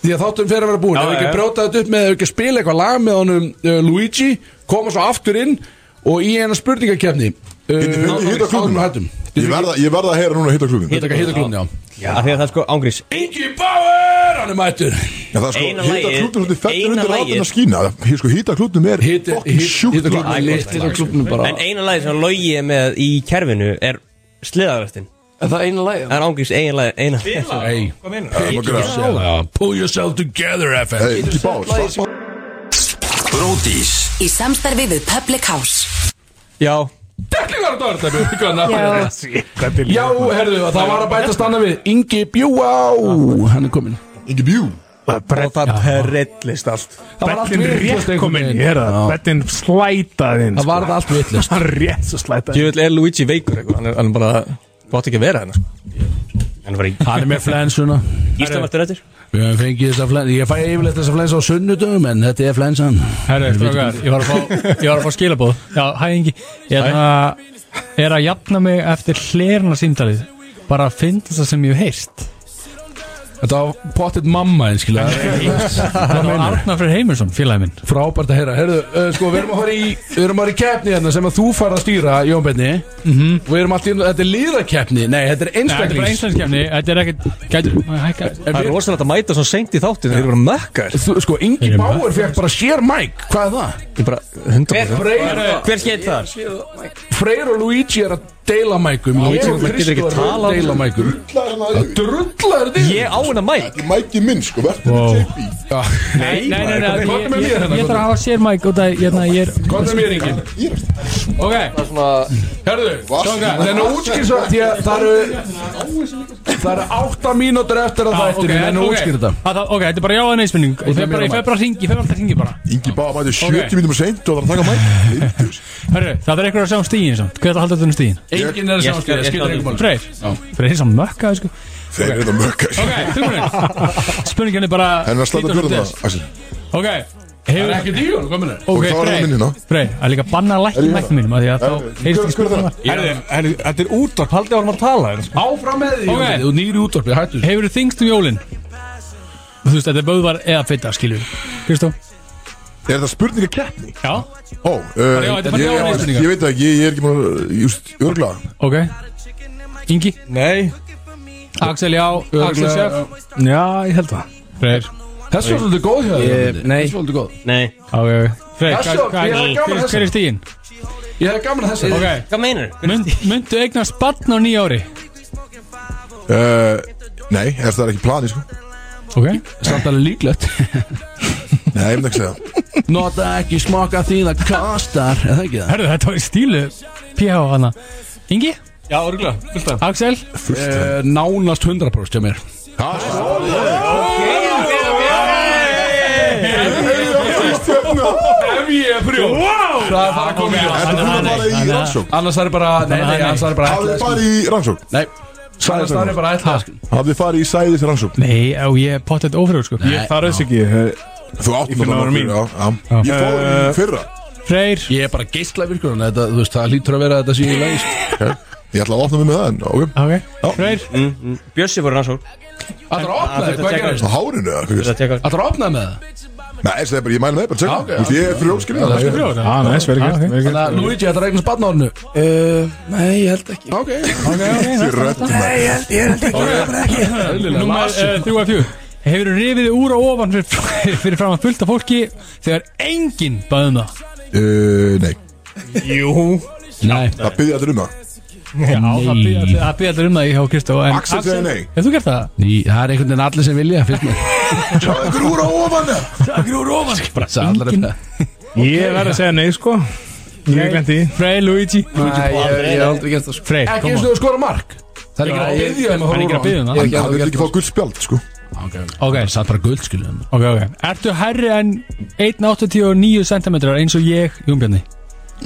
Speaker 3: Því að þáttum fyrir að vera búin
Speaker 5: Já,
Speaker 3: Ef við ekki
Speaker 5: já.
Speaker 3: brjóta þetta upp með Ef við ekki spila eitthvað lag með honum uh, Luigi Koma svo aftur inn Og í eina spurningakefni
Speaker 2: Hitta klubnum Ég
Speaker 3: Hitta
Speaker 2: verða ég verð að heyra núna hitta klubnum
Speaker 3: klubnum, já
Speaker 4: Af því að það er sko ángrís
Speaker 3: Ingi Báður, hann er mættur
Speaker 2: En það er sko,
Speaker 4: Eina
Speaker 2: hýta
Speaker 4: lagið-
Speaker 2: klútum svolítið fellur
Speaker 4: eina
Speaker 2: undir
Speaker 4: lagið-
Speaker 2: ráðin að skýna Hér sko, hýta klútum er
Speaker 3: Hitta
Speaker 2: fokkin sjúkt
Speaker 3: Hitta
Speaker 2: lag.
Speaker 3: klubnum
Speaker 11: Hitt á klubnum bara
Speaker 4: En eina lagi sem Logi er með í kerfinu er Sliðarvestin
Speaker 11: Er það eina lagið?
Speaker 4: Það er ángrís eigin lagi eina
Speaker 3: Hey,
Speaker 2: Það má gera það.
Speaker 3: pull yourself together, FF
Speaker 2: Hey, Ingi Bár, það-
Speaker 9: Bródís
Speaker 7: Í samstarfi við Public House
Speaker 4: Já
Speaker 3: Deklingar á dörðar
Speaker 12: Já.
Speaker 3: Já, herðu, það var að bæta stanna við Ingi Bjúá, hann er komin
Speaker 2: Ingi Bjú
Speaker 5: Og það perillist allt
Speaker 3: var allt
Speaker 5: Bettin
Speaker 3: vitlaust
Speaker 5: rétt
Speaker 3: einhvern
Speaker 5: kominn,
Speaker 3: veginn.
Speaker 5: ég er það Bettin slætaði inn sko.
Speaker 3: Það var það allt vitlust
Speaker 5: Hann rétt svo slætaði
Speaker 12: Ég vil er Luigi veikur eitthvað Hann er, hann er bara Þú átt ekki að vera hérna. hennar
Speaker 4: Hann var í
Speaker 3: Hann er með flensuna
Speaker 4: Íslamartur eftir
Speaker 3: Við höfum fengið þessa flensu Ég fæ yfirleitt þessa flensu á sunnudum En þetta er flensan
Speaker 6: Herru, strókar, ég var að fá, ég var að fá skilabóð Já, hæ Ingi Ég er að, er að jafna mig eftir hlerna síndalið Bara að finna það sem ég hef heyrst
Speaker 3: Þetta var pottet mamma eins
Speaker 6: Það er á Arnar Freyr Heimursson, félagi minn
Speaker 3: Frábært að heyra Herðu, uh, sko, við erum að fara í Við erum að fara í keppni hérna Sem að þú fara að stýra, Jón Benni
Speaker 12: Mhm.
Speaker 3: -hmm. Við erum alltaf Þetta er líðakeppni Nei, þetta er
Speaker 6: Nei, Þetta er bara
Speaker 3: einstaklings
Speaker 6: einstæðiskefni, þetta er ekkert gæti- Má ég hækka-
Speaker 12: Það er rosalegt að mæta svo seint í þáttin Þeir eru bara mökkar
Speaker 3: Þú, sko, Ingi
Speaker 6: Ég er með-
Speaker 3: Báur fekk bara sér mæk Hvað er það?
Speaker 12: Ég bara 100%
Speaker 3: Freyr,
Speaker 4: Hver skeitt þar?
Speaker 3: Freyr og Luigi er að deila mækum Ég og
Speaker 12: maður getur ekki
Speaker 3: Kristóð er að
Speaker 12: talað.
Speaker 3: deila mækum Það drullar þig
Speaker 12: Ég á hennar mæk
Speaker 2: Mæki minn, sko, verður wow. tippi
Speaker 3: Já.
Speaker 6: Nei, nei, nei,
Speaker 3: Komdu
Speaker 6: nei,
Speaker 3: með
Speaker 6: ég-
Speaker 3: mér
Speaker 6: ég-
Speaker 3: hérna,
Speaker 6: ég þarf að hafa sér mæk og það, hérna, ég er
Speaker 3: Komdu með mér, Ingi
Speaker 6: Ok,
Speaker 3: Herðu, strákar, það er nú útskýrsa því að það eru það eru átta mínútur eftir að
Speaker 6: Já,
Speaker 3: þættinu
Speaker 6: ok,
Speaker 3: það er nú
Speaker 6: ok.
Speaker 3: útskýrta
Speaker 6: Það- það- Ok, þetta er bara já að neysminning Ég
Speaker 3: það
Speaker 6: fer
Speaker 3: er
Speaker 6: bara,
Speaker 3: meira
Speaker 6: ég fer
Speaker 3: mæk.
Speaker 6: bara að ringi, ég fer bara að ringi bara
Speaker 2: Ingi Bár mæti 70
Speaker 6: Ok.
Speaker 2: okay. mínum seint og það var að taka mæk
Speaker 6: Hörru, það er eitthvað að sjá um stíðin samt Hvað er það að halda þetta um stíðin?
Speaker 3: Engin er
Speaker 4: Ég- ég skal-
Speaker 3: samskýrta,
Speaker 4: ég skal-
Speaker 3: skilur engum mál
Speaker 6: Freyr Freyr er samt mökka, sko
Speaker 2: Þeir eru þetta mökkar
Speaker 6: Ok, tilbúinir Spurningin er bara
Speaker 2: En að slata
Speaker 6: Lítur
Speaker 2: björðum
Speaker 6: svolítið
Speaker 2: það, Axel
Speaker 6: þess. Ok, hefur
Speaker 3: Ekki díun, kominu
Speaker 6: Ok,
Speaker 2: þá er það minn
Speaker 6: Freyr
Speaker 2: hérna.
Speaker 6: Freyr, það er líka að banna að lækna mæknum mínum af Því að
Speaker 2: Herru,
Speaker 6: þá heyrst
Speaker 2: hver-
Speaker 6: ekki
Speaker 2: hver er það?
Speaker 6: spurningin
Speaker 12: Þetta er útvarp Haldið að hann var að tala hérna, sko.
Speaker 3: Áfram með því,
Speaker 6: Ok.
Speaker 3: Jóni, þú nýri útvarpi, hættu
Speaker 6: Hefur þið þingst um jólin? Þú veist, þetta er vöðvar eða fitta, skilju Kristó?
Speaker 2: Er það spurning að keppni?
Speaker 6: Já,
Speaker 2: Ó, uh,
Speaker 6: já, þetta er bara
Speaker 2: ég,
Speaker 6: já,
Speaker 2: ég,
Speaker 6: spurningar.
Speaker 2: ég veit það ekki, ég er ekki búin að Just, örgla
Speaker 6: ok Ingi,
Speaker 12: Nei
Speaker 6: Axel já, Axel
Speaker 3: Örugglega,
Speaker 6: sjef
Speaker 5: Já, ég held það
Speaker 6: Freyr,
Speaker 3: Þessi var svolítið góð hjá þér
Speaker 12: Ég-
Speaker 3: Jóni.
Speaker 12: nei.
Speaker 3: Þessi var svolítið góð
Speaker 4: Nei
Speaker 6: ok, ok. Freyr,
Speaker 3: Þessi
Speaker 6: hvað-
Speaker 3: var- ég hafði gaman
Speaker 6: hvað
Speaker 3: að þessu.
Speaker 6: hver er stíðin?
Speaker 3: Ég hef gaman að þessi
Speaker 6: Ok,
Speaker 4: Hvað meinar?
Speaker 6: Mynd, myndu eignast barn á nýja ári
Speaker 2: uh, Nei, eða það er ekki planið sko
Speaker 6: Ok
Speaker 3: Samt alveg líklegt
Speaker 2: Nei, ég myndi ekki segja
Speaker 3: Nota ekki smaka því það kostar Er það ekki það?
Speaker 6: Herðu, þetta var í stílu PH hana Ingi?
Speaker 12: Já, örgulega, fullt af
Speaker 6: Axel?
Speaker 3: Eh, Nánast 100% hjá mér
Speaker 8: Ef ég er prjó Wow
Speaker 3: Það er bara komið
Speaker 8: ljós.
Speaker 2: Ertu búin að fara í
Speaker 3: Nei,
Speaker 2: rannsókn?
Speaker 3: Annars það er bara Nei, nei,
Speaker 2: Nei.
Speaker 3: annars það er bara
Speaker 2: Hafið þið
Speaker 3: ætlaðir-
Speaker 2: farið í rannsókn?
Speaker 3: Nei Annars það er bara ætlaðir-
Speaker 2: Hafið þið farið í sæðis rannsókn?
Speaker 6: Nei, á ég er pottet ófrjóð sko
Speaker 2: Ég
Speaker 5: þarf þess ekki
Speaker 2: Þú átt náttúrulega fyrir, já, já.
Speaker 5: Í fyrra
Speaker 2: Ég fór í fyrra
Speaker 6: Freyr
Speaker 3: Ég er bara geistla virkur þannig að þetta, Þú veist, það lítur að vera að þetta sé í lagi sko.
Speaker 2: okay. Ég ætla að opna mig með það en ok
Speaker 6: Ok, Freyr
Speaker 4: mm, mm. Bjössi voru rannsók
Speaker 3: Það er að opna
Speaker 4: Að
Speaker 3: þig,
Speaker 4: þetta
Speaker 3: hvað
Speaker 4: tekur-
Speaker 3: gerist?
Speaker 2: Á hárinu eða hvað gerist?
Speaker 3: Það er að opna með það
Speaker 2: Nei, þessi er bara, ég mæli með það, bara tjekka
Speaker 3: Já, ok,
Speaker 2: okay, Þú veist, ég er frjóðskilin
Speaker 3: Það er sko frjóð
Speaker 5: Ah, næs, verið gert, verið
Speaker 3: Þannig að Luigi, þetta er eignast barnárnu Eh,
Speaker 11: Uh, nei, ég held ekki
Speaker 3: Ok,
Speaker 2: Ég rödd
Speaker 11: Nei, ég held, ég held ekki Það er ekki
Speaker 6: Númer uh, 3 af 4 Hefur þú rifið þig úr og ofan fyrir, fyrir fram að fullta fólki þegar enginn baðum það?
Speaker 2: Uh, nei,
Speaker 12: Jú
Speaker 6: Nei
Speaker 2: það byrði allir um það
Speaker 6: Já, það býða allir- það býða allir um það í hjá Kristó en
Speaker 2: Axel segir nei.
Speaker 6: Hefur þú gert það?
Speaker 3: Ný, það er einhvern veginn allir sem vilja, finnst mér
Speaker 2: Það er grúra ofan það
Speaker 6: Takk úr ofan
Speaker 3: Bara það er allir að-
Speaker 5: Ég verð að segja nei sko Ég glemt því
Speaker 6: Freyr, Luigi
Speaker 11: Nei, ég ég hef aldrei gert það sko
Speaker 6: Freyr,
Speaker 3: Ekki
Speaker 6: koma
Speaker 3: eins og þú skora mark Það er ekki að
Speaker 11: Ég-
Speaker 3: byggja um að
Speaker 6: Það er ekki að
Speaker 3: horfa
Speaker 6: byggja um
Speaker 2: En
Speaker 6: það
Speaker 11: Ég hef ekki
Speaker 2: það
Speaker 11: aldrei
Speaker 2: vil
Speaker 11: gert
Speaker 2: ekki fá gull spjald, sko
Speaker 6: Ok,
Speaker 3: Það er bara gull, skiljum
Speaker 6: ok, ok Ertu herri en 1,89 cm eins og ég, Jón Bjarni?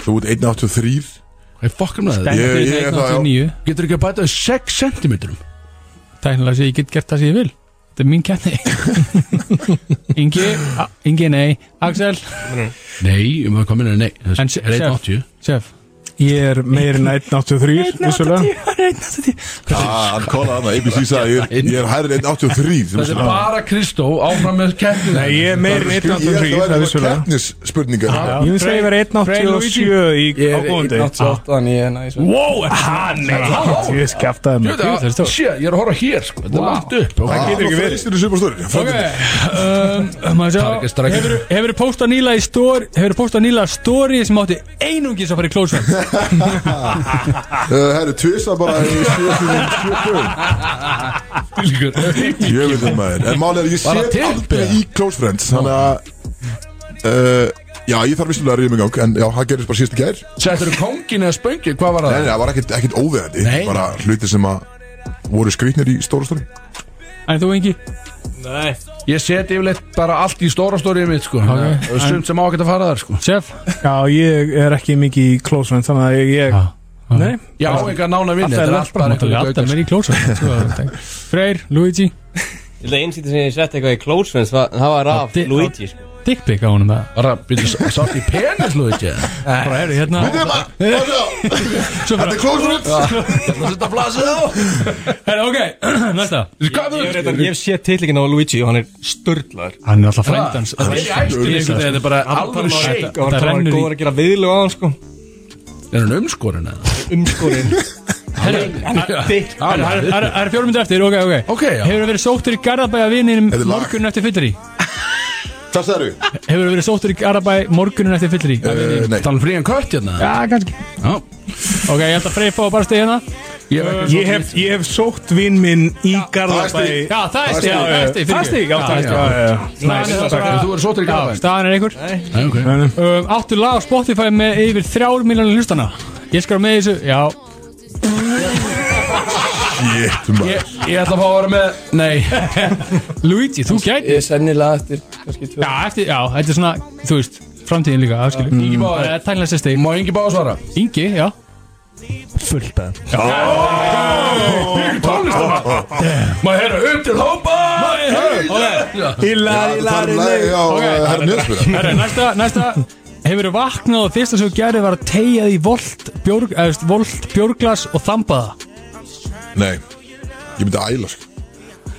Speaker 2: Þú ert 183
Speaker 3: Hvað er fokkum með það?
Speaker 6: Dæmi
Speaker 2: Ég-
Speaker 6: fyrir
Speaker 2: ég er það, já.
Speaker 6: 1,89
Speaker 3: Getur ekki að bæta 6 cm
Speaker 6: Tæknilega sé ég get gert það sem ég vil Þetta er mín kenni Ingi, a- Ingi nei Axel,
Speaker 3: Nei, um að koma inn að nei Það
Speaker 6: En
Speaker 3: er
Speaker 6: se-
Speaker 3: 180
Speaker 6: chef
Speaker 5: Ég er meir en 183 vissulega.
Speaker 2: Ah, hann kólaði það, ABC sagði ég er- Ég er hærri en 83 sem
Speaker 3: Þetta
Speaker 2: sem-
Speaker 3: er bara Kristó áfram með keppnina
Speaker 5: Nei, ég er meir en
Speaker 2: Ég held að
Speaker 5: 183
Speaker 2: væri eitthvað
Speaker 5: vissulega.
Speaker 2: keppnisspurningar Ah,
Speaker 5: Ég vil segja að ég verði 187 í
Speaker 11: Ég er
Speaker 5: ágóðandi
Speaker 11: 188, þannig ég er næs
Speaker 3: Wow,
Speaker 5: Hann er Ég veist ekki aftur að
Speaker 3: Jú,
Speaker 5: mig
Speaker 3: það-
Speaker 6: það er stórt.
Speaker 3: Shit, ég er að horfa hér sko Þetta er langt upp
Speaker 2: Það
Speaker 3: ok.
Speaker 2: getur ekki verið Það getur ekki
Speaker 6: Ok,
Speaker 2: verið
Speaker 6: um, maður
Speaker 3: Það er ekki að
Speaker 6: sjá
Speaker 3: strækja.
Speaker 6: Hefur hefurðu postað nýla í stóri Hefur postað nýla stóri sem átti einungis að fara í klósum
Speaker 2: Það er tvisa Eh, bara í 77 dögum. Ég veit það maður En málið er að ég
Speaker 3: Var það
Speaker 2: set
Speaker 3: til?
Speaker 2: aldrei í Close Friends Þannig að uh, Já, ég þarf vissulega að ríða mig gang En já, það gerist bara síðast í gær Nei,
Speaker 3: Settur þú kóngin eða spöngi, hvað var
Speaker 2: nei,
Speaker 3: það?
Speaker 2: það var ekkert, ekkert óveðandi
Speaker 3: Nei.
Speaker 2: Bara hluti sem að voru skrýtnir í stóra stóri
Speaker 6: En þú Ingi
Speaker 12: Nei
Speaker 3: Ég seti yfirleitt bara allt í stóra stórið mitt sko Og sumt sem á að geta fara þar sko
Speaker 6: Chef
Speaker 5: Já, ég er ekki mikið í close friend Þannig að ég, ég Nei,
Speaker 3: Já, enga nána vinni, þetta er allt bara
Speaker 6: Mátti
Speaker 3: einhver
Speaker 6: alltaf
Speaker 3: gaukar,
Speaker 6: með í klósum Freyr, Luigi
Speaker 4: Ég held að einsýtti sem ég sett eitthvað í Close Friends var- Það var af
Speaker 6: Þi-
Speaker 4: Luigi sko.
Speaker 6: Dickpick á honum það
Speaker 3: Bara, byrju, sátt í penis, Luigi Það
Speaker 6: Bara er hérna
Speaker 2: Þetta er Close Friends
Speaker 3: er þetta flasið á
Speaker 6: Herra, ok, næsta
Speaker 12: Ég
Speaker 3: Hvað
Speaker 12: hef
Speaker 3: er
Speaker 12: reyndar- ég hef séð tilíkin á Luigi og hann er störtlaður
Speaker 6: Hann er alltaf frændans
Speaker 3: Það er æstur í einhvern veginn, þetta er bara alveg shake
Speaker 12: og hann
Speaker 6: Þetta
Speaker 12: var
Speaker 6: rennur í-
Speaker 12: góður að gera viðlög á hann sko
Speaker 3: Er hann umskorinn eða?
Speaker 12: umskorinn
Speaker 6: Það er- það er- það er fjórmyndu eftir, ok, ok
Speaker 3: Ok, já.
Speaker 6: Hefur verið sóttur í Garðabæja vininum
Speaker 2: Þetta er lag.
Speaker 6: morgunin eftir fyllri
Speaker 2: Það sagði þú
Speaker 6: Hefur verið sóttur í Garðabæja morgunin eftir fyllri
Speaker 3: Eh,
Speaker 2: Nei,
Speaker 3: Talan frían kött hérna
Speaker 6: Já, kannski
Speaker 3: Já.
Speaker 6: Ok, ég held að Freyr fá bara stegið hérna
Speaker 3: Ég hef ekki
Speaker 5: ég hef, ég hef sótt vinn minn í Garðabæ
Speaker 6: Já, það er stegið, það er stegið
Speaker 5: Það stík, já, það stík
Speaker 3: Þú verður sóttur í
Speaker 6: Já,
Speaker 3: grafæn
Speaker 6: staðan er einhver
Speaker 3: Ok
Speaker 6: um, Áttu lag á Spotify með yfir þrjár miljónir hlustana Ég skar með þessu, já
Speaker 2: shit maður
Speaker 3: Ég ætla að fá að vera með Nei
Speaker 6: Luigi, þú gæti
Speaker 11: Ég er sennilega eftir kannski tvö
Speaker 6: Já, eftir, já, þetta er svona, þú veist, framtíðin líka, það skilur
Speaker 11: Mm.
Speaker 6: Ingi
Speaker 3: Báður.
Speaker 6: Það er tænlega sér steg
Speaker 3: Má Ingi Báða svara
Speaker 6: Ingi, já
Speaker 3: Má heyra upp til hópa
Speaker 5: Ílar,
Speaker 2: Það er lægi á Herra Njöðspyrra
Speaker 6: Herra, næsta, næsta Hefur þú vaknað og fyrsta sem þú gerir var að tegja því volt, björg, eða, þú veist, volt björglas og þambaða
Speaker 2: Nei, ég myndi að æla sko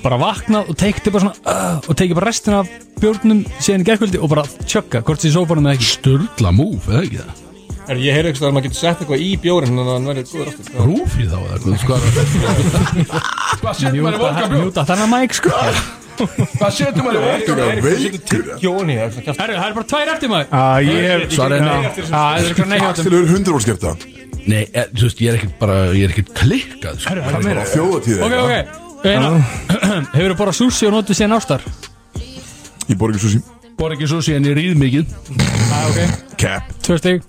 Speaker 6: Bara vaknað og teikti bara svona uh, og teikti bara restina af björnum síðan í gerkvöldi og bara tjögga hvort þið sófanum eða ekki
Speaker 3: Sturla múf, eða ekki það
Speaker 12: Er ég heyri eitthvað að maður getur sett eitthvað í bjórin Þannig að hann verður góður aftur Það
Speaker 3: Rúfi þá eða hvað Hvað Hvað setur maður í
Speaker 6: Mjúta,
Speaker 3: volka bjóð?
Speaker 6: mjúta, þannig að mæk sko
Speaker 3: Hvað setur maður í volka
Speaker 2: Það
Speaker 3: bjóð?
Speaker 2: er veikur
Speaker 12: er Jóni, það er svona kjart
Speaker 6: Herru, það er bara tvær eftir maður
Speaker 5: Ég hef
Speaker 3: Svara
Speaker 5: Já.
Speaker 3: hérna
Speaker 6: Það er eitthvað
Speaker 2: Axel
Speaker 6: neyhjóttum
Speaker 2: er 100 voru skert það
Speaker 3: Nei, eh, þú veist, ég er ekkert bara Ég er ekkert klikkað sko.
Speaker 2: Þjóðatíð
Speaker 6: Ok, ok, Einar, hefur þú borðað sushi og notið síðan ástar?
Speaker 2: Ég bor ekki sushi
Speaker 3: Bor ekki sushi en ég ríð mikið
Speaker 6: Það ah, ok,
Speaker 2: Cap
Speaker 6: tvö stig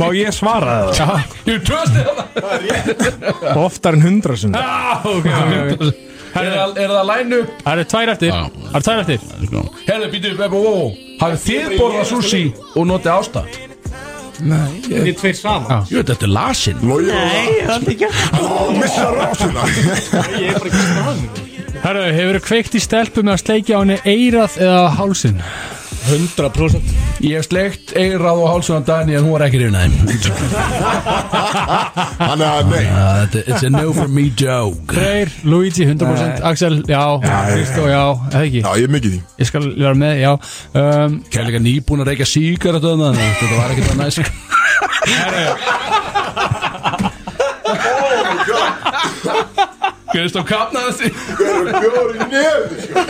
Speaker 5: Má ég svara það?
Speaker 6: Já, ég trösti það
Speaker 5: Oftar en hundra sinni
Speaker 6: ah, Ok, ok, ok
Speaker 3: Er það- er það lænu?
Speaker 6: Það eru tvær eftir Það eru tvær eftir
Speaker 3: Herðu, býtu, wow, wow. hafið þið borðað sushi og notið ásta?
Speaker 12: Þið tveir saman
Speaker 3: Jú, þetta er lasin
Speaker 2: Logi
Speaker 12: Nei, það er ekki
Speaker 2: Missa rásina
Speaker 12: Ég er bara ekki saman
Speaker 6: Herru, hefur þú kveikt í stelpu með að sleikja á henni eirað eða hálsin?
Speaker 12: 100%
Speaker 3: Ég hef sleikt eirað og hálsum á Dani en hún var ekki rifin aðeim
Speaker 2: Þannig að nei
Speaker 3: It's a no for me joke
Speaker 6: Freyr, Luigi, 100% Axel, já, Kristó, já, eða ekki
Speaker 2: Já, ég er mikið í því
Speaker 6: Ég skal vera með, já um,
Speaker 3: Kærleika nýbúin að reykja síkar að döðna Þetta var sko. ekki það næsk Kristof kapnaði því
Speaker 2: Hver er bjóri nefn sko?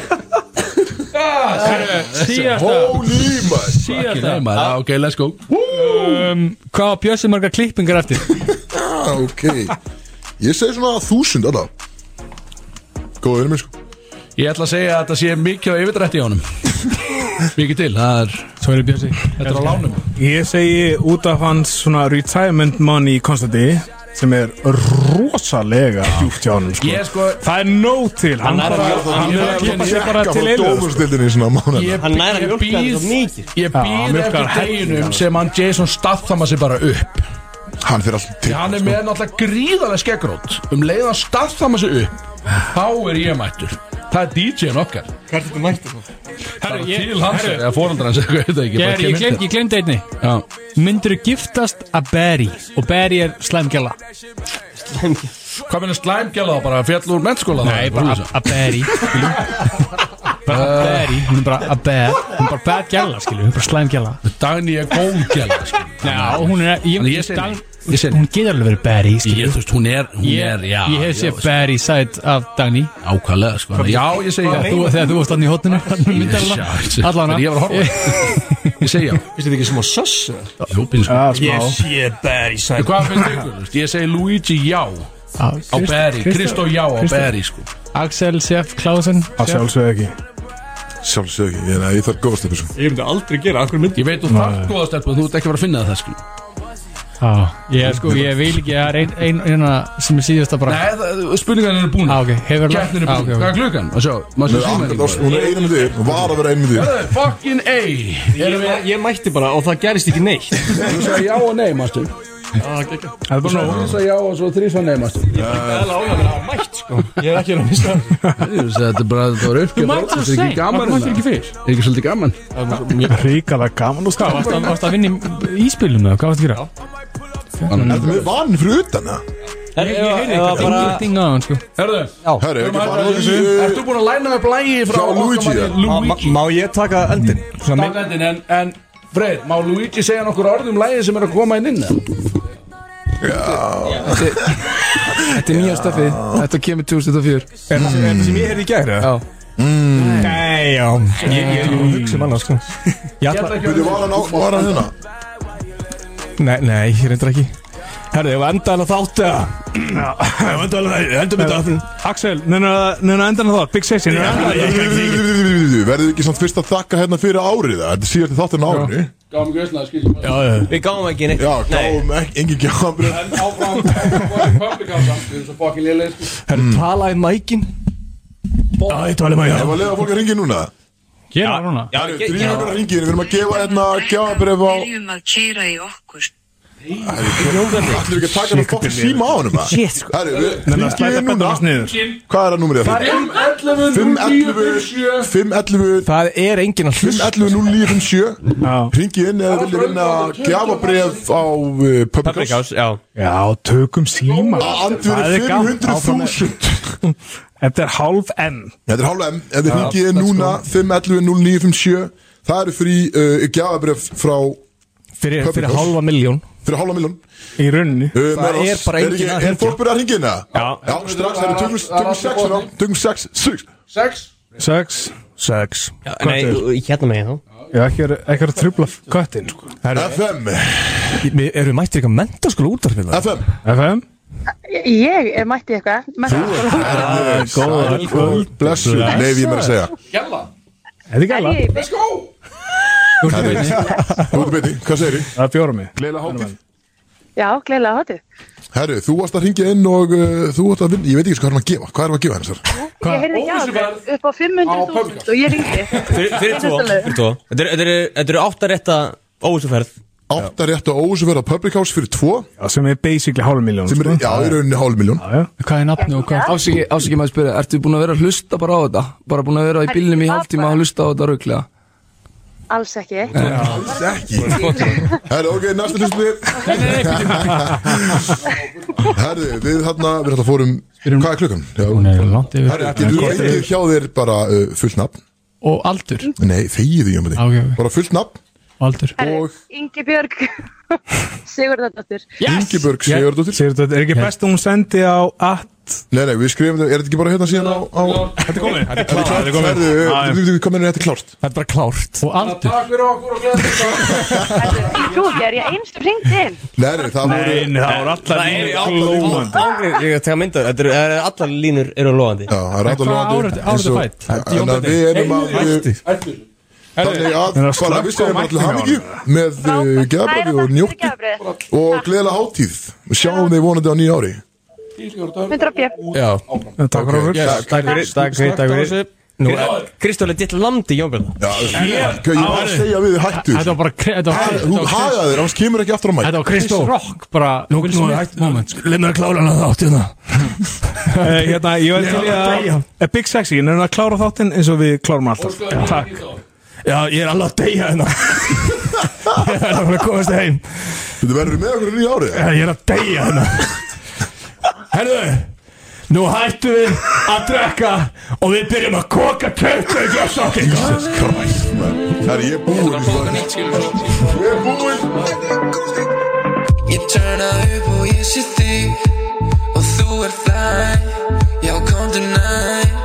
Speaker 6: Síðasta,
Speaker 2: Holy man
Speaker 6: síðasta
Speaker 3: Nei, maður, já, Ok, let's go
Speaker 6: um, Hvað á Bjössi marga klippingar eftir?
Speaker 2: Ah, Ok Ég segi svona þúsund alla Góða vinur minn sko
Speaker 3: Ég ætla að segja að þetta sé mikið á yfirdrætti í honum Mikið til, það er
Speaker 6: Svo er Bjössi
Speaker 3: Þetta er á lánum
Speaker 5: Ég segi út af hans svona retirement money konstanti sem er rosalega djúpt hjá hann sko.
Speaker 3: Ég sko
Speaker 5: Það er nóg til Hann
Speaker 12: er að
Speaker 5: bara-
Speaker 12: mjólka-
Speaker 5: hann er að koma sér bara til sko.
Speaker 2: einu
Speaker 5: einu
Speaker 2: Dómustildinni svona mánuð
Speaker 3: Ég,
Speaker 12: Hann nær að
Speaker 3: ég
Speaker 12: mjólka þetta svo
Speaker 3: býð
Speaker 12: mikið.
Speaker 3: Ég
Speaker 5: hann
Speaker 3: býð
Speaker 5: mjólkar
Speaker 3: eftir deginum sem hann Jason Statham að sig bara upp Sko.
Speaker 2: Hann fyrir alltaf til
Speaker 3: Hann er með náttúrulega gríðarlega skeggrót Um leið að Statham að sig upp Þá er ég mættur Það er DJ-n okkar
Speaker 12: Hvað er þetta mættu svo?
Speaker 3: Herru, til hans eða fóröldra hans eitthvað, ég veit það ekki,
Speaker 6: Ég,
Speaker 3: bara
Speaker 6: er, ég,
Speaker 3: kem
Speaker 6: glemt,
Speaker 3: eftir.
Speaker 6: ég glemt einni
Speaker 3: Já.
Speaker 6: Myndur þú giftast að Barry Og Barry er slæmgjala
Speaker 3: Hvað minnur slæmgjala þá bara fjall úr mennskóla þá?
Speaker 6: Nei, bara að- að Barry skilum. Bara að Barry Hún er bara að Barry Hún er bara bad gjala, skilju Hún er bara slæmgjala
Speaker 3: Dagný er góðgjala sko.
Speaker 6: Já, hún er Ég,
Speaker 3: Þannig ég segi nei. Ég segi nei.
Speaker 6: Hún getur alveg verið Barry, skilju
Speaker 3: Ég, þú veist, hún er, hún er, já
Speaker 6: ég hef
Speaker 3: já,
Speaker 6: séð Barry sæt af Dagný
Speaker 3: Ákvæðlega, sko Já, ég segi já
Speaker 6: þú, Þegar þú varst hann í hotninu
Speaker 3: Sjá,
Speaker 6: Allan
Speaker 3: en ég var að horfa Ég segi já
Speaker 12: Vistu þið ekki sem á sössu?
Speaker 3: Jú, býðu sko
Speaker 12: Ég sé bæri sæl
Speaker 3: Hvað finnst ykkur? þú veist? Ég segi Luigi já á Berry Kristó já á Berry, sko
Speaker 6: Axel, Sef, Klausen
Speaker 5: Að sjálfsögðu ekki
Speaker 2: Sjálfsög ekki Ég, nei, ég þarf góða stelpu sko
Speaker 12: Ég myndi aldrei gera, akkur myndi
Speaker 3: Ég veit þú þarf góða stelpu en Þú ert ekki að fara að finna það, sko
Speaker 6: Já, ég, sko, ég vil ekki Það er ein, ein, eina sem er síðast að bara
Speaker 3: Nei, það- Ah, spurningarnir eru búin
Speaker 6: Á, ok, hefur
Speaker 3: Gætnir eru
Speaker 6: Á, ok,
Speaker 3: búin
Speaker 6: ok.
Speaker 3: Hvað er klukkan? Og sjá, maður
Speaker 2: Hún
Speaker 3: sé
Speaker 2: er
Speaker 3: síma
Speaker 2: andra- það- Hún er einu með þér Hún var að vera um einu með þér
Speaker 3: Fucking A
Speaker 12: Ég, ég mætti bara og það gerist ekki neitt
Speaker 3: Þú sagði já og nei, mástu Þú
Speaker 5: Það er bara nóg
Speaker 3: sagði já og svo þrýs og nei, mástu
Speaker 12: Það er alveg að vera mætt sko Ég er ekki að mista
Speaker 3: Þetta er bara, þetta var uppgjöf
Speaker 6: Þú mættir
Speaker 3: Þetta
Speaker 6: að
Speaker 3: er ekki
Speaker 6: segja,
Speaker 3: gaman
Speaker 6: þú mættir ekki fyrr.
Speaker 3: Er ekki svolítið gaman
Speaker 5: Ríkala gaman og
Speaker 6: Hvað,
Speaker 5: skam
Speaker 6: varst að, varst að vinna í íspilum eða hvað varst að gera?
Speaker 2: Er það með vann fyrir utan það?
Speaker 12: Ég heyri ekki
Speaker 6: Það var bara Engting á hann sko
Speaker 3: Herðu,
Speaker 2: Herri, ekki
Speaker 3: maður-
Speaker 2: fara í
Speaker 3: ert þú búin að læna upp lægi frá
Speaker 2: Frá
Speaker 3: okkar
Speaker 2: Luigi,
Speaker 3: manni
Speaker 2: ja.
Speaker 3: Luigi
Speaker 12: Má ég taka endin?
Speaker 3: Staðendin, en, en Freyr, má Luigi segja nokkur orð um lægi sem er að koma inn inn eða?
Speaker 11: Þetta er nýja stafið, þetta kemur 2004
Speaker 12: Er það sem- er það sem ég heyrði í gæri?
Speaker 11: Já.
Speaker 12: Nei, já Ég ég er að hugsa um annars sko Ég ætla
Speaker 2: Byrju, var hann á Var hann hérna?
Speaker 12: Nei, nei, ég reyndar ekki Herðu, ég var endaðan að þáttu það Ég var endaðan að þáttu Endaðan að þáttu
Speaker 5: Axel, neina endan að það Big Sexy neina endan að það
Speaker 2: Verðið ekki samt fyrst að þakka hérna fyrir árið það? Þetta síðast þáttir en árið
Speaker 3: Gáum ekki veistna, skiljum Já,
Speaker 4: Við gáum ekki neitt
Speaker 2: Já, gáum ekki Engin gjáðanbröð
Speaker 3: en áfram Public house samt, við erum svo fucking liðlega
Speaker 12: Herðu, tala í mækin Já, ég tala í mækin
Speaker 2: Ég var að leiða fólk að ringja núna
Speaker 6: Gera það núna
Speaker 2: Herri, Drífum okkur að ringja Við erum að gefa hérna gjáðanbröð á
Speaker 10: Byrjum að keira í okkur.
Speaker 2: Ætlum við ekki að taka hann að fokka síma á honum að?
Speaker 4: Shit, sko.
Speaker 2: Herri, við
Speaker 5: Neina
Speaker 2: ringjum
Speaker 5: slæta
Speaker 2: núna
Speaker 5: bendum hans niður
Speaker 2: Hvað er að númerið það?
Speaker 3: 5.11.09.57
Speaker 2: 511
Speaker 12: Það er enginn að hlusta
Speaker 2: 511-0957 Ringi inn eða viljið vinna gjafabref á uh, Public
Speaker 4: Public
Speaker 2: House
Speaker 4: House, já
Speaker 5: Já, tökum síma Það
Speaker 2: Andverið
Speaker 5: er gaman. Áfram með-
Speaker 2: 500.000
Speaker 5: Þetta er halv M
Speaker 2: Þetta er hálfa M Ef þið ringið inn núna 511-0957 Það eru frí uh, gjafabref frá
Speaker 12: Fyrir,
Speaker 2: Public
Speaker 12: fyrir
Speaker 2: House.
Speaker 12: halva miljón
Speaker 2: fyrir hálfa miljón
Speaker 5: Í rauninni
Speaker 2: uh,
Speaker 12: Það er bara enginn að
Speaker 2: Er
Speaker 12: hringja.
Speaker 2: fólk byrjað að ringið inn það?
Speaker 12: Já.
Speaker 2: Já, strax Það eru tökum- tökum 6 hérna Tökum 6 6
Speaker 3: 6
Speaker 5: Sex Sex
Speaker 4: Já, Nei, hérna með ég þá
Speaker 5: Já, ekki er, ekki er að trubla köttin sko.
Speaker 2: FM
Speaker 12: Erum við mættir eitthvað mentaskóla útarfið það?
Speaker 2: FM
Speaker 5: FM
Speaker 13: Ég er mætti eitthvað
Speaker 2: Menntaskóla. Góða kvöld Blessu, leif ég mér að segja
Speaker 3: Gjalla
Speaker 5: Þetta er gæla
Speaker 3: Let's go
Speaker 2: Þú ert í beiti Þú ert í beiti, hvað segir þið?
Speaker 5: Það er fjórum mig
Speaker 2: Gleila hátíð
Speaker 13: Já, gleila hátu
Speaker 2: Herru, þú varst að ringja inn og uh, þú varst að vinna Ég veit ekki hvað er hann að gefa, hvað er hann að gefa henni sér?
Speaker 13: Ég heyrði ekki á þér upp á 500.000 og ég ringdi
Speaker 4: Fyrir fyrir tvo, fyrir tvo Þetta eru- þetta eru- þetta eru átta rétta óvísuferð
Speaker 2: Átta rétt og ósumverð á Public House fyrir tvo
Speaker 5: Já, sem er basically sko. hálf miljón
Speaker 2: Sem er, já, í rauninni hálf miljón
Speaker 6: Hvað er nafnu og hvað
Speaker 11: Ásiki, ásiki maður spyrja, ertu búin að vera að hlusta bara á þetta? Bara búin að vera í bílnum í hálftíma að hlusta á þetta rauglega?
Speaker 13: Alls ekki
Speaker 2: Alls ekki Herru, ok, næsta hlustu Herru, við þarna, við þarna fórum Hvað er klukkan? Já. Herru, getur þú reyndið hjá þér bara uh, fullt nafn?
Speaker 6: Og aldur?
Speaker 2: Nei, þegið því um þetta
Speaker 6: okay, okay.
Speaker 2: Bara fullt nafn
Speaker 6: Aldur
Speaker 13: Ingi Björg Sigurðardóttir
Speaker 2: Ingeborg Sigurdóttir
Speaker 5: Sigurdóttir, er ekki best að hún sendi á at
Speaker 2: Nei, nei, við skrifum þetta, er þetta ekki bara hérna síðan á, á... Þetta
Speaker 5: er komið Þetta er klárt
Speaker 2: Þetta er komið Herðu, við- við- við komum inn í þetta er klárt Þetta er bara klárt
Speaker 6: Og aldur
Speaker 3: Takk fyrir okkur og gleðið
Speaker 13: Ég trú ekki, er ég eins sem ringdi inn
Speaker 2: Nei, nei, það voru
Speaker 5: Nei, það voru allar
Speaker 4: línur
Speaker 5: glóandi.
Speaker 4: Ég er að taka mynda, þetta eru- það eru allar línur eru lóandi
Speaker 2: Já, það eru allar lóandi Þannig að við erum að við- Þannig að,
Speaker 5: Herðu,
Speaker 2: bara við segjum
Speaker 5: slökkva á
Speaker 2: allir
Speaker 5: mæknum
Speaker 2: hamingju Með gæðabræfi og njótti Og gleðilega hátíð Við sjáum þig vonandi á nýja ári
Speaker 13: Myndra björn
Speaker 4: Já
Speaker 5: Takk
Speaker 2: fyrir.
Speaker 4: Yes, Takk fyrir Takk fyrir Takk fyrir Nú, Kristóli, ditt landi, Jón Björn
Speaker 2: Já, Ég var að segja við þig hættu
Speaker 6: Þetta var bara kre- þetta var-
Speaker 2: Hæ- Þú
Speaker 6: þetta var-
Speaker 2: hagaðir, annars kemur ekki aftur á mæk
Speaker 6: Þetta var Chris Rock bara
Speaker 12: Nú,
Speaker 6: Will
Speaker 12: nú,
Speaker 6: Smith
Speaker 12: hætt-
Speaker 6: moment, sko.
Speaker 12: Leif mér að klála hana þátt hérna
Speaker 5: Eh, Hérna, ég var til í að eh, Big Sexy, en er að klára þáttinn eins og við klárum alltaf Takk
Speaker 12: Já, ég er alveg að deyja hérna Ég er alveg að komast heim
Speaker 2: Þú verður með okkur í nýja ári
Speaker 12: Ég er að deyja hérna Herðu Nú hættum við að drekka Og við byrjum að koka kjötu í glössokkingar
Speaker 2: Jesus Christ, man Það er ég búinn í svona Ég er búinn
Speaker 8: Ég turna upp og ég sé þig Og þú er flæ Já, komdu næ